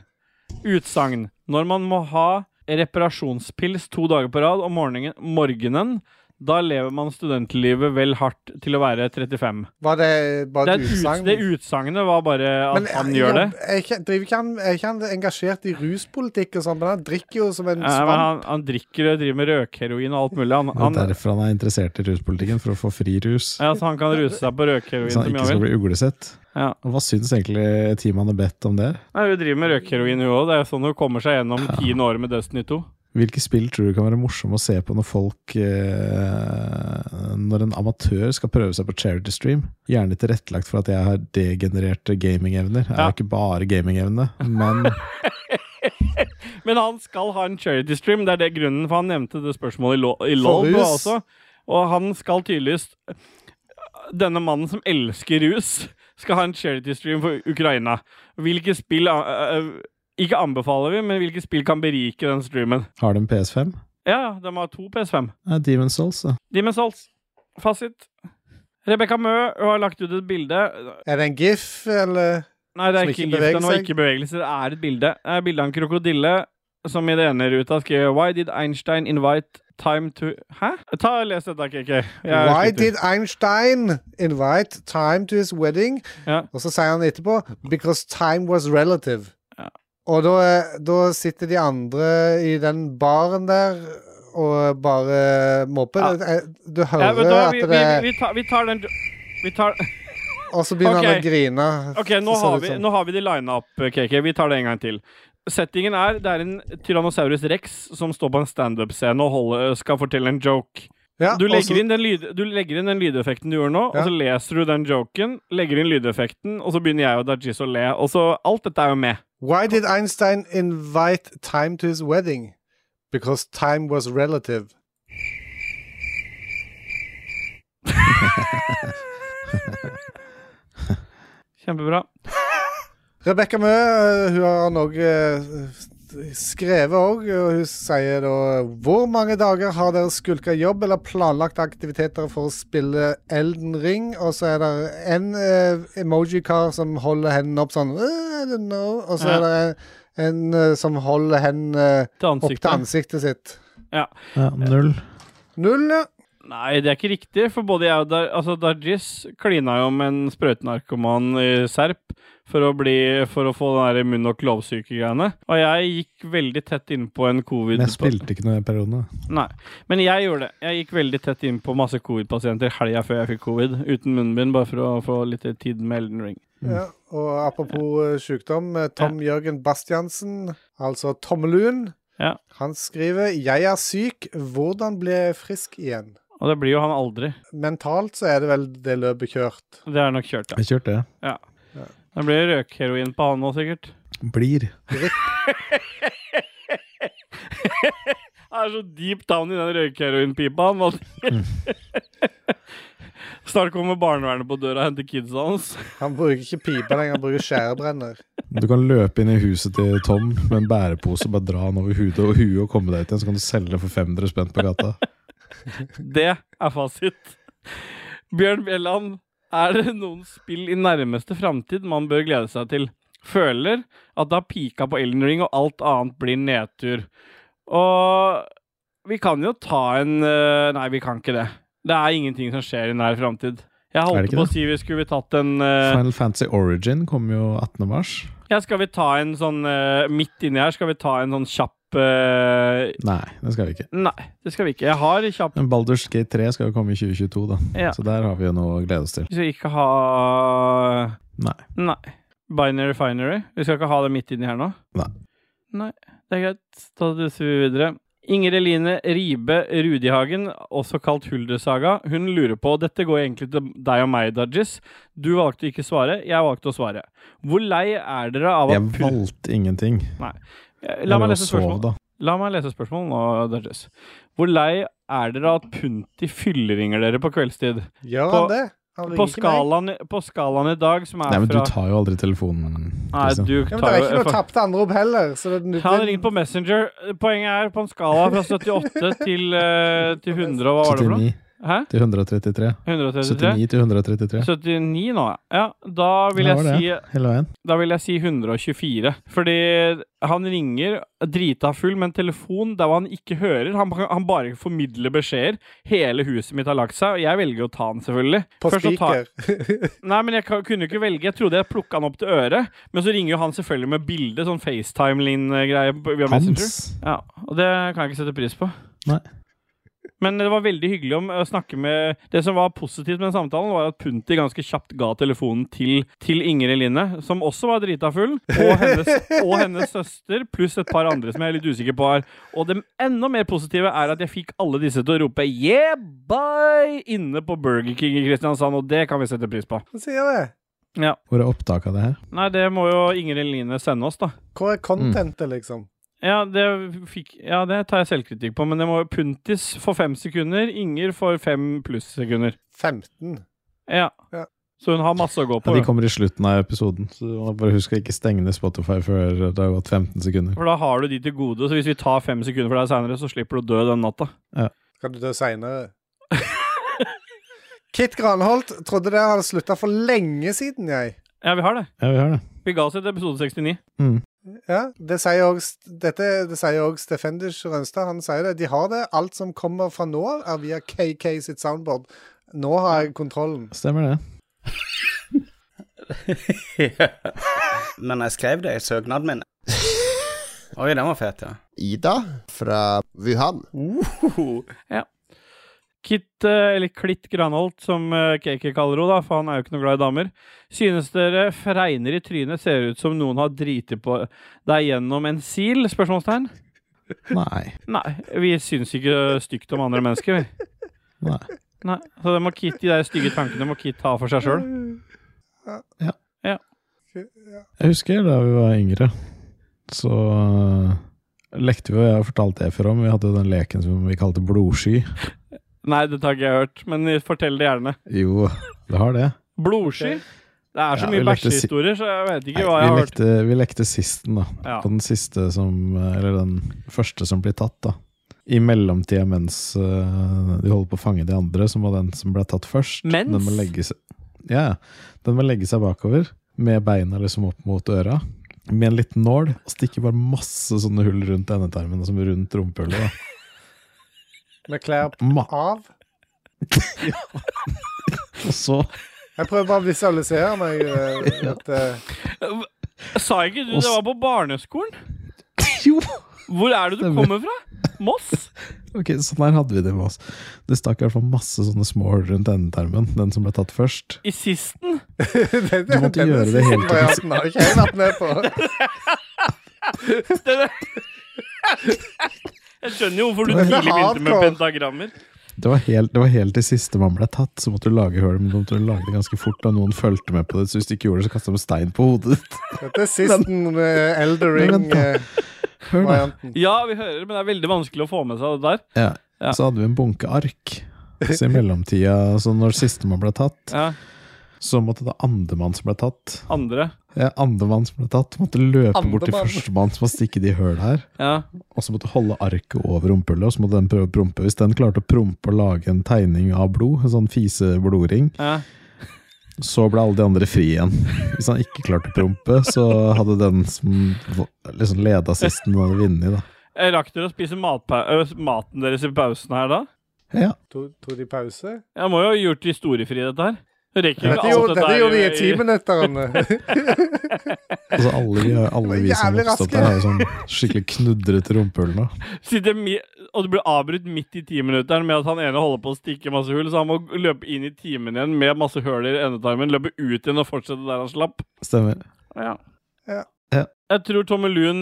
Speaker 2: Utsagn. Når man må ha reparasjonspils to dager på rad om morgenen, morgenen da lever man studentlivet vel hardt til å være 35.
Speaker 3: Var det
Speaker 2: Det,
Speaker 3: bare
Speaker 2: er
Speaker 3: et
Speaker 2: et ut,
Speaker 3: utsagn?
Speaker 2: det utsagnet var bare at
Speaker 3: Men eh,
Speaker 2: han gjør det.
Speaker 3: jobb- Er ikke, driver ikke han, er ikke han engasjert i ruspolitikk og sånn? Men han drikker jo som en
Speaker 2: Ja, Eh, men
Speaker 3: svamp.
Speaker 2: han, han drikker og driver med røkheroin og alt mulig. Han,
Speaker 1: Det er
Speaker 2: han,
Speaker 1: derfor han er interessert i ruspolitikken, for å få fri rus.
Speaker 2: ja, så han kan ruse seg på røkheroin
Speaker 1: Så
Speaker 2: så
Speaker 1: han Sånn,
Speaker 2: mye
Speaker 1: ikke
Speaker 2: han
Speaker 1: skal
Speaker 2: vil.
Speaker 1: bli uglesett.
Speaker 2: Ja.
Speaker 1: Og hva syns egentlig teamet han har bedt om det?
Speaker 2: Nei, hun driver med røkheroin, hun òg. Det er jo sånn hun kommer seg gjennom tiende året med Destiny 2.
Speaker 1: Hvilke spill tror du kan være morsomme å se på når folk eh, Når en amatør skal prøve seg på charity stream? Gjerne tilrettelagt for at jeg har degenererte gamingevner. Jeg
Speaker 2: Ja.
Speaker 1: har ikke bare gamingevne, men
Speaker 2: Men han skal ha en charity stream, det er det grunnen, for han nevnte det spørsmålet i, lo i LOL
Speaker 3: rus.
Speaker 2: også. Og han skal tydeligvis Denne mannen som elsker rus, skal ha en charity stream for Ukraina. Hvilke spill eh, eh, Ikke anbefaler vi, men hvilke spill kan berike den streamen?
Speaker 1: har de en PS5?
Speaker 2: Ja, ja, de har to PS5.
Speaker 1: Nei, Demon Souls, da.
Speaker 2: Demon's Souls. Fasit. Rebekka Mø hun har lagt ut et bilde.
Speaker 3: Er det en gif, eller?
Speaker 2: Nei, det er ikke
Speaker 3: Som ikke
Speaker 2: gift,
Speaker 3: beveger
Speaker 2: den var
Speaker 3: seg.
Speaker 2: ikke bevegelse. Det er et bilde. Det er bilde av en krokodille som i det ene ruta skriver Why did Einstein invite time to Hæ? Ta og Les dette, KK. Jeg er
Speaker 3: Why
Speaker 2: sliter.
Speaker 3: did Einstein invite time to his wedding?
Speaker 2: Ja.
Speaker 3: Og så sier han etterpå Because time was relative. Og da, da sitter de andre i den baren der og bare mobber.
Speaker 2: Ja.
Speaker 3: Eh, Du
Speaker 2: ja,
Speaker 3: hører
Speaker 2: vet du hva,
Speaker 3: at
Speaker 2: vi,
Speaker 3: det
Speaker 2: vi, vi, vi, tar, vi tar den Vi tar
Speaker 3: Og så begynner
Speaker 2: Ok.
Speaker 3: han å grine.
Speaker 2: OK, nå
Speaker 3: Så sånn. ser
Speaker 2: har
Speaker 3: det
Speaker 2: vi,
Speaker 3: ut som.
Speaker 2: nå har vi de lina opp, KK. Vi tar det en gang til. Settingen er det er en Tyrannosaurus rex som står på en standup-scene og holder, skal fortelle en joke.
Speaker 3: Ja,
Speaker 2: Du
Speaker 3: og så-
Speaker 2: legger, inn den lyd, du legger inn den lydeffekten du gjør nå,
Speaker 3: Ja.
Speaker 2: og så leser du den joken, legger inn lydeffekten, og så begynner jeg og Dajis å le. Og så alt dette er jo med.
Speaker 3: Why did Einstein invite time to his wedding? Because time was relative.
Speaker 2: Kjempebra.
Speaker 3: Rebekka Mø eh, hun har noe eh, skrevet òg, og hun sier da Hvor mange dager har dere skulka jobb eller planlagt aktiviteter for å spille Elden Ring? Og så er det en eh, emoji-kar som holder hendene opp sånn «Eh, I don't know. Og så
Speaker 2: Ja.
Speaker 3: er det en, en eh, som holder hendene eh,
Speaker 2: Til
Speaker 3: opp
Speaker 2: ansiktet.
Speaker 3: til ansiktet sitt.
Speaker 2: Ja.
Speaker 1: Ja, null.
Speaker 3: Null, ja.
Speaker 2: Nei, det er ikke riktig, for både jeg og Dar altså, Dajis klina jo med en sprøytenarkoman i Serp for å, bli, for å få den der munn- og klovsyke-greiene. Og jeg gikk veldig tett innpå en covid...
Speaker 1: Men jeg spilte ikke noe i den perioden.
Speaker 2: Nei, men jeg gjorde det. Jeg gikk veldig tett inn på masse covid-pasienter helga før jeg fikk covid, uten munnbind, bare for å få litt tid med Elden Ring.
Speaker 3: Ja, og apropos eh, sykdom, eh, Tom Jørgen Bastiansen, altså Tommeluen,
Speaker 2: Ja.
Speaker 3: han skriver 'Jeg er syk, hvordan blir jeg frisk igjen?'
Speaker 2: Og det blir jo han aldri.
Speaker 3: Mentalt så er det vel det løpet kjørt.
Speaker 2: Det er nok kjørt, ja.
Speaker 1: Jeg kjørte det.
Speaker 2: Det blir røkheroin på han nå, sikkert.
Speaker 1: Blir.
Speaker 2: Han er så deep down i den røykeheroinpipa. han, Mathias. Snart kommer barnevernet på døra og henter kidsa hans.
Speaker 3: Han bruker ikke pipe lenger, han bruker skjærebrenner.
Speaker 1: Du kan løpe inn i huset til Tom med en bærepose og bare dra den over hodet og huet og komme deg ut igjen, så kan du selge den for 500 spenn på gata.
Speaker 2: Det er fasit. Bjørn Bjelland, er det noen spill i nærmeste framtid man bør glede seg til? Føler at det har pika på Elden Ring, og alt annet blir nedtur. Og vi kan jo ta en eh, Nei, vi kan ikke det. Det er ingenting som skjer i nær framtid. Jeg
Speaker 1: Er det
Speaker 2: holdt
Speaker 1: ikke
Speaker 2: på å
Speaker 1: det?
Speaker 2: si vi skulle tatt en eh,
Speaker 1: Final Fantasy Origin kommer jo 18. mars.
Speaker 2: Ja, skal vi ta en sånn eh, Midt inni her skal vi ta en sånn kjapp eh,
Speaker 1: Nei, det skal vi ikke.
Speaker 2: Nei, det skal vi ikke. Jeg har kjapp
Speaker 1: Men Baldur's Gate 3 skal jo komme i 2022, da.
Speaker 2: Ja.
Speaker 1: Så der har vi jo noe å glede oss til.
Speaker 2: Vi skal ikke ha
Speaker 1: Nei.
Speaker 2: Nei. Binary Finery. Vi skal ikke ha det midt inni her nå.
Speaker 1: Nei.
Speaker 2: Nei, Det er greit. Da duser vi videre. Inger Eline Ribe Rudihagen, også kalt Huldersaga, hun lurer på Dette går egentlig til deg og meg, Dajis. Du valgte å ikke svare, jeg valgte å svare. Hvor lei er dere av
Speaker 1: Jeg
Speaker 2: at pul-
Speaker 1: valgte ingenting.
Speaker 2: Nei.
Speaker 1: Jeg
Speaker 2: La
Speaker 1: lå
Speaker 2: meg
Speaker 1: og
Speaker 2: lese
Speaker 1: sov,
Speaker 2: spørsmålet.
Speaker 1: da.
Speaker 2: La meg lese spørsmålet nå, Dajis. Hvor lei er dere av at Punti fylleringer dere på kveldstid?
Speaker 3: Gjør
Speaker 2: På-
Speaker 3: han det? Han ringer
Speaker 2: På
Speaker 3: meg.
Speaker 2: skalaen, på skalaen i dag, som er
Speaker 1: Nei, men du
Speaker 2: fra
Speaker 1: tar jo aldri telefonen. liksom.
Speaker 2: Nei,
Speaker 1: Christian.
Speaker 2: du
Speaker 3: Ja, men det
Speaker 2: tar
Speaker 3: er
Speaker 2: jo
Speaker 3: ikke noe
Speaker 2: for-
Speaker 3: tapte anrop heller. Så det,
Speaker 2: Han har ringt på Messenger. Poenget er på en skala fra 78 til, eh, til 100, og hva var det for noe?
Speaker 1: 79
Speaker 2: Hæ?
Speaker 1: til 133.
Speaker 2: 133?
Speaker 1: 79 til 133.
Speaker 2: 79 nå, ja. Da vil,
Speaker 1: Det var
Speaker 2: jeg
Speaker 1: det,
Speaker 2: si,
Speaker 1: Hele veien.
Speaker 2: da vil jeg si 124. Fordi han ringer drita full med en telefon der hvor han ikke hører. Han, han bare formidler beskjeder. Hele huset mitt har lagt seg, og jeg velger å ta den, selvfølgelig.
Speaker 3: På
Speaker 2: Først så tar-
Speaker 3: speaker.
Speaker 2: Nei, men jeg kan- kunne jo ikke velge. Jeg trodde jeg plukka han opp til øret. Men så ringer jo han selvfølgelig med bilde, sånn FaceTime-lignende greie på- via Messenger.
Speaker 1: Hans.
Speaker 2: Ja, og det kan jeg ikke sette pris på.
Speaker 1: Nei.
Speaker 2: Men det var veldig hyggelig om å snakke med Det som var positivt med den samtalen, var at Punti ganske kjapt ga telefonen til, til Ingrid Line, som også var drita full, og hennes, og hennes søster, pluss et par andre som jeg er litt usikker på her. Og det enda mer positive er at jeg fikk alle disse til å rope 'yeah, bye!' inne på Burger King i Kristiansand, og det kan vi sette pris på.
Speaker 3: Han sier det.
Speaker 1: Hvor er opptaket av det her?
Speaker 2: Nei, det må jo Ingrid Line sende oss, da.
Speaker 3: Hvor er contentet, liksom?
Speaker 2: Ja det, fikk, ja, det tar jeg selvkritikk på, men det må Puntis for fem sekunder, Inger for fem pluss sekunder.
Speaker 3: 15.
Speaker 2: Ja.
Speaker 3: Ja.
Speaker 2: Så hun har masse å gå
Speaker 1: Ja,
Speaker 2: på.
Speaker 1: de
Speaker 2: da.
Speaker 1: kommer i slutten av episoden, så du må bare husk å ikke stenge ned Spotify før det har gått 15 sekunder.
Speaker 2: For da har du de til gode, så hvis vi tar fem sekunder for deg seinere, så slipper du å dø den natta.
Speaker 3: Skal du dø seinere? Kit Granholt trodde det hadde slutta for lenge siden, jeg.
Speaker 2: Ja, vi har det.
Speaker 1: Ja, vi har det.
Speaker 2: Vi ga oss etter episode 69.
Speaker 1: Mm.
Speaker 3: Ja, Det sier også, dette, det sier også Stefendish Rønstad. Han sier det. De har det. Alt som kommer fra nå av, er via KK sitt soundboard. Nå har jeg kontrollen.
Speaker 1: Stemmer det.
Speaker 10: Men jeg skrev det i søknaden min. Oi, den var fet, ja.
Speaker 8: Ida fra Wuhan.
Speaker 2: Ja. Kit, eh, eller Klitt Granholt, som eh, KK kaller henne, da, for han er jo ikke noe glad i damer. Synes dere fregner i trynet ser ut som noen har driti på deg gjennom en sil? Spørsmålstegn.
Speaker 1: Nei.
Speaker 2: Nei, vi syns ikke stygt om andre mennesker, vi.
Speaker 1: Nei.
Speaker 2: Nei, Så det må Kit, de der stygge tankene må Kit ha for seg sjøl.
Speaker 1: Jeg husker da vi var yngre, så øh, lekte vi, og jeg har fortalt det før om, vi hadde jo den leken som vi kalte blodsky.
Speaker 2: Nei, dette har ikke jeg hørt, men fortell det gjerne.
Speaker 1: Jo, det har det.
Speaker 2: Blodsky? Det er så
Speaker 1: Ja, vi
Speaker 2: mye
Speaker 1: lekte si-
Speaker 2: bæsjehistorier, så jeg vet ikke hva
Speaker 1: Nei,
Speaker 2: jeg
Speaker 1: vi,
Speaker 2: har hørt.
Speaker 1: lekte, vi lekte sisten, da.
Speaker 2: Ja.
Speaker 1: Og den siste som eh, Eller den første som blir tatt, da. I mellomtida mens øh, de holder på å fange de andre, så må den som ble tatt først
Speaker 2: Mens?
Speaker 1: Den må legge seg, ja, ja. den må legge seg bakover, med beina liksom opp mot øra. Med en liten nål, og stikke bare masse sånne hull rundt endetarmen og som rundt rumpehullet. da.
Speaker 3: Med klær
Speaker 1: Ma
Speaker 3: av.
Speaker 1: og så,
Speaker 3: Jeg prøver bare å visualisere meg. eh, At, eh,
Speaker 2: Sa ikke du
Speaker 1: Og
Speaker 2: det
Speaker 1: s-
Speaker 2: var på barneskolen?
Speaker 1: Jo!
Speaker 2: Hvor er det du
Speaker 1: Stemmer.
Speaker 2: kommer fra? Moss?
Speaker 1: Ok, Sånn her hadde vi det med oss. Det stakk i hvert fall masse sånne små hull rundt endetarmen. Den som ble tatt først.
Speaker 2: I sisten?
Speaker 3: den-
Speaker 1: Du måtte
Speaker 3: den-
Speaker 1: gjøre det hele tiden.
Speaker 3: varianten har ikke jeg vært med på.
Speaker 2: Det der- Jeg skjønner jo hvorfor du
Speaker 3: Dette er
Speaker 2: tidlig begynte med
Speaker 3: hardcore.
Speaker 2: pentagrammer.
Speaker 1: Det var, helt, det var helt til siste man ble tatt, så måtte du lage hull. Men du måtte lage det ganske fort, og noen fulgte med på det. Så hvis du ikke gjorde det, så kasta de stein på hodet ditt.
Speaker 3: Dette er sisten uh, Eldering. eh,
Speaker 1: Hør da.
Speaker 3: varianten.
Speaker 2: Ja, vi hører, men det er veldig vanskelig å få med seg det der.
Speaker 1: Ja.
Speaker 2: Ja.
Speaker 1: Så hadde vi en bunke ark. Så i mellomtida, så når siste man ble tatt,
Speaker 2: Ja,
Speaker 1: så måtte da andemann som ble tatt
Speaker 2: Andre.
Speaker 1: ja, Andemann som ble tatt, måtte løpe bort til
Speaker 3: Andemann.
Speaker 1: førstemann som har stikket de hull her.
Speaker 2: Ja.
Speaker 1: Og så måtte du holde arket over rumpehullet, og så måtte den prøve å prompe. Hvis den klarte å prompe og lage en tegning av blod, en sånn fiseblodring,
Speaker 2: ja.
Speaker 1: så ble alle de andre fri igjen. Hvis han ikke klarte å prompe, så hadde den som v- liksom leda sist, den hadde vunnet, da.
Speaker 2: Rakk dere å spise matpa ø, maten deres i pausen her da?
Speaker 1: Ja,
Speaker 3: To- Tok de pause?
Speaker 2: Jeg må jo ha gjort historiefri dette her. Jeg Rekker
Speaker 3: Dette
Speaker 2: ikke
Speaker 3: gjorde,
Speaker 2: alt dette
Speaker 3: dette gjorde de i
Speaker 2: her
Speaker 3: timinutter'n.
Speaker 1: altså alle vi, alle vi som
Speaker 3: Jævlig
Speaker 1: vokste opp
Speaker 3: raske.
Speaker 1: der, har jo sånn skikkelig knudrete rumpehull nå.
Speaker 2: Sitter mi og du blir avbrutt midt i timinutteren med at han ene holder på å stikke masse hull, så han må løpe inn i timen igjen med masse høl i endetarmen, løpe ut igjen og fortsette der han slapp.
Speaker 1: Stemmer.
Speaker 2: Ja.
Speaker 3: Ja.
Speaker 2: Jeg tror Tommelun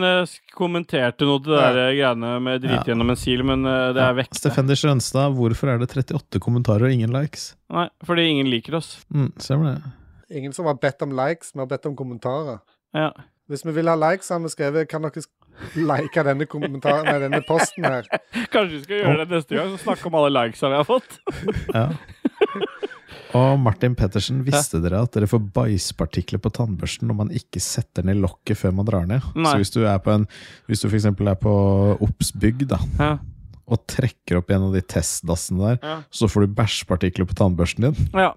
Speaker 2: kommenterte noe til det der eh, greiene med drit gjennom en sil, men eh, det er vekk.
Speaker 1: Stefender Strønstad, hvorfor er det 38 kommentarer og ingen likes?
Speaker 2: Nei, fordi ingen liker oss.
Speaker 1: Mm, stemmer det.
Speaker 3: Ingen som har bedt om likes, vi har bedt om kommentarer.
Speaker 2: Ja.
Speaker 3: Hvis vi vil ha likes, har vi skrevet Kan dere sk- like denne kommentaren Nei, denne posten her?
Speaker 2: Kanskje vi skal gjøre det neste gang, så snakke om alle likesa vi har fått.
Speaker 1: Ja. Og Martin Pettersen, visste dere at dere får bæsjpartikler på tannbørsten når man ikke setter ned lokket før man drar ned?
Speaker 2: Nei.
Speaker 1: Så hvis du er på en Hvis du f.eks. er på Obs-bygg, da,
Speaker 2: Ja.
Speaker 1: og trekker opp en av de testdassene der,
Speaker 2: Ja. Sånn.
Speaker 1: så får du bæsjpartikler på tannbørsten din.
Speaker 2: Ja.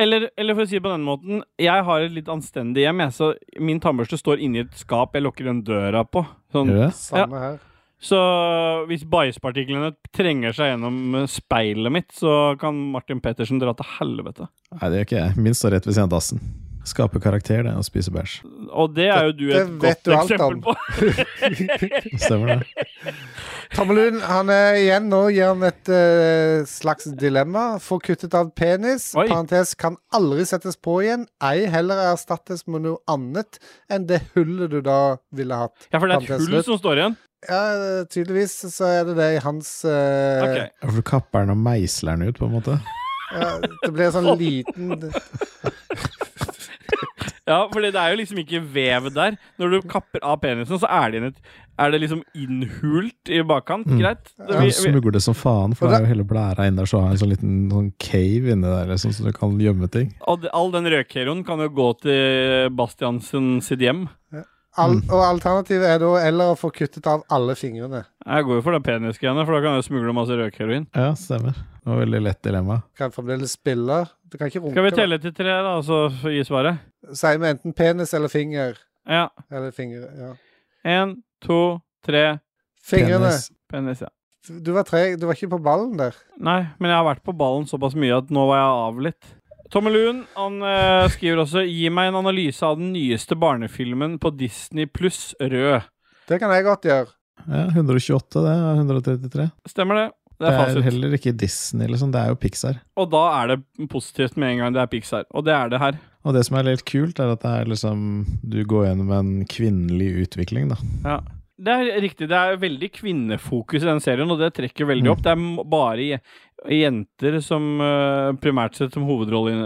Speaker 2: Eller, eller for å si det på den måten, jeg har et litt anstendig hjem, jeg, så min tannbørste står inni et skap jeg lukker den døra på. Sånn.
Speaker 1: Gjør det?
Speaker 2: Ja.
Speaker 3: Samme her.
Speaker 2: Så hvis bæsjpartiklene trenger seg gjennom eh, speilet mitt, så kan Martin Pettersen dra til helvete.
Speaker 1: Nei, det gjør ikke jeg. Min står rett ved siden av dassen. Skaper karakter, det, å spise bæsj.
Speaker 2: Og det er jo du et
Speaker 3: Dette
Speaker 2: godt
Speaker 3: vet du alt
Speaker 2: eksempel
Speaker 3: om.
Speaker 2: på.
Speaker 1: Stemmer det.
Speaker 3: Tommelun, han er igjen nå gir han et eh, slags dilemma. Få kuttet av penis.
Speaker 2: Oi.
Speaker 3: Parentes kan aldri settes på igjen. Ei heller erstattes med noe annet enn det hullet du da ville hatt.
Speaker 2: Ja, for det er et
Speaker 3: Parentes
Speaker 2: hull
Speaker 3: slutt.
Speaker 2: som står igjen.
Speaker 3: Ja, tydeligvis så er det det i hans eh,
Speaker 2: Ok.
Speaker 1: Ja, For du kapper den og meisler den ut, på en måte?
Speaker 3: ja, Det blir sånn liten
Speaker 2: Ja, for det er jo liksom ikke vev der. Når du kapper av penisen, så er det, inn et, er det liksom innhult i bakkant.
Speaker 1: Mm.
Speaker 2: Greit.
Speaker 1: Du
Speaker 2: Vi, vi,
Speaker 1: smugler det som faen, for
Speaker 3: Og
Speaker 1: det
Speaker 3: det-
Speaker 1: er jo hele blæra inni der, så har jeg en sånn liten sånn cave inni der, liksom, så du kan gjemme ting.
Speaker 2: og det- all den røkheroen kan jo gå til Bastiansen sitt hjem.
Speaker 3: al Og alternativet er da eller å få kuttet av alle fingrene.
Speaker 2: Jeg går jo for den penisgreiene, for da kan jeg jo smugle masse røkheroin.
Speaker 1: Ja, stemmer. Det var et veldig lett dilemma.
Speaker 3: Kan fremdeles spille. Du kan ikke runke.
Speaker 2: Skal vi
Speaker 3: da.
Speaker 2: telle til tre, da, og så gi svaret?
Speaker 3: Sier vi enten penis eller finger.
Speaker 2: Ja.
Speaker 3: Eller finger, ja.
Speaker 2: Én, to, tre.
Speaker 3: Fingrene.
Speaker 1: Penis.
Speaker 2: Penis, ja.
Speaker 3: Du var treg. Du var ikke på ballen der.
Speaker 2: Nei, men jeg har vært på ballen såpass mye at nå var jeg av litt. Tommelun han eh, skriver også 'Gi meg en analyse av den nyeste barnefilmen på Disney pluss rød'.
Speaker 3: Det kan jeg godt gjøre.
Speaker 1: Ja, 128, det. er 133.
Speaker 2: Stemmer det? Det
Speaker 1: Det
Speaker 2: er
Speaker 1: er,
Speaker 2: fasit.
Speaker 1: heller ikke Disney, liksom. Det er jo Pixar.
Speaker 2: Og da er det positivt med en gang det er Pixar. Og det er det her.
Speaker 1: Og det som er litt kult, er at det er liksom Du går gjennom en kvinnelig utvikling, da.
Speaker 2: Ja. Det er riktig. Det er veldig kvinnefokus i den serien, og det trekker
Speaker 1: Mm.
Speaker 2: veldig opp. Det er m- bare je- jenter som eh, primært sett som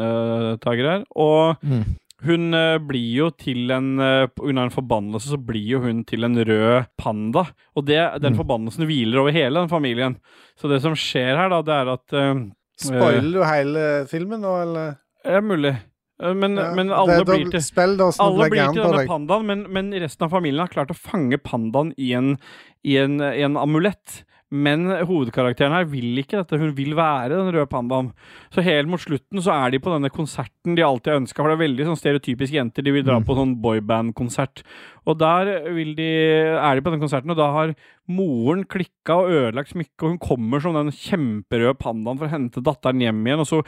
Speaker 2: hovedrolletakere her. Og
Speaker 1: Mm.
Speaker 2: hun eh, blir jo til en eh, på grunn av en forbannelse så blir jo hun til en rød panda. Og det, den
Speaker 1: Mm.
Speaker 2: forbannelsen hviler over hele den familien. Så det som skjer her, da, det er at eh,
Speaker 3: Spoiler du hele filmen nå, eller?
Speaker 2: Det er mulig. Eh, Men,
Speaker 3: Ja.
Speaker 2: men alle
Speaker 3: Det- da
Speaker 2: blir til
Speaker 3: Spill da, så
Speaker 2: alle
Speaker 3: legger
Speaker 2: blir
Speaker 3: jeg
Speaker 2: til
Speaker 3: an på
Speaker 2: denne
Speaker 3: deg.
Speaker 2: pandaen, men, men resten av familien har klart å fange pandaen i en, i en, i en amulett. Men hovedkarakteren her vil ikke dette. Hun vil være den røde pandaen. Så helt mot slutten så er de på denne konserten de alltid har ønska. For det er veldig sånn stereotypisk jenter. De vil dra på sånn boyband-konsert. Og der vil de, er de på den konserten, og da har moren klikka og ødelagt smykket, og hun kommer som den kjemperøde pandaen for å hente datteren hjem igjen. Og så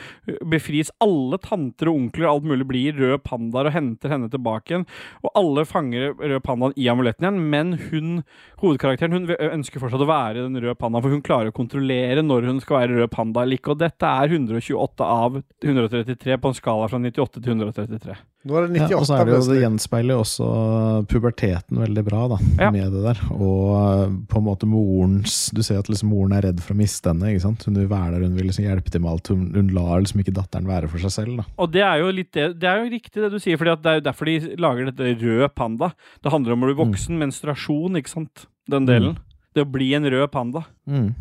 Speaker 2: befris alle tanter og onkler og alt mulig blir røde pandaer og henter henne tilbake igjen. Og alle fanger røde pandaen i amuletten igjen, men hun, hovedkarakteren hun ønsker fortsatt å være den røde pandaen, for hun klarer å kontrollere når hun skal være rød panda eller ikke. Og dette er 128 av 133 på en skala fra 98 til 133.
Speaker 3: Nå er det
Speaker 1: Ja,
Speaker 3: 98
Speaker 1: og så er det jo, det
Speaker 3: plutselig.
Speaker 1: gjenspeiler jo også puberteten veldig bra, da,
Speaker 2: Ja.
Speaker 1: med det der. Og eh, på en måte morens Du ser at liksom moren er redd for å miste henne. ikke sant? Hun vil være der, hun vil liksom hjelpe til med alt. Hun, hun lar liksom ikke datteren være for seg selv. da.
Speaker 2: Og det er jo litt det, det er jo riktig det du sier, for det er jo derfor de lager dette rød panda. Det handler
Speaker 3: Mm.
Speaker 2: om å bli voksen, menstruasjon, ikke sant? Den delen. Det å bli en rød panda.
Speaker 1: Og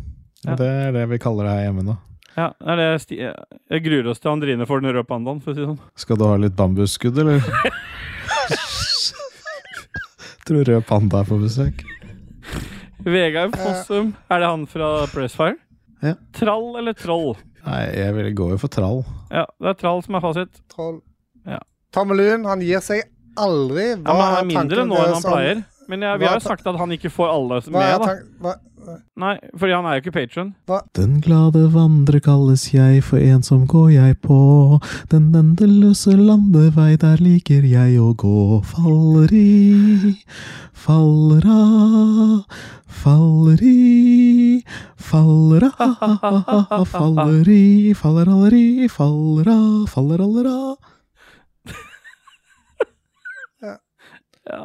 Speaker 2: Ja.
Speaker 1: Det er det vi kaller det her hjemme nå.
Speaker 2: Ja, det er det sti Jeg gruer oss til han driner for den røde pandaen, for å si det sånn.
Speaker 1: Skal du ha litt bambusskudd, eller? Tror rød panda er på besøk.
Speaker 2: Vegard Fossum, er det han fra Pressfire?
Speaker 1: Ja.
Speaker 2: Trall eller troll?
Speaker 1: Nei, jeg vil gå jo for trall.
Speaker 2: Ja, det er trall som er fasit.
Speaker 3: Troll.
Speaker 2: Ja.
Speaker 3: Tommelun, han gir seg aldri.
Speaker 2: Ja, men han
Speaker 3: er
Speaker 2: er mindre
Speaker 3: tanken
Speaker 2: nå enn
Speaker 3: deres
Speaker 2: han
Speaker 3: om-
Speaker 2: pleier. Men jeg, vi
Speaker 3: Hva
Speaker 2: har
Speaker 3: er
Speaker 2: jo
Speaker 3: ta-
Speaker 2: sagt at han ikke får alle
Speaker 3: Hva er
Speaker 2: med, da.
Speaker 3: tanken hva,
Speaker 2: Nei, fordi han er jo ikke patron.
Speaker 1: Den glade vandrer kalles jeg, for ensom går jeg på. Den endeløse landevei, der liker jeg å gå. Faller i, faller av, faller i, faller av, faller i, faller aller i, faller av, faller aller av.
Speaker 2: Ja.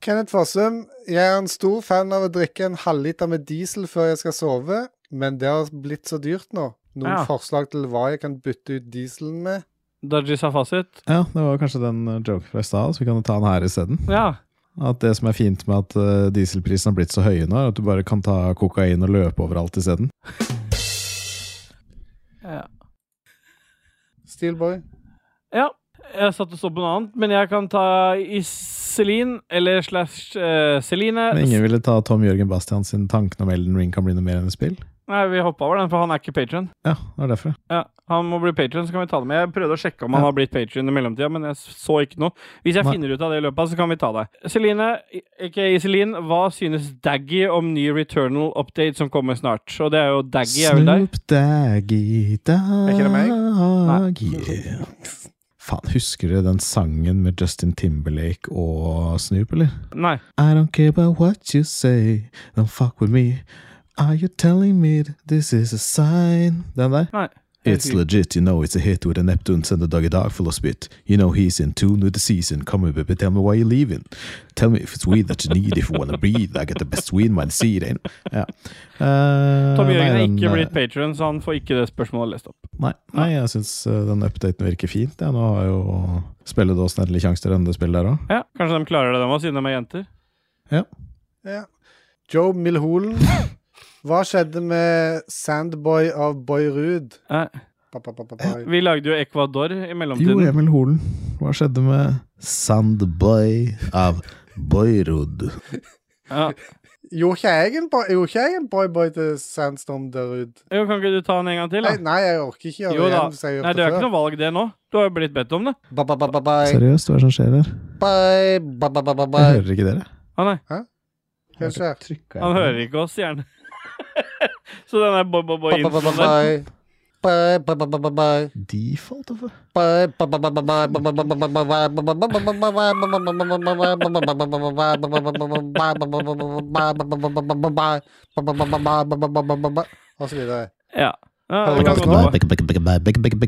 Speaker 3: Kenneth Fossum, jeg er en stor fan av å drikke en halvliter med diesel før jeg skal sove, men det har blitt så dyrt nå. Noen
Speaker 2: Ja.
Speaker 3: forslag til hva jeg kan bytte ut dieselen med?
Speaker 2: Dodgy sa fasit.
Speaker 1: Ja, det var kanskje den eh, joke fra i stad, så vi kan jo ta den her isteden.
Speaker 2: Ja.
Speaker 1: At det som er fint med at eh, dieselprisen har blitt så høye nå, er at du bare kan ta kokain og løpe overalt isteden.
Speaker 2: Ja.
Speaker 3: Steelboy.
Speaker 2: ja. Jeg satt og så på noe annet, men jeg kan ta Iselin eller slash eh, Celine.
Speaker 1: Men ingen ville ta Tom Jørgen Bastian sin tanken om Elden Ring kan bli noe mer enn et spill?
Speaker 2: Nei, vi hoppa over den, for han er ikke patron.
Speaker 1: Ja, det var derfor.
Speaker 2: Ja, han må bli patron, så kan vi ta det med. Jeg prøvde å sjekke om han har blitt patron i mellomtida, men jeg så ikke noe. Hvis jeg
Speaker 1: Nei.
Speaker 2: finner ut av det i løpet, av, så kan vi ta det. Celine, aka Iselin, hva synes Daggy om ny Returnal update som kommer snart? Og det er jo Daggy er vel der?
Speaker 1: Snoop Daggy Daggy
Speaker 2: ikke det meg?
Speaker 1: Faen, husker du den sangen med Justin Timberlake og Snoop, eller?
Speaker 2: Nei.
Speaker 1: I don't care about what you say, don't fuck with me. Are you telling me that this is a sign? Den der?
Speaker 2: Nei.
Speaker 1: It's legit, you know it's a hit with a Neptune send a doggy dog full of spit. You know he's in tune with the season. Come here, baby, tell me why you're leaving. Tell me if it's weed that you need, if you wanna breathe. I get the best weed by the sea, then. Ja. Eh,
Speaker 2: Tom Jørgen
Speaker 1: nei,
Speaker 2: er
Speaker 1: den,
Speaker 2: ikke
Speaker 1: eh,
Speaker 2: blitt patron, så han får ikke det spørsmålet lest opp.
Speaker 1: Nei, nei jeg syns eh, den updaten virker fint. Ja, nå har jo spilledåsen endelig sjanse til å runde spill der òg.
Speaker 2: Ja, Kanskje de klarer det, de òg, siden de er jenter.
Speaker 3: Ja. Joe Milholen. Hva skjedde med Sandboy av Boyrud?
Speaker 2: Nei.
Speaker 3: Ba, ba, ba, ba, ba.
Speaker 2: Vi lagde jo Ecuador i
Speaker 1: Jo,
Speaker 2: mellomtiden.
Speaker 1: Emil Holen, hva skjedde med Sandboy av Boyrud?
Speaker 2: Ja.
Speaker 3: Gjorde ikke jeg en boy- gjorde ikke jeg en boy-boy til Sandstorm Derud?
Speaker 2: Jo, kan ikke du ta den en gang til, da?
Speaker 3: Nei, nei, jeg orker ikke gjøre
Speaker 2: Jo
Speaker 3: det
Speaker 2: da.
Speaker 3: igjen. som jeg
Speaker 2: Nei, det er ikke
Speaker 3: gjorde
Speaker 2: noe valg, det nå. Du har jo blitt bedt om det.
Speaker 3: Ba-ba-ba-ba-bye.
Speaker 1: Seriøst, hva er det som skjer her?
Speaker 3: Bye, ba-ba-ba-ba-bye.
Speaker 1: Jeg hører ikke dere.
Speaker 2: Å nei.
Speaker 3: Hva skjer?
Speaker 2: Han hører ikke oss, gjerne. Så den er bob-bob-bob-introen der.
Speaker 3: Ba-ba-ba-ba-bye. Bye, ba-ba-ba-ba-bye.
Speaker 1: Default, altså.
Speaker 3: Og så videre.
Speaker 2: Ja. ja
Speaker 3: Har
Speaker 2: vi
Speaker 3: du
Speaker 2: kan
Speaker 3: lagt
Speaker 2: godt gå.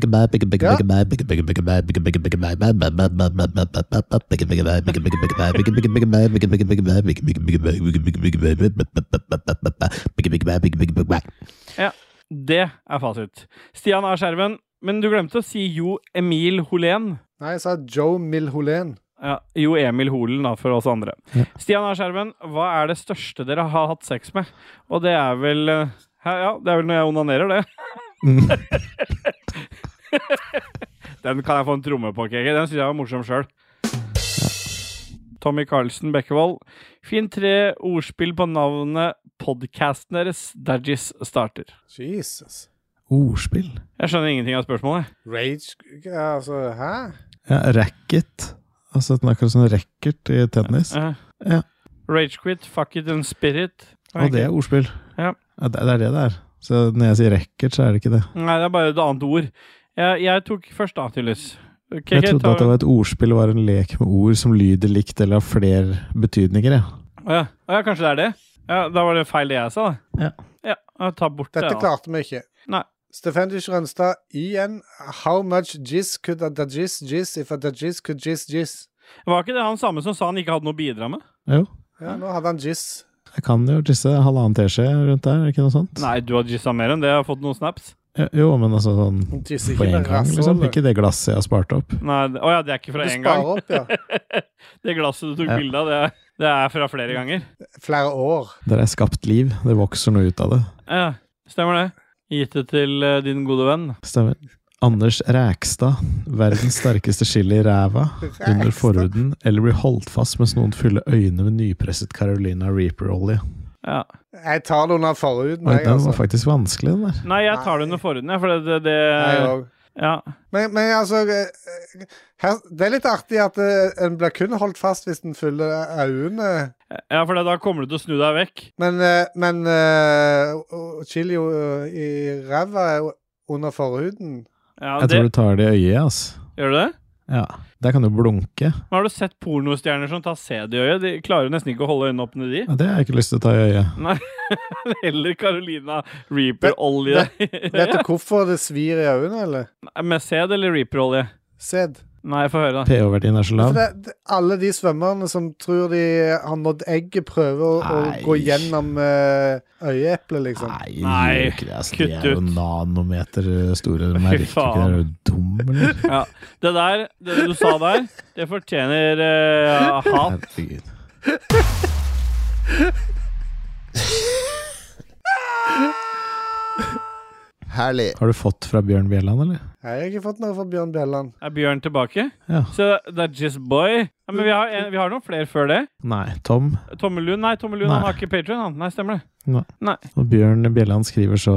Speaker 2: Det er fasit. Stian er skjerven, men du glemte å si Jo Emil Holén.
Speaker 3: Nei, jeg sa Joe Milholen.
Speaker 2: Ja, Jo Emil Holen, da, for oss andre.
Speaker 1: Ja.
Speaker 2: Stian er skjerven, hva er det største dere har hatt sex med? Og det er vel eh, Ja, det er vel når jeg onanerer, det.
Speaker 1: Mm.
Speaker 2: Den kan jeg få en tromme på, Kegge. Den syns jeg var morsom sjøl. Tommy Carlsen Bekkevold. Finn tre ordspill på navnet podkasten deres, Dagis, starter.
Speaker 3: Jesus.
Speaker 1: Ordspill?
Speaker 2: Jeg skjønner ingenting av spørsmålet.
Speaker 3: Rage Altså, hæ?
Speaker 1: Ja, racket. Altså, den er akkurat som racket i tennis.
Speaker 2: Eh,
Speaker 1: Ja.
Speaker 2: Ragequit, fuck it and spirit.
Speaker 1: Og det er ordspill.
Speaker 2: Ja.
Speaker 1: Ja, det det er det det er. Så når jeg sier racket, så er det ikke det.
Speaker 2: Nei, det er bare et annet ord. Jeg, jeg tok først da, tydeligvis. Ok,
Speaker 1: Jeg
Speaker 2: ok,
Speaker 1: trodde
Speaker 2: ta-
Speaker 1: at det var et ordspill var en lek med ord som lyder likt eller har flere betydninger. Ja.
Speaker 2: Å ja. Å ja, kanskje det er det? Ja, Da var det feil det jeg sa, da.
Speaker 1: Ja.
Speaker 2: ja jeg tar bort
Speaker 3: Dette
Speaker 2: det. da.
Speaker 3: klarte vi ikke.
Speaker 2: Nei.
Speaker 3: Stefendus Rønstad, igjen. How much jizz could a dajizz jizz if a dajizz could jizz jizz?
Speaker 2: Var ikke det han samme som sa han ikke hadde noe å bidra med?
Speaker 1: Jo,
Speaker 3: Ja, nå hadde han jizz.
Speaker 1: jeg kan jo disse halvannen teskje rundt der, er det ikke noe sånt?
Speaker 2: Nei, du har jizza mer enn det. Jeg har fått noen snaps.
Speaker 1: Jo, Jo, men altså sånn
Speaker 3: Han jizzer
Speaker 1: på
Speaker 3: ikke
Speaker 1: én
Speaker 3: med
Speaker 1: gang, liksom.
Speaker 3: rasshålet.
Speaker 1: Ikke det glasset jeg har spart opp.
Speaker 2: Nei, det- Å ja, det er ikke fra
Speaker 3: Du
Speaker 2: én
Speaker 3: sparer
Speaker 2: gang.
Speaker 3: opp, ja.
Speaker 2: Det glasset du tok
Speaker 1: Ja.
Speaker 2: bilde av, det, er- det er fra flere ganger.
Speaker 3: Flere år.
Speaker 1: Der er skapt liv. Det vokser noe ut av det.
Speaker 2: Ja, stemmer det. Gitt det til eh, din gode venn.
Speaker 1: Stemmer. Anders Rækstad. Verdens sterkeste chili i ræva. Under forhuden. Eller blir holdt fast mens noen fyller øynene med nypresset Carolina Reaper-olje.
Speaker 2: Ja.
Speaker 3: Jeg tar det under forhuden,
Speaker 1: Oi,
Speaker 3: jeg,
Speaker 1: Den var
Speaker 3: altså.
Speaker 1: faktisk vanskelig, den der.
Speaker 2: Nei, jeg tar det under forhuden, jeg, for det, det,
Speaker 3: Jeg
Speaker 2: det
Speaker 3: òg.
Speaker 2: Ja.
Speaker 3: Men, men altså eh, her, Det er litt artig at eh, en blir kun holdt fast hvis en fyller øynene.
Speaker 2: ja, for det, da kommer du til å snu deg vekk.
Speaker 3: Men, eh, men eh, og- og chili eh, i ræva er jo under forhuden.
Speaker 2: Ja,
Speaker 1: Jeg
Speaker 2: det,
Speaker 1: tror du tar det i øyet, ass.
Speaker 2: Gjør du det?
Speaker 1: Ja. Der kan du blunke.
Speaker 2: Men har du sett pornostjerner som tar sæd i øyet? De klarer jo nesten ikke å holde øynene åpne, de.
Speaker 1: Ja, det har jeg ikke lyst til å ta i øyet.
Speaker 2: Eller Carolina Reaper-olje.
Speaker 3: Vet du hvorfor det svir i øynene, eller?
Speaker 2: Med sæd eller Reaper-olje?
Speaker 3: Sæd.
Speaker 2: Nei, få høre, da.
Speaker 1: pH-verdien er så
Speaker 3: For
Speaker 1: lav.
Speaker 3: det, det, alle de svømmerne som tror de har nådd egget, prøver å, å gå gjennom eh, øyeeplet, liksom.
Speaker 2: Nei,
Speaker 1: Gjør ikke det, altså,
Speaker 2: kutt
Speaker 1: De er jo
Speaker 2: ut.
Speaker 1: nanometer store. De merker ikke det.
Speaker 2: faen.
Speaker 1: Er du dum, eller?
Speaker 2: Ja. Det der, det du sa der, det fortjener eh, hat.
Speaker 1: Herregud.
Speaker 4: Herlig.
Speaker 1: Har du fått fra Bjørn Bjelland, eller?
Speaker 3: Nei, jeg har ikke fått noe fra Bjørn Bjelland.
Speaker 2: Er Bjørn tilbake?
Speaker 1: Ja.
Speaker 2: Så det er Just Boy. Ja, men vi har, en, vi har noen flere før det.
Speaker 1: Nei. Tom?
Speaker 2: Tomme Lund, nei, Tomme Lund
Speaker 1: Nei.
Speaker 2: han har ikke Patreon, han. Nei, stemmer det.
Speaker 1: Nei.
Speaker 2: Nei.
Speaker 1: Og Bjørn Bjelland skriver så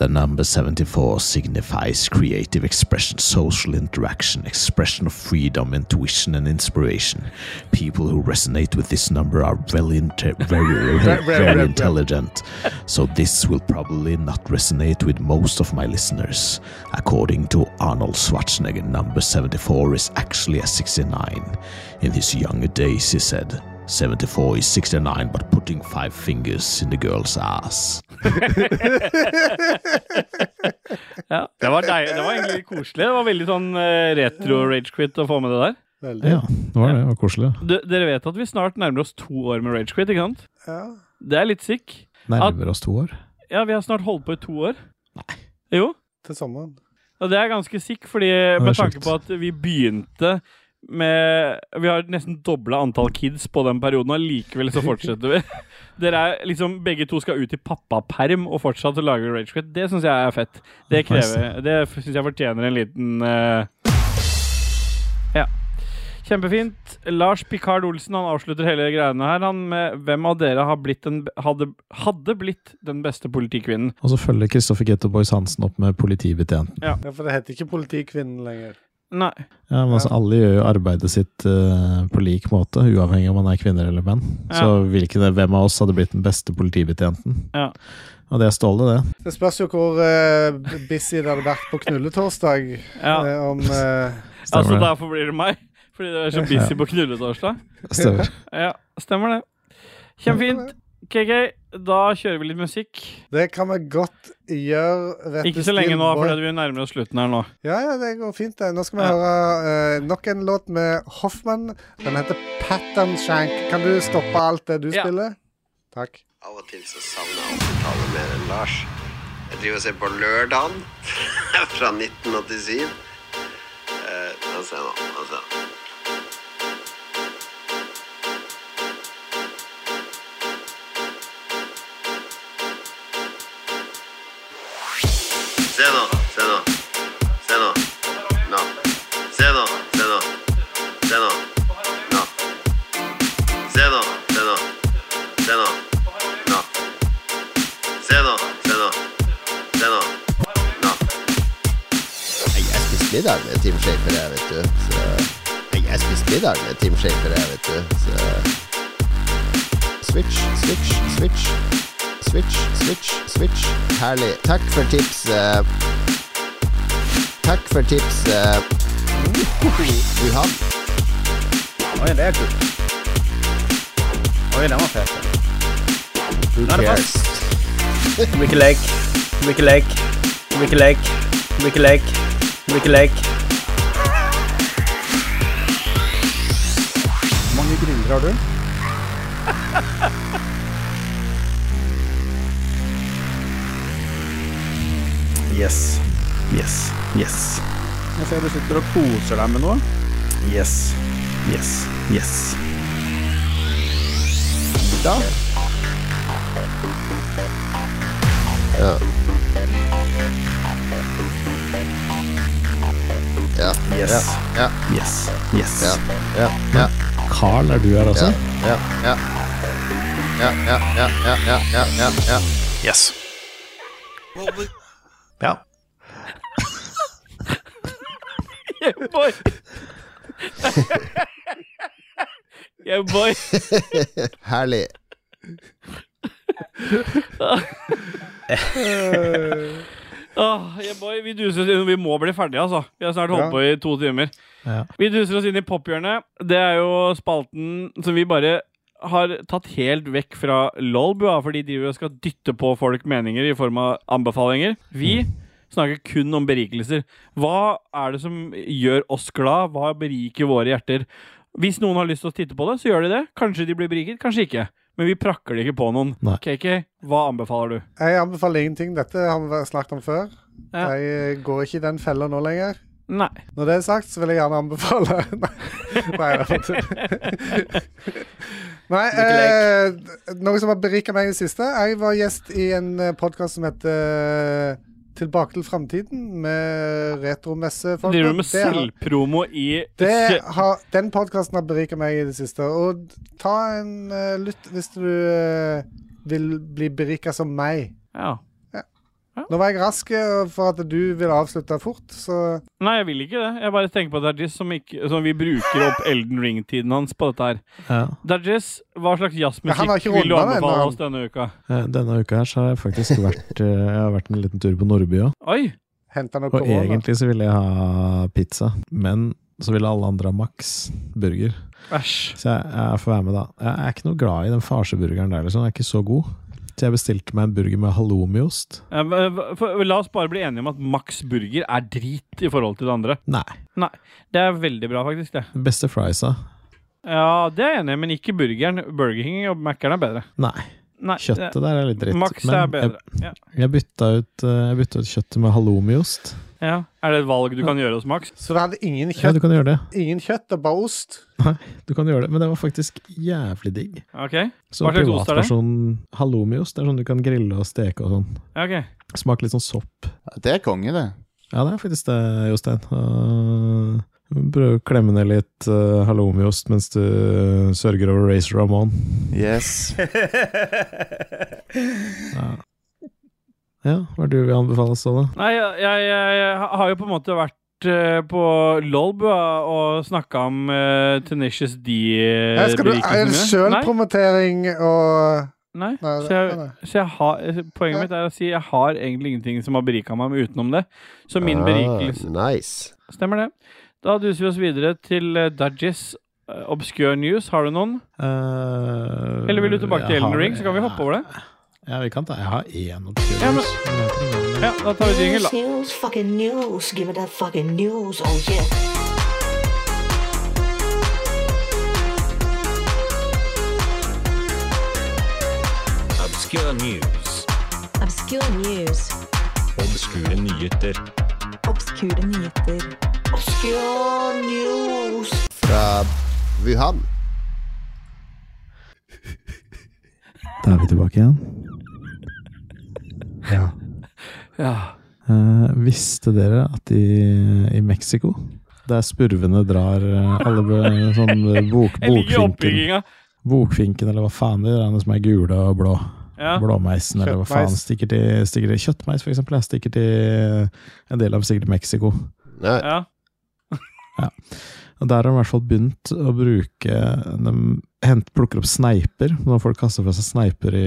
Speaker 8: The number 74 signifies creative expression, social interaction, expression of freedom, intuition, and inspiration. People who resonate with this number are well inte- very, very, very intelligent, so this will probably not resonate with most of my listeners. According to Arnold Schwarzenegger, number 74 is actually a 69. In his younger days, he said, 74 is 69, but putting five fingers in the girl's ass.
Speaker 2: Ja, det var, deil, det var egentlig koselig. Det var veldig sånn eh, retro ragequit å få med det der.
Speaker 3: Veldig.
Speaker 1: Ja, det var det. det var koselig.
Speaker 2: Du, dere vet at vi snart nærmer oss to år med ragequit, ikke sant?
Speaker 3: Ja.
Speaker 2: Det er litt sick.
Speaker 1: Nærmer oss to år.
Speaker 2: Ja, vi har snart holdt på i to år. Nei. Jo.
Speaker 3: Til sommeren.
Speaker 2: Og det er ganske sick, fordi
Speaker 1: er
Speaker 2: med tanke
Speaker 1: sjukt.
Speaker 2: på at vi begynte med Vi har nesten dobla antall kids på den perioden, og allikevel så fortsetter vi. Dere er liksom Begge to skal ut i pappaperm og fortsatt lage Ragequit. Det syns jeg er fett. Det krever Det syns jeg fortjener en liten eh, Ja. Kjempefint. Lars Picard Olsen han avslutter hele greiene her han med 'Hvem av dere har blitt den, hadde, hadde blitt den beste politikvinnen?'
Speaker 1: Og så følger Kristoffer Getto Boys Hansen opp med politibetjenten.
Speaker 3: Ja, for det heter ikke Politikvinnen lenger.
Speaker 2: Nei.
Speaker 1: Ja, men altså, Alle gjør jo arbeidet sitt eh, på lik måte, uavhengig om man er kvinner eller menn.
Speaker 2: Ja.
Speaker 1: Så hvilken, hvem av oss hadde blitt den beste politibetjenten?
Speaker 2: Ja.
Speaker 1: Og det er Ståle, det.
Speaker 3: Det spørs jo hvor eh, busy det hadde vært på knulletorsdag.
Speaker 2: Ja.
Speaker 3: eh, om eh,
Speaker 2: Altså,
Speaker 1: Stemmer det.
Speaker 2: derfor blir det meg. Fordi dere er så busy på knulletorsdag.
Speaker 1: Stemmer.
Speaker 2: Ja, stemmer det. Kjempefint. KK, da kjører vi litt musikk.
Speaker 3: Det kan vi godt gjøre. Vet
Speaker 2: Ikke
Speaker 3: du,
Speaker 2: så lenge nå,
Speaker 3: Steelboy.
Speaker 2: fordi vi nærmer oss slutten her nå.
Speaker 3: Ja, ja, det går fint, det. Nå skal vi
Speaker 2: Ja.
Speaker 3: høre eh, nok en låt med Hoffmann. Den heter Pattern Shank. Kan du stoppe alt det du
Speaker 2: Ja.
Speaker 3: spiller? Takk.
Speaker 11: Av og til så savner jeg 80-tallet mer enn Lars. Jeg driver og ser på Lørdagen fra 1987. Eh, La oss se nå. La oss se. Se nå, se nå. Se nå. Nå. Se nå, se nå. Se nå. Nå. Se nå, se nå. Se nå. Nå. Se nå, se nå. Se nå. Nå.
Speaker 4: Nei, Jeg spiste middag med Team Shaper, jeg, vet du. Så... Nei, Jeg spiste middag med Team Shaper, jeg, vet du. Så... Switch, switch, switch. Switch, switch, switch. Herlig. Takk for tipset. Takk for eh. tipset. Johan.
Speaker 10: Oi, det er kult. Oi, den var fet.
Speaker 4: Who
Speaker 10: Nå er det
Speaker 4: cares?
Speaker 10: fast. Wiki Lake, Wiki Lake, Wiki Lake, Wiki Lake, Wiki Lake.
Speaker 3: Hvor mange griller har du?
Speaker 10: Yes. Yes. Yes.
Speaker 7: Jeg ser du sitter og koser deg med noe.
Speaker 10: Yes. Yes. Yes.
Speaker 4: Da. Ja. Ja.
Speaker 10: Yes.
Speaker 4: Ja. Ja.
Speaker 10: Yes. Yes.
Speaker 4: Ja. Ja. Ja.
Speaker 1: Carl, er du her også?
Speaker 4: Ja, ja. Ja, ja, ja, ja, ja, ja, ja, ja.
Speaker 5: Yes. Ja.
Speaker 2: Yeah, boy! yeah, boy.
Speaker 4: Herlig.
Speaker 2: Åh, yeah, boy. Vi duser oss inn. Vi må bli ferdige, altså. Vi har snart holdt
Speaker 3: Ja.
Speaker 2: på i to timer.
Speaker 1: Ja.
Speaker 2: Vi duser oss inn i pophjørnet. Det er jo spalten som vi bare har tatt helt vekk fra lolbua, for de driver og skal dytte på folk meninger i form av anbefalinger. Vi snakker kun om berikelser. Hva er det som gjør oss glad? Hva beriker våre hjerter? Hvis noen har lyst til å titte på det, så gjør de det. Kanskje de blir beriket, kanskje ikke. Men vi prakker det ikke på noen. KK, hva anbefaler du?
Speaker 3: Jeg anbefaler ingenting. Dette har vi snakket om før. Jeg eh, går ikke i den fella nå lenger.
Speaker 2: Nei.
Speaker 3: Når det er sagt, så vil jeg gjerne anbefale Nei, Nei, det var tull. Nei eh, noe som har berika meg i det siste. Jeg var gjest i en podkast som heter eh, Tilbake til framtiden, med retromessefolk.
Speaker 2: Driver du med
Speaker 3: Det har-
Speaker 2: selvpromo i
Speaker 3: det har, den podkasten har berika meg i det siste. Og ta en eh, lytt hvis du eh, vil bli berika som meg.
Speaker 2: Ja.
Speaker 3: Nå var jeg rask eh, for at du ville avslutte fort, så
Speaker 2: Nei, jeg vil ikke det. Jeg bare tenker på Dajis, som, ikke- som vi bruker opp Elden Ring-tiden hans på dette her.
Speaker 1: Ja.
Speaker 2: Dajis, hva slags
Speaker 3: Men han har
Speaker 2: jazzmusikk
Speaker 3: ikke
Speaker 2: vil du
Speaker 3: rundet den
Speaker 2: anbefale
Speaker 3: ennå.
Speaker 2: oss denne uka?
Speaker 1: Eh, Denne uka her så har jeg faktisk vært, eh, jeg har vært en liten tur på Nordby òg.
Speaker 2: Oi!
Speaker 3: Henta noe
Speaker 1: Og
Speaker 3: korona.
Speaker 1: egentlig så ville jeg ha pizza, men så ville alle andre ha Max burger.
Speaker 2: Æsj.
Speaker 1: Så jeg, jeg får være med, da. Jeg er ikke noe glad i den farseburgeren der, liksom. Den er ikke så god. Så jeg bestilte meg en burger med halloumiost.
Speaker 2: Ja, men, eh, for- La oss bare bli enige om at Max Burger er drit i forhold til det andre.
Speaker 1: Nei.
Speaker 2: Nei. Det er veldig bra, faktisk. det
Speaker 1: Den Beste friesa.
Speaker 2: Ja, det er jeg enig i, men ikke burgeren. Burger King og Mac-eren er bedre.
Speaker 1: Nei.
Speaker 2: Nei,
Speaker 1: Kjøttet
Speaker 2: det-
Speaker 1: der er litt dritt.
Speaker 2: Max
Speaker 1: men
Speaker 2: er bedre. Ja.
Speaker 1: Jeg, jeg, bytta ut, eh, jeg bytta ut kjøttet med halloumiost.
Speaker 2: Ja. Er det et valg du kan gjøre hos Max?
Speaker 3: Så det hadde ingen
Speaker 1: Ja, du kan gjøre det.
Speaker 3: Ingen kjøtt og bare ost.
Speaker 1: Nei, du kan gjøre det, men det var faktisk jævlig digg.
Speaker 2: Ok.
Speaker 1: Så
Speaker 2: Hva slags ost er det?
Speaker 1: privatpersonen halloumiost det er sånn du kan grille og steke og sånn.
Speaker 2: Ja, ok.
Speaker 1: Smaker litt sånn sopp.
Speaker 12: Det er konge, det.
Speaker 1: Ja, det er faktisk det, Jostein. Og eh, Prøv å klemme ned litt uh, halloumiost mens du eh, sørger over Racer Ramon.
Speaker 12: Yes.
Speaker 1: Ja. ja, hva er det du vil anbefale oss da? da?
Speaker 2: Nei, jeg, jeg, jeg har jo på en måte vært eh, på LOLB og snakka om eh, Tenacious D. eh,
Speaker 3: Her skal du
Speaker 2: berikelsen
Speaker 3: er
Speaker 2: min.
Speaker 3: det
Speaker 2: Nei,
Speaker 3: sjølpromotering og
Speaker 2: Nei,
Speaker 3: Nei,
Speaker 2: så
Speaker 3: det-
Speaker 2: jeg,
Speaker 3: nei, nei.
Speaker 2: så jeg har, eh, poenget mitt er å si jeg har egentlig ingenting som har berika meg utenom det. Så min
Speaker 4: Ah,
Speaker 2: berikelse
Speaker 4: Nice.
Speaker 2: Stemmer det. Da duser vi oss videre til uh, Dudgies eh, Obscure News. Har du noen?
Speaker 1: Eh,
Speaker 2: Eller vil du tilbake til
Speaker 1: jeg
Speaker 2: Elden
Speaker 1: har-
Speaker 2: Ring, så kan vi hoppe over det?
Speaker 1: Ja, vi kan ta Jeg har én obscure
Speaker 2: Ja, men-
Speaker 1: news, men jeg vet ikke om den er-
Speaker 2: Ja, da tar vi jingle, da.
Speaker 9: News, fucking news. Give me that fucking news. Oh yeah.
Speaker 13: Obscure news.
Speaker 14: Obscure news.
Speaker 13: Obskure nyheter.
Speaker 14: Obskure nyheter.
Speaker 9: Obscure news.
Speaker 4: Fra Wuhan.
Speaker 1: Da er vi tilbake igjen. Ja.
Speaker 2: Ja.
Speaker 1: Eh, visste dere at i, i Mexico, der spurvene drar eh, alle be- sånn eh, bok,
Speaker 2: Jeg liker
Speaker 1: bokfinken
Speaker 2: oppbygginga.
Speaker 1: Bokfinken, eller hva faen de der som er gule og blå.
Speaker 2: Ja.
Speaker 1: Blåmeisen, eller hva faen.
Speaker 2: Kjøttmeis.
Speaker 1: Stikker til, stikker til kjøttmeis, for eksempel. Jeg stikker til eh, en del av sikkert til Mexico.
Speaker 2: Ja.
Speaker 1: Ja. Og der har de i hvert fall begynt å bruke De hent, plukker opp sneiper. Når folk kaster fra seg sneiper i,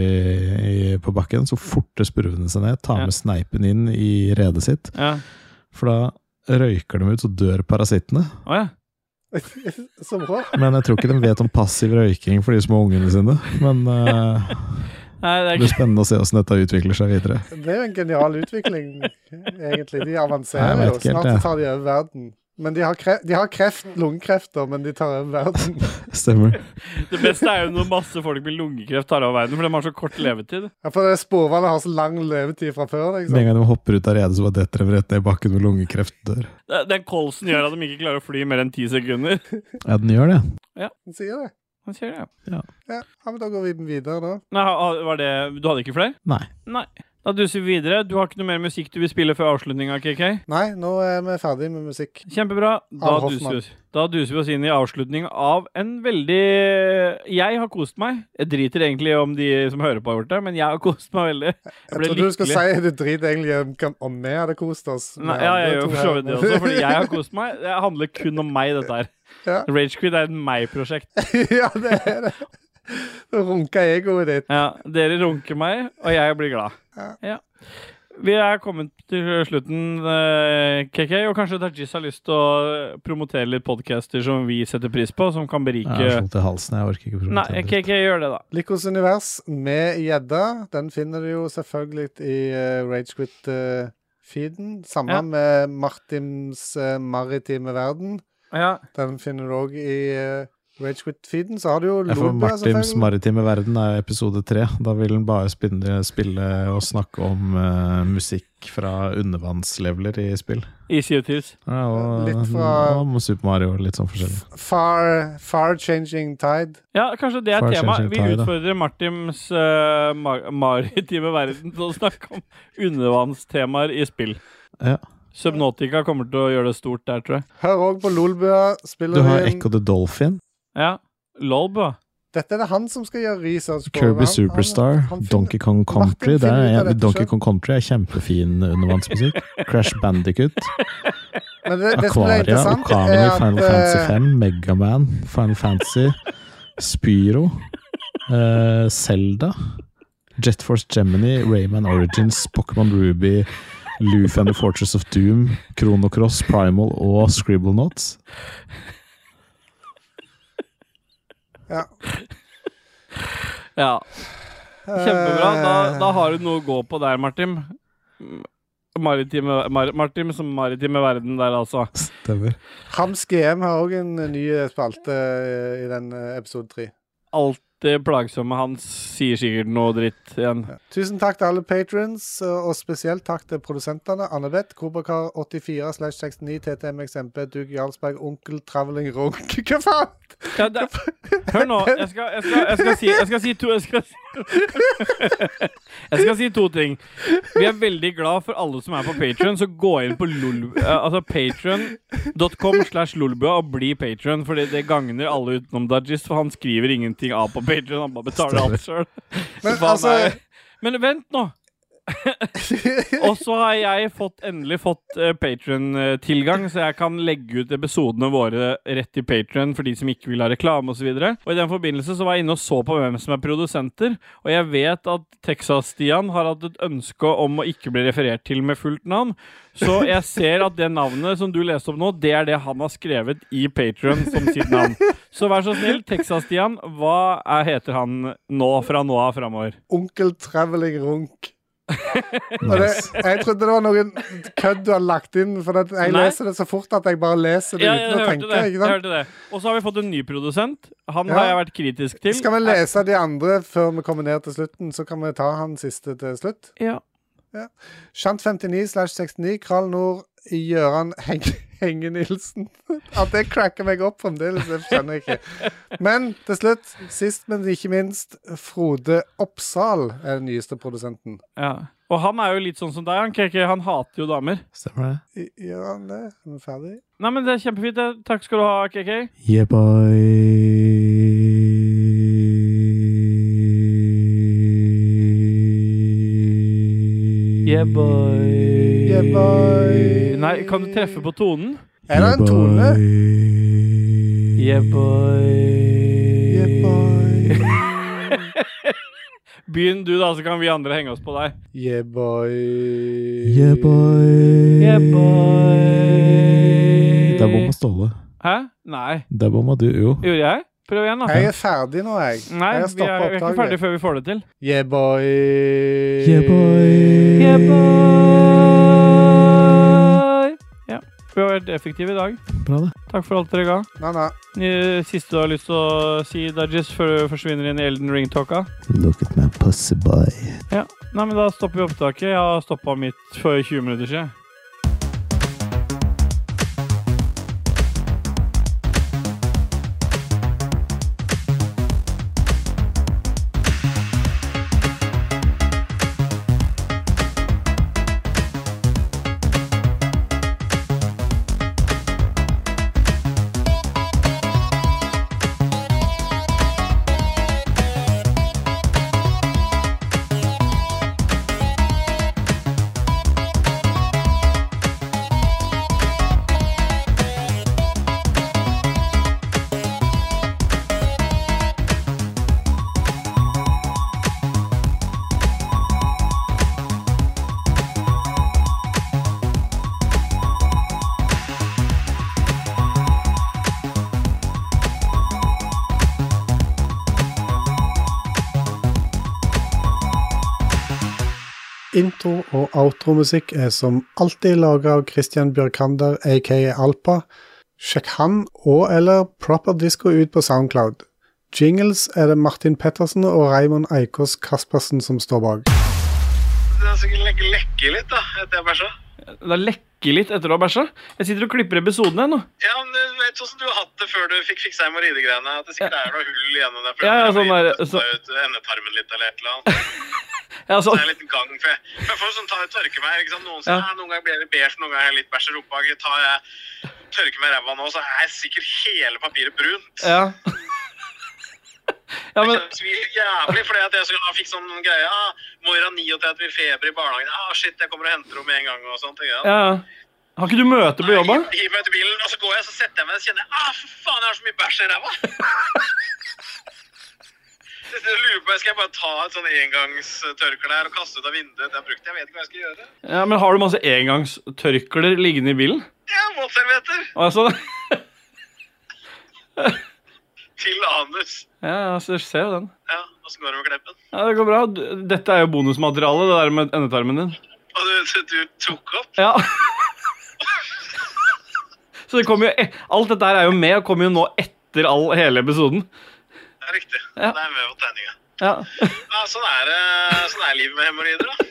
Speaker 1: i, på bakken, så forter spurvene seg ned, tar
Speaker 2: Ja.
Speaker 1: med sneipen inn i redet sitt.
Speaker 2: Ja.
Speaker 1: For da røyker de ut, så dør parasittene.
Speaker 2: Å ja.
Speaker 3: Så bra.
Speaker 1: Men jeg tror ikke de vet om passiv røyking for de små ungene sine. Men eh,
Speaker 2: Nei, det
Speaker 1: det
Speaker 2: er
Speaker 1: blir
Speaker 2: ikke
Speaker 1: spennende å se åssen dette utvikler seg videre.
Speaker 3: Det er jo en genial utvikling, egentlig. De
Speaker 1: Nei, jeg
Speaker 3: avanserer
Speaker 1: vet
Speaker 3: jo.
Speaker 1: ikke helt,
Speaker 3: Snart så
Speaker 1: jeg.
Speaker 3: tar de over verden. Men de har, kre de har kreft, lungekreft, da, men de tar over verden.
Speaker 1: Stemmer.
Speaker 2: Det beste er jo når masse folk med lungekreft tar av verden, for de har så kort levetid.
Speaker 3: Ja, for det sporvannet har så lang levetid fra før.
Speaker 1: Med en
Speaker 3: Liksom.
Speaker 1: gang de hopper ut av redet, så bare detter de rett ned i bakken med lungekreft og dør.
Speaker 2: Det- Den kolsen gjør at de ikke klarer å fly mer enn ti sekunder.
Speaker 1: Ja, den gjør det.
Speaker 2: Ja.
Speaker 3: Han sier det.
Speaker 2: Han sier det,
Speaker 1: ja.
Speaker 3: Ja, ja, men Da går vi videre, da.
Speaker 2: Nei, ha- var det Du hadde ikke flere?
Speaker 1: Nei.
Speaker 2: Nei. Da duser vi videre. Du har ikke noe mer musikk du vil spille før avslutninga, KK?
Speaker 3: Nei, nå er vi ferdig med musikk.
Speaker 2: Kjempebra. Da
Speaker 3: Av
Speaker 2: duser,
Speaker 3: Hoffmann.
Speaker 2: vi oss, da duser vi oss inn i avslutning av en veldig Jeg har kost meg. Jeg driter egentlig om de som hører på har gjort det, men jeg har kost meg veldig. Jeg
Speaker 3: Jeg
Speaker 2: ble
Speaker 3: trodde du skulle si
Speaker 2: lykkelig.
Speaker 3: at du driter egentlig om hvem- om vi hadde kost oss. med
Speaker 2: Nei, ja, jeg
Speaker 3: andre
Speaker 2: gjør
Speaker 3: to
Speaker 2: for
Speaker 3: her.
Speaker 2: så vidt det også, fordi jeg har kost meg. Det handler kun om meg, dette her.
Speaker 3: Ja.
Speaker 2: Rage Quit er et meg-prosjekt.
Speaker 3: ja, det er det. Det runker egoet ditt.
Speaker 2: Ja, dere runker meg, og jeg blir glad. Ja. Vi er kommet til slutten, eh, KK, og kanskje Dajis har lyst til å eh, promotere litt podcaster som vi setter pris på, som kan berike
Speaker 1: Jeg er slått i halsen, jeg orker ikke å
Speaker 2: Nei,
Speaker 1: promotere.
Speaker 2: KK, gjør det, da.
Speaker 3: Likos univers med gjedda. Den finner du jo selvfølgelig i eh, Rage Ragequit feeden. Samme
Speaker 2: Ja.
Speaker 3: med Martins eh, maritime verden.
Speaker 2: Ja.
Speaker 3: Den finner du òg i eh, Ragequit-feeden. Så har du jo
Speaker 1: Ja, for
Speaker 3: Loba.
Speaker 1: Martims
Speaker 3: selvfølgelig.
Speaker 1: maritime verden er jo episode tre. Da vil han bare spille, spille og snakke om eh, musikk fra undervannsleveler i spill.
Speaker 2: I CO2s.
Speaker 1: Ja, og,
Speaker 3: Litt fra-
Speaker 1: og Super Mario og litt sånn forskjellig.
Speaker 3: Far, far Changing Tide.
Speaker 2: Ja, kanskje det er
Speaker 1: Far
Speaker 2: tema.
Speaker 1: Changing
Speaker 2: Vi
Speaker 1: Tide, da.
Speaker 2: utfordrer Martims eh, mar maritime verden til å snakke om undervannstemaer i spill.
Speaker 1: Ja.
Speaker 2: Subnotica kommer til å gjøre det stort der, tror jeg.
Speaker 3: Hør òg på Lolbua. Spiller
Speaker 1: Du har
Speaker 3: hun-
Speaker 1: Echo the Dolphin,
Speaker 2: Ja. Lolb, da.
Speaker 3: Dette er det han som skal gjøre research på.
Speaker 1: Kirby
Speaker 3: Han- han-
Speaker 1: Superstar,
Speaker 3: han finner-
Speaker 1: Donkey Kong Country.
Speaker 3: Martin
Speaker 1: Det
Speaker 3: finner ut av
Speaker 1: er,
Speaker 3: dette
Speaker 1: Donkey
Speaker 3: selv.
Speaker 1: Kong Country er kjempefin undervannsmusikk. Crash Bandicut,
Speaker 3: Men det, det som er
Speaker 1: Aquaria,
Speaker 3: interessant,
Speaker 1: Okami,
Speaker 3: er at
Speaker 1: Final Fantasy
Speaker 3: eh,
Speaker 1: 5, Megaman, Final Fantasy, Spyro, eh, Zelda, Jet Force Gemini, Rayman Origins, Pokémon Ruby, Luffy and the Fortress of Doom, Chrono Cross, Primal og Scribble Knots.
Speaker 3: ja.
Speaker 2: Ja. Kjempebra. Da, da har du noe å gå på der, Martin. Maritime, mar Martin som maritime verden der, altså.
Speaker 1: Stemmer.
Speaker 3: Hams GM har òg en ny spalte eh, i den eh, episode tre.
Speaker 2: Alt det plagsomme hans sier sikkert noe dritt igjen.
Speaker 3: Tusen takk til alle patrons, eh, og spesielt takk til produsentene. Annebeth, Kobakar84-69, TTMXMP, Duke Jarlsberg, Onkel Traveling Runk Hva faen?
Speaker 2: Ja, det, hør nå, jeg skal, jeg, skal, jeg, skal si, jeg skal si to jeg skal, si- jeg skal si to ting. Vi er veldig glad for alle som er på Patron, så gå inn på lol- eh, altså patron.com slash lolbua og bli patron, for det gagner alle utenom Dajis, for han skriver ingenting av på Patron, han bare betaler alt sjøl.
Speaker 3: Men
Speaker 2: Faen,
Speaker 3: altså-
Speaker 2: nei. Men vent nå. og så har jeg fått, endelig fått uh, Patron-tilgang, så jeg kan legge ut episodene våre rett i Patron for de som ikke vil ha reklame osv. I den forbindelse så var jeg inne og så på hvem som er produsenter, og jeg vet at Texas-Stian har hatt et ønske om å ikke bli referert til med fullt navn, så jeg ser at det navnet som du leste opp nå, det er det han har skrevet i Patron som sitt navn. Så vær så snill, Texas-Stian, hva er, heter han nå fra nå av framover?
Speaker 3: Onkel Traveling Runk. Og det, jeg trodde det var noen kødd du hadde lagt inn, for at jeg
Speaker 2: Nei.
Speaker 3: leser det så fort at jeg bare leser det
Speaker 2: Ja, jeg,
Speaker 3: uten å
Speaker 2: hørte
Speaker 3: tenke.
Speaker 2: det.
Speaker 3: ikke
Speaker 2: jeg
Speaker 3: sant?
Speaker 2: hørte det. Og så har vi fått en ny produsent. Han
Speaker 3: Ja.
Speaker 2: har jeg vært kritisk til.
Speaker 3: Skal vi lese de andre før vi kommer ned til slutten? Så kan vi ta han siste til slutt.
Speaker 2: Ja.
Speaker 3: Shant59 slash 69, Kral Nord, Gøran Heng Henge-Nilsen. At det cracker meg opp fremdeles, det skjønner jeg ikke. Men til slutt, sist, men ikke minst, Frode Oppsal er den nyeste produsenten.
Speaker 2: Ja. Og han er jo litt sånn som deg, han KK. Han hater jo damer.
Speaker 1: Stemmer det.
Speaker 3: I- Gjør han det? Er vi ferdig?
Speaker 2: Nei, men det er kjempefint. det. Takk skal du ha, KK.
Speaker 1: Yeah,
Speaker 2: Yeah, boy.
Speaker 3: Yeah, boy.
Speaker 2: Nei, kan du treffe på tonen?
Speaker 3: Er det en tone?
Speaker 2: Yeah, boy.
Speaker 3: Yeah, boy.
Speaker 2: Begynn du, da, så kan vi andre henge oss på deg.
Speaker 3: Yeah, boy.
Speaker 1: Yeah, boy.
Speaker 2: Yeah, boy.
Speaker 1: Da bomma Ståle.
Speaker 2: Hæ? Nei.
Speaker 1: Da bomma du, jo.
Speaker 2: Gjorde jeg? Prøv igjen, da.
Speaker 3: Jeg er ferdig nå, jeg.
Speaker 2: Nei, vi
Speaker 3: jeg har
Speaker 2: er,
Speaker 3: stoppet
Speaker 2: vi er ikke
Speaker 3: opptaket.
Speaker 2: ferdig før vi får det til.
Speaker 3: Yeah, boy.
Speaker 1: Yeah, boy.
Speaker 2: Yeah, boy. Ja, vi har vært effektive i dag.
Speaker 1: Bra, det.
Speaker 2: Takk for alt dere ga.
Speaker 3: Na, na.
Speaker 2: Eh, Siste du har lyst til å si, Dajis, før du forsvinner inn i Elden Ring-talka?
Speaker 8: Look at my pussy boy.
Speaker 2: Ja. Nei, men da stopper vi opptaket. Jeg har stoppa mitt for 20 minutter siden.
Speaker 3: Intro- og outromusikk er som alltid laga av Christian Bjørkander, aka Alpa. Sjekk han og eller Proper Disco ut på Soundcloud. Jingles er det Martin Pettersen og Raymond Eikås Kaspersen som står bak.
Speaker 15: Den skal lekke, lekke litt, da, etter jeg bæsja.
Speaker 2: Det lekker litt etter å ha bæsja. Jeg sitter og klipper episoden ennå.
Speaker 15: Ja, men du vet sånn som du har hatt det før du fikk fiksa hemoroidegreiene. At det sikkert er noe hull igjennom der. For
Speaker 2: Ja, ja, sånn
Speaker 15: jeg
Speaker 2: der,
Speaker 15: må
Speaker 2: så-
Speaker 15: ut endetarmen litt eller et eller annet.
Speaker 2: Ja,
Speaker 15: Så
Speaker 2: sånn.
Speaker 15: det er litt gang, for jeg, for jeg får sånn ta tørke meg. ikke sant? Noen, sier,
Speaker 2: Ja.
Speaker 15: «Ah, noen ganger blir det beige, noen ganger er jeg litt bæsj i rumpa. Jeg tar jeg tørker meg i ræva nå, så er sikkert hele papiret brunt.
Speaker 2: Ja. ja, men
Speaker 15: Det svir jævlig fordi at jeg skulle ha fikk sånn greie. Ah, Moira 39 vil feber i barnehagen. Ah, shit, jeg kommer og henter henne med en gang. og sånt. Ikke sant?
Speaker 2: ja. Har ikke du møte på jobba?
Speaker 15: Hiv meg ut i bilen, og så går jeg, så setter jeg meg og kjenner jeg, ah, for faen, jeg har så mye bæsj i ræva. Så Jeg lurer på, Skal jeg bare ta et sånn engangstørkle her og kaste ut av vinduet? Det er brukt, Jeg vet ikke hva jeg skal gjøre.
Speaker 2: Ja, men Har du masse engangstørklær liggende i bilen?
Speaker 15: Ja, Våtservietter
Speaker 2: Altså,
Speaker 15: til anus.
Speaker 2: ja, altså, jeg ser jo den.
Speaker 15: Ja, Åssen går det med kleppen?
Speaker 2: Ja, Det går bra. Du- Dette er jo bonusmateriale, det der med endetarmen din.
Speaker 15: Og du, du tok opp?
Speaker 2: Ja. Så det kommer jo e- Alt dette her er jo med og kommer jo nå etter all, hele episoden.
Speaker 15: Det er riktig.
Speaker 2: Ja.
Speaker 15: Det er med på tegninga.
Speaker 2: Ja.
Speaker 15: Ja, sånn, er det- sånn er livet med hemoroider, da.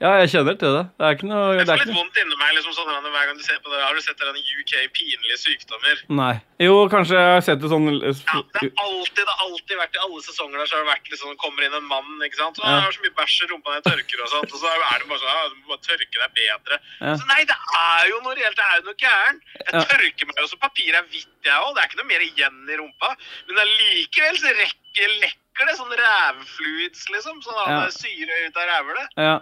Speaker 2: ja, jeg kjenner til det. Det er ikke noe
Speaker 15: Jeg
Speaker 2: det er
Speaker 15: får
Speaker 2: ikke
Speaker 15: litt
Speaker 2: noe.
Speaker 15: vondt inni meg liksom sånn at hver gang du ser på det. Har du sett denne UK pinlige sykdommer?
Speaker 2: Nei. Jo, kanskje jeg har sett det sånn
Speaker 15: Det er alltid, det har alltid vært i alle sesonger der så har det vært liksom, det kommer inn en mann, ikke sant. Og
Speaker 2: Ja.
Speaker 15: jeg har så mye bæsj i rumpa når jeg tørker og sånt. Og så er det bare sånn, ja, du må bare tørke deg bedre.
Speaker 2: Ja.
Speaker 15: Så nei, det er jo noe reelt, det er jo noe gæren. Jeg
Speaker 2: Ja.
Speaker 15: tørker meg jo så papir er hvitt, jeg òg. Det er ikke noe mer igjen i rumpa. Men allikevel så rekker, lekker det sånn rævfluids, liksom. Sånn at
Speaker 2: Ja.
Speaker 15: det syre ut av rævhølet.
Speaker 2: Ja.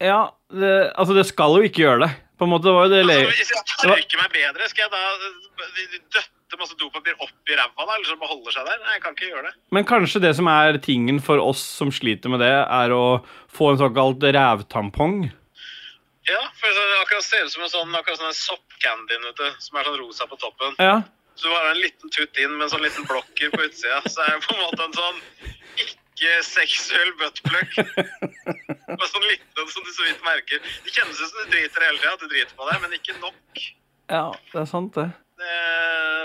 Speaker 2: ja det, altså, det skal jo ikke gjøre det. På en måte det var jo det le...
Speaker 15: Altså, Hvis jeg
Speaker 2: det var-
Speaker 15: tørker meg bedre, skal jeg da eh, døtte masse dopapir opp i ræva da? Eller så beholder seg der? Nei, jeg kan ikke gjøre det.
Speaker 2: Men kanskje det som er tingen for oss som sliter med det, er å få en såkalt rævtampong.
Speaker 15: Ja, for så det akkurat ser ut som en sånn, akkurat sånn soppcandyen ute, som er sånn rosa på toppen.
Speaker 2: Ja.
Speaker 15: Så du har en liten tutt inn med en sånn liten blokker på utsida. Så er det på en måte en sånn ikke-seksuell buttplug. Bare sånn liten som du så vidt merker. Det kjennes ut som du driter hele tida, at du driter på deg, men ikke nok.
Speaker 2: Ja, det er sant, det.
Speaker 15: Det,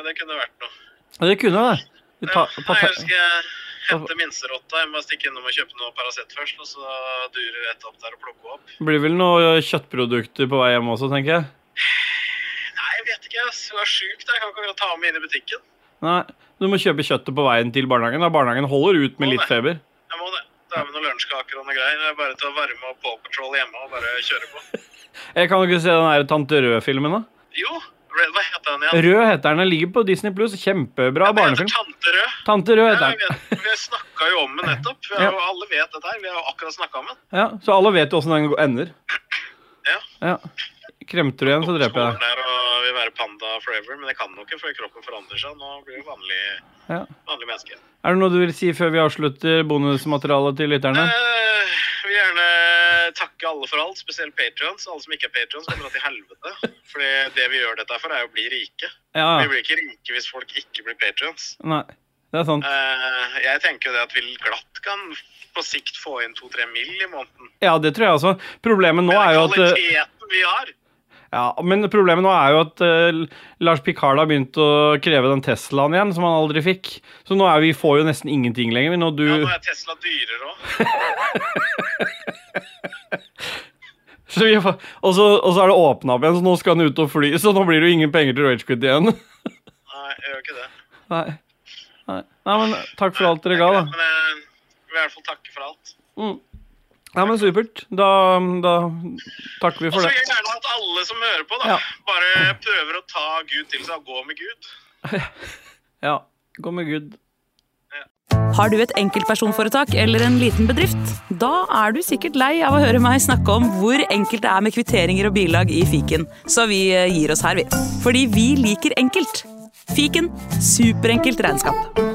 Speaker 15: det kunne vært noe.
Speaker 2: Ja, det kunne jo det. Vi
Speaker 15: Ja,
Speaker 2: ta-
Speaker 15: nei,
Speaker 2: pata-
Speaker 15: jeg skal jeg hente minserotta. Jeg må stikke innom og kjøpe noe Paracet først, og så durer rett opp der og plukke opp.
Speaker 2: Det blir vel noen kjøttprodukter på vei hjem også, tenker jeg.
Speaker 15: Nei, jeg vet ikke, ass. Hun er sjuk, da. Jeg kan ikke akkurat ta med inn i butikken.
Speaker 2: Nei, du må kjøpe kjøttet på veien til barnehagen. Da barnehagen holder ut med litt feber.
Speaker 15: Jeg må det. Da har vi noen lunsjkaker og noe greier. Det er bare til å varme opp Paw Patrol hjemme og bare kjøre på.
Speaker 2: Jeg kan jo ikke se den her Tante Rød-filmen, da.
Speaker 15: Jo, Red, hva heter den igjen?
Speaker 2: Rød heter den. Den ligger på Disney Pluss. Kjempebra barnefilm.
Speaker 15: Tante Rød.
Speaker 2: Tante Rød
Speaker 15: Ja,
Speaker 2: heter
Speaker 15: jeg
Speaker 2: den.
Speaker 15: vet. Vi snakka jo om den nettopp. Vi har,
Speaker 2: Ja.
Speaker 15: jo- Alle vet dette her. Vi har jo akkurat snakka om den.
Speaker 2: Ja, så alle vet jo åssen den ender. Ja. Kremter du igjen, så dreper jeg
Speaker 15: Skolen
Speaker 2: deg.
Speaker 15: er å vil være panda forever, men det kan den jo ikke før kroppen forandrer seg. Nå blir det vanlig,
Speaker 2: Ja.
Speaker 15: vanlig menneske.
Speaker 2: Er det noe du vil si før vi avslutter bonusmaterialet til lytterne?
Speaker 15: Eh, vil gjerne takke alle for alt, spesielt patrons. Alle som ikke er patrons, kommer til helvete. Fordi det vi gjør dette for, er jo å bli rike.
Speaker 2: Ja.
Speaker 15: Vi blir ikke rike hvis folk ikke blir patrons.
Speaker 2: Nei. Det er sant.
Speaker 15: Eh, jeg tenker jo det at vi glatt kan på sikt få inn to-tre mill. i måneden.
Speaker 2: Ja, det tror jeg også. Problemet nå er jo at eh,
Speaker 15: Kvaliteten vi har!
Speaker 2: Ja, men problemet nå er jo at eh, Lars Picard har begynt å kreve den Teslaen igjen, som han aldri fikk. Så nå er vi, får jo nesten ingenting lenger. Når du,
Speaker 15: Ja, nå er Tesla dyrere òg.
Speaker 2: så vi, får- og, så, og så er det åpna opp igjen, så nå skal han ut og fly. Så nå blir det jo ingen penger til Rage Quit igjen.
Speaker 15: Nei, jeg gjør ikke det.
Speaker 2: Nei. Nei. Nei, men takk for alt dere ga, da.
Speaker 15: Men jeg vil i hvert fall takke for alt.
Speaker 2: Mm. Nei, men supert. Da, da takker vi
Speaker 15: Og så
Speaker 2: for
Speaker 15: vil
Speaker 2: det.
Speaker 15: jeg gjerne at alle som hører på, da,
Speaker 2: Ja.
Speaker 15: bare prøver å ta Gud til seg og gå med Gud.
Speaker 2: Ja. Gå med Gud.
Speaker 16: Har du et enkeltpersonforetak eller en liten bedrift? Da er du sikkert lei av å høre meg snakke om hvor enkelt det er med kvitteringer og bilag i fiken, så vi eh, gir oss her, vi. Fordi vi liker enkelt. Fiken superenkelt regnskap.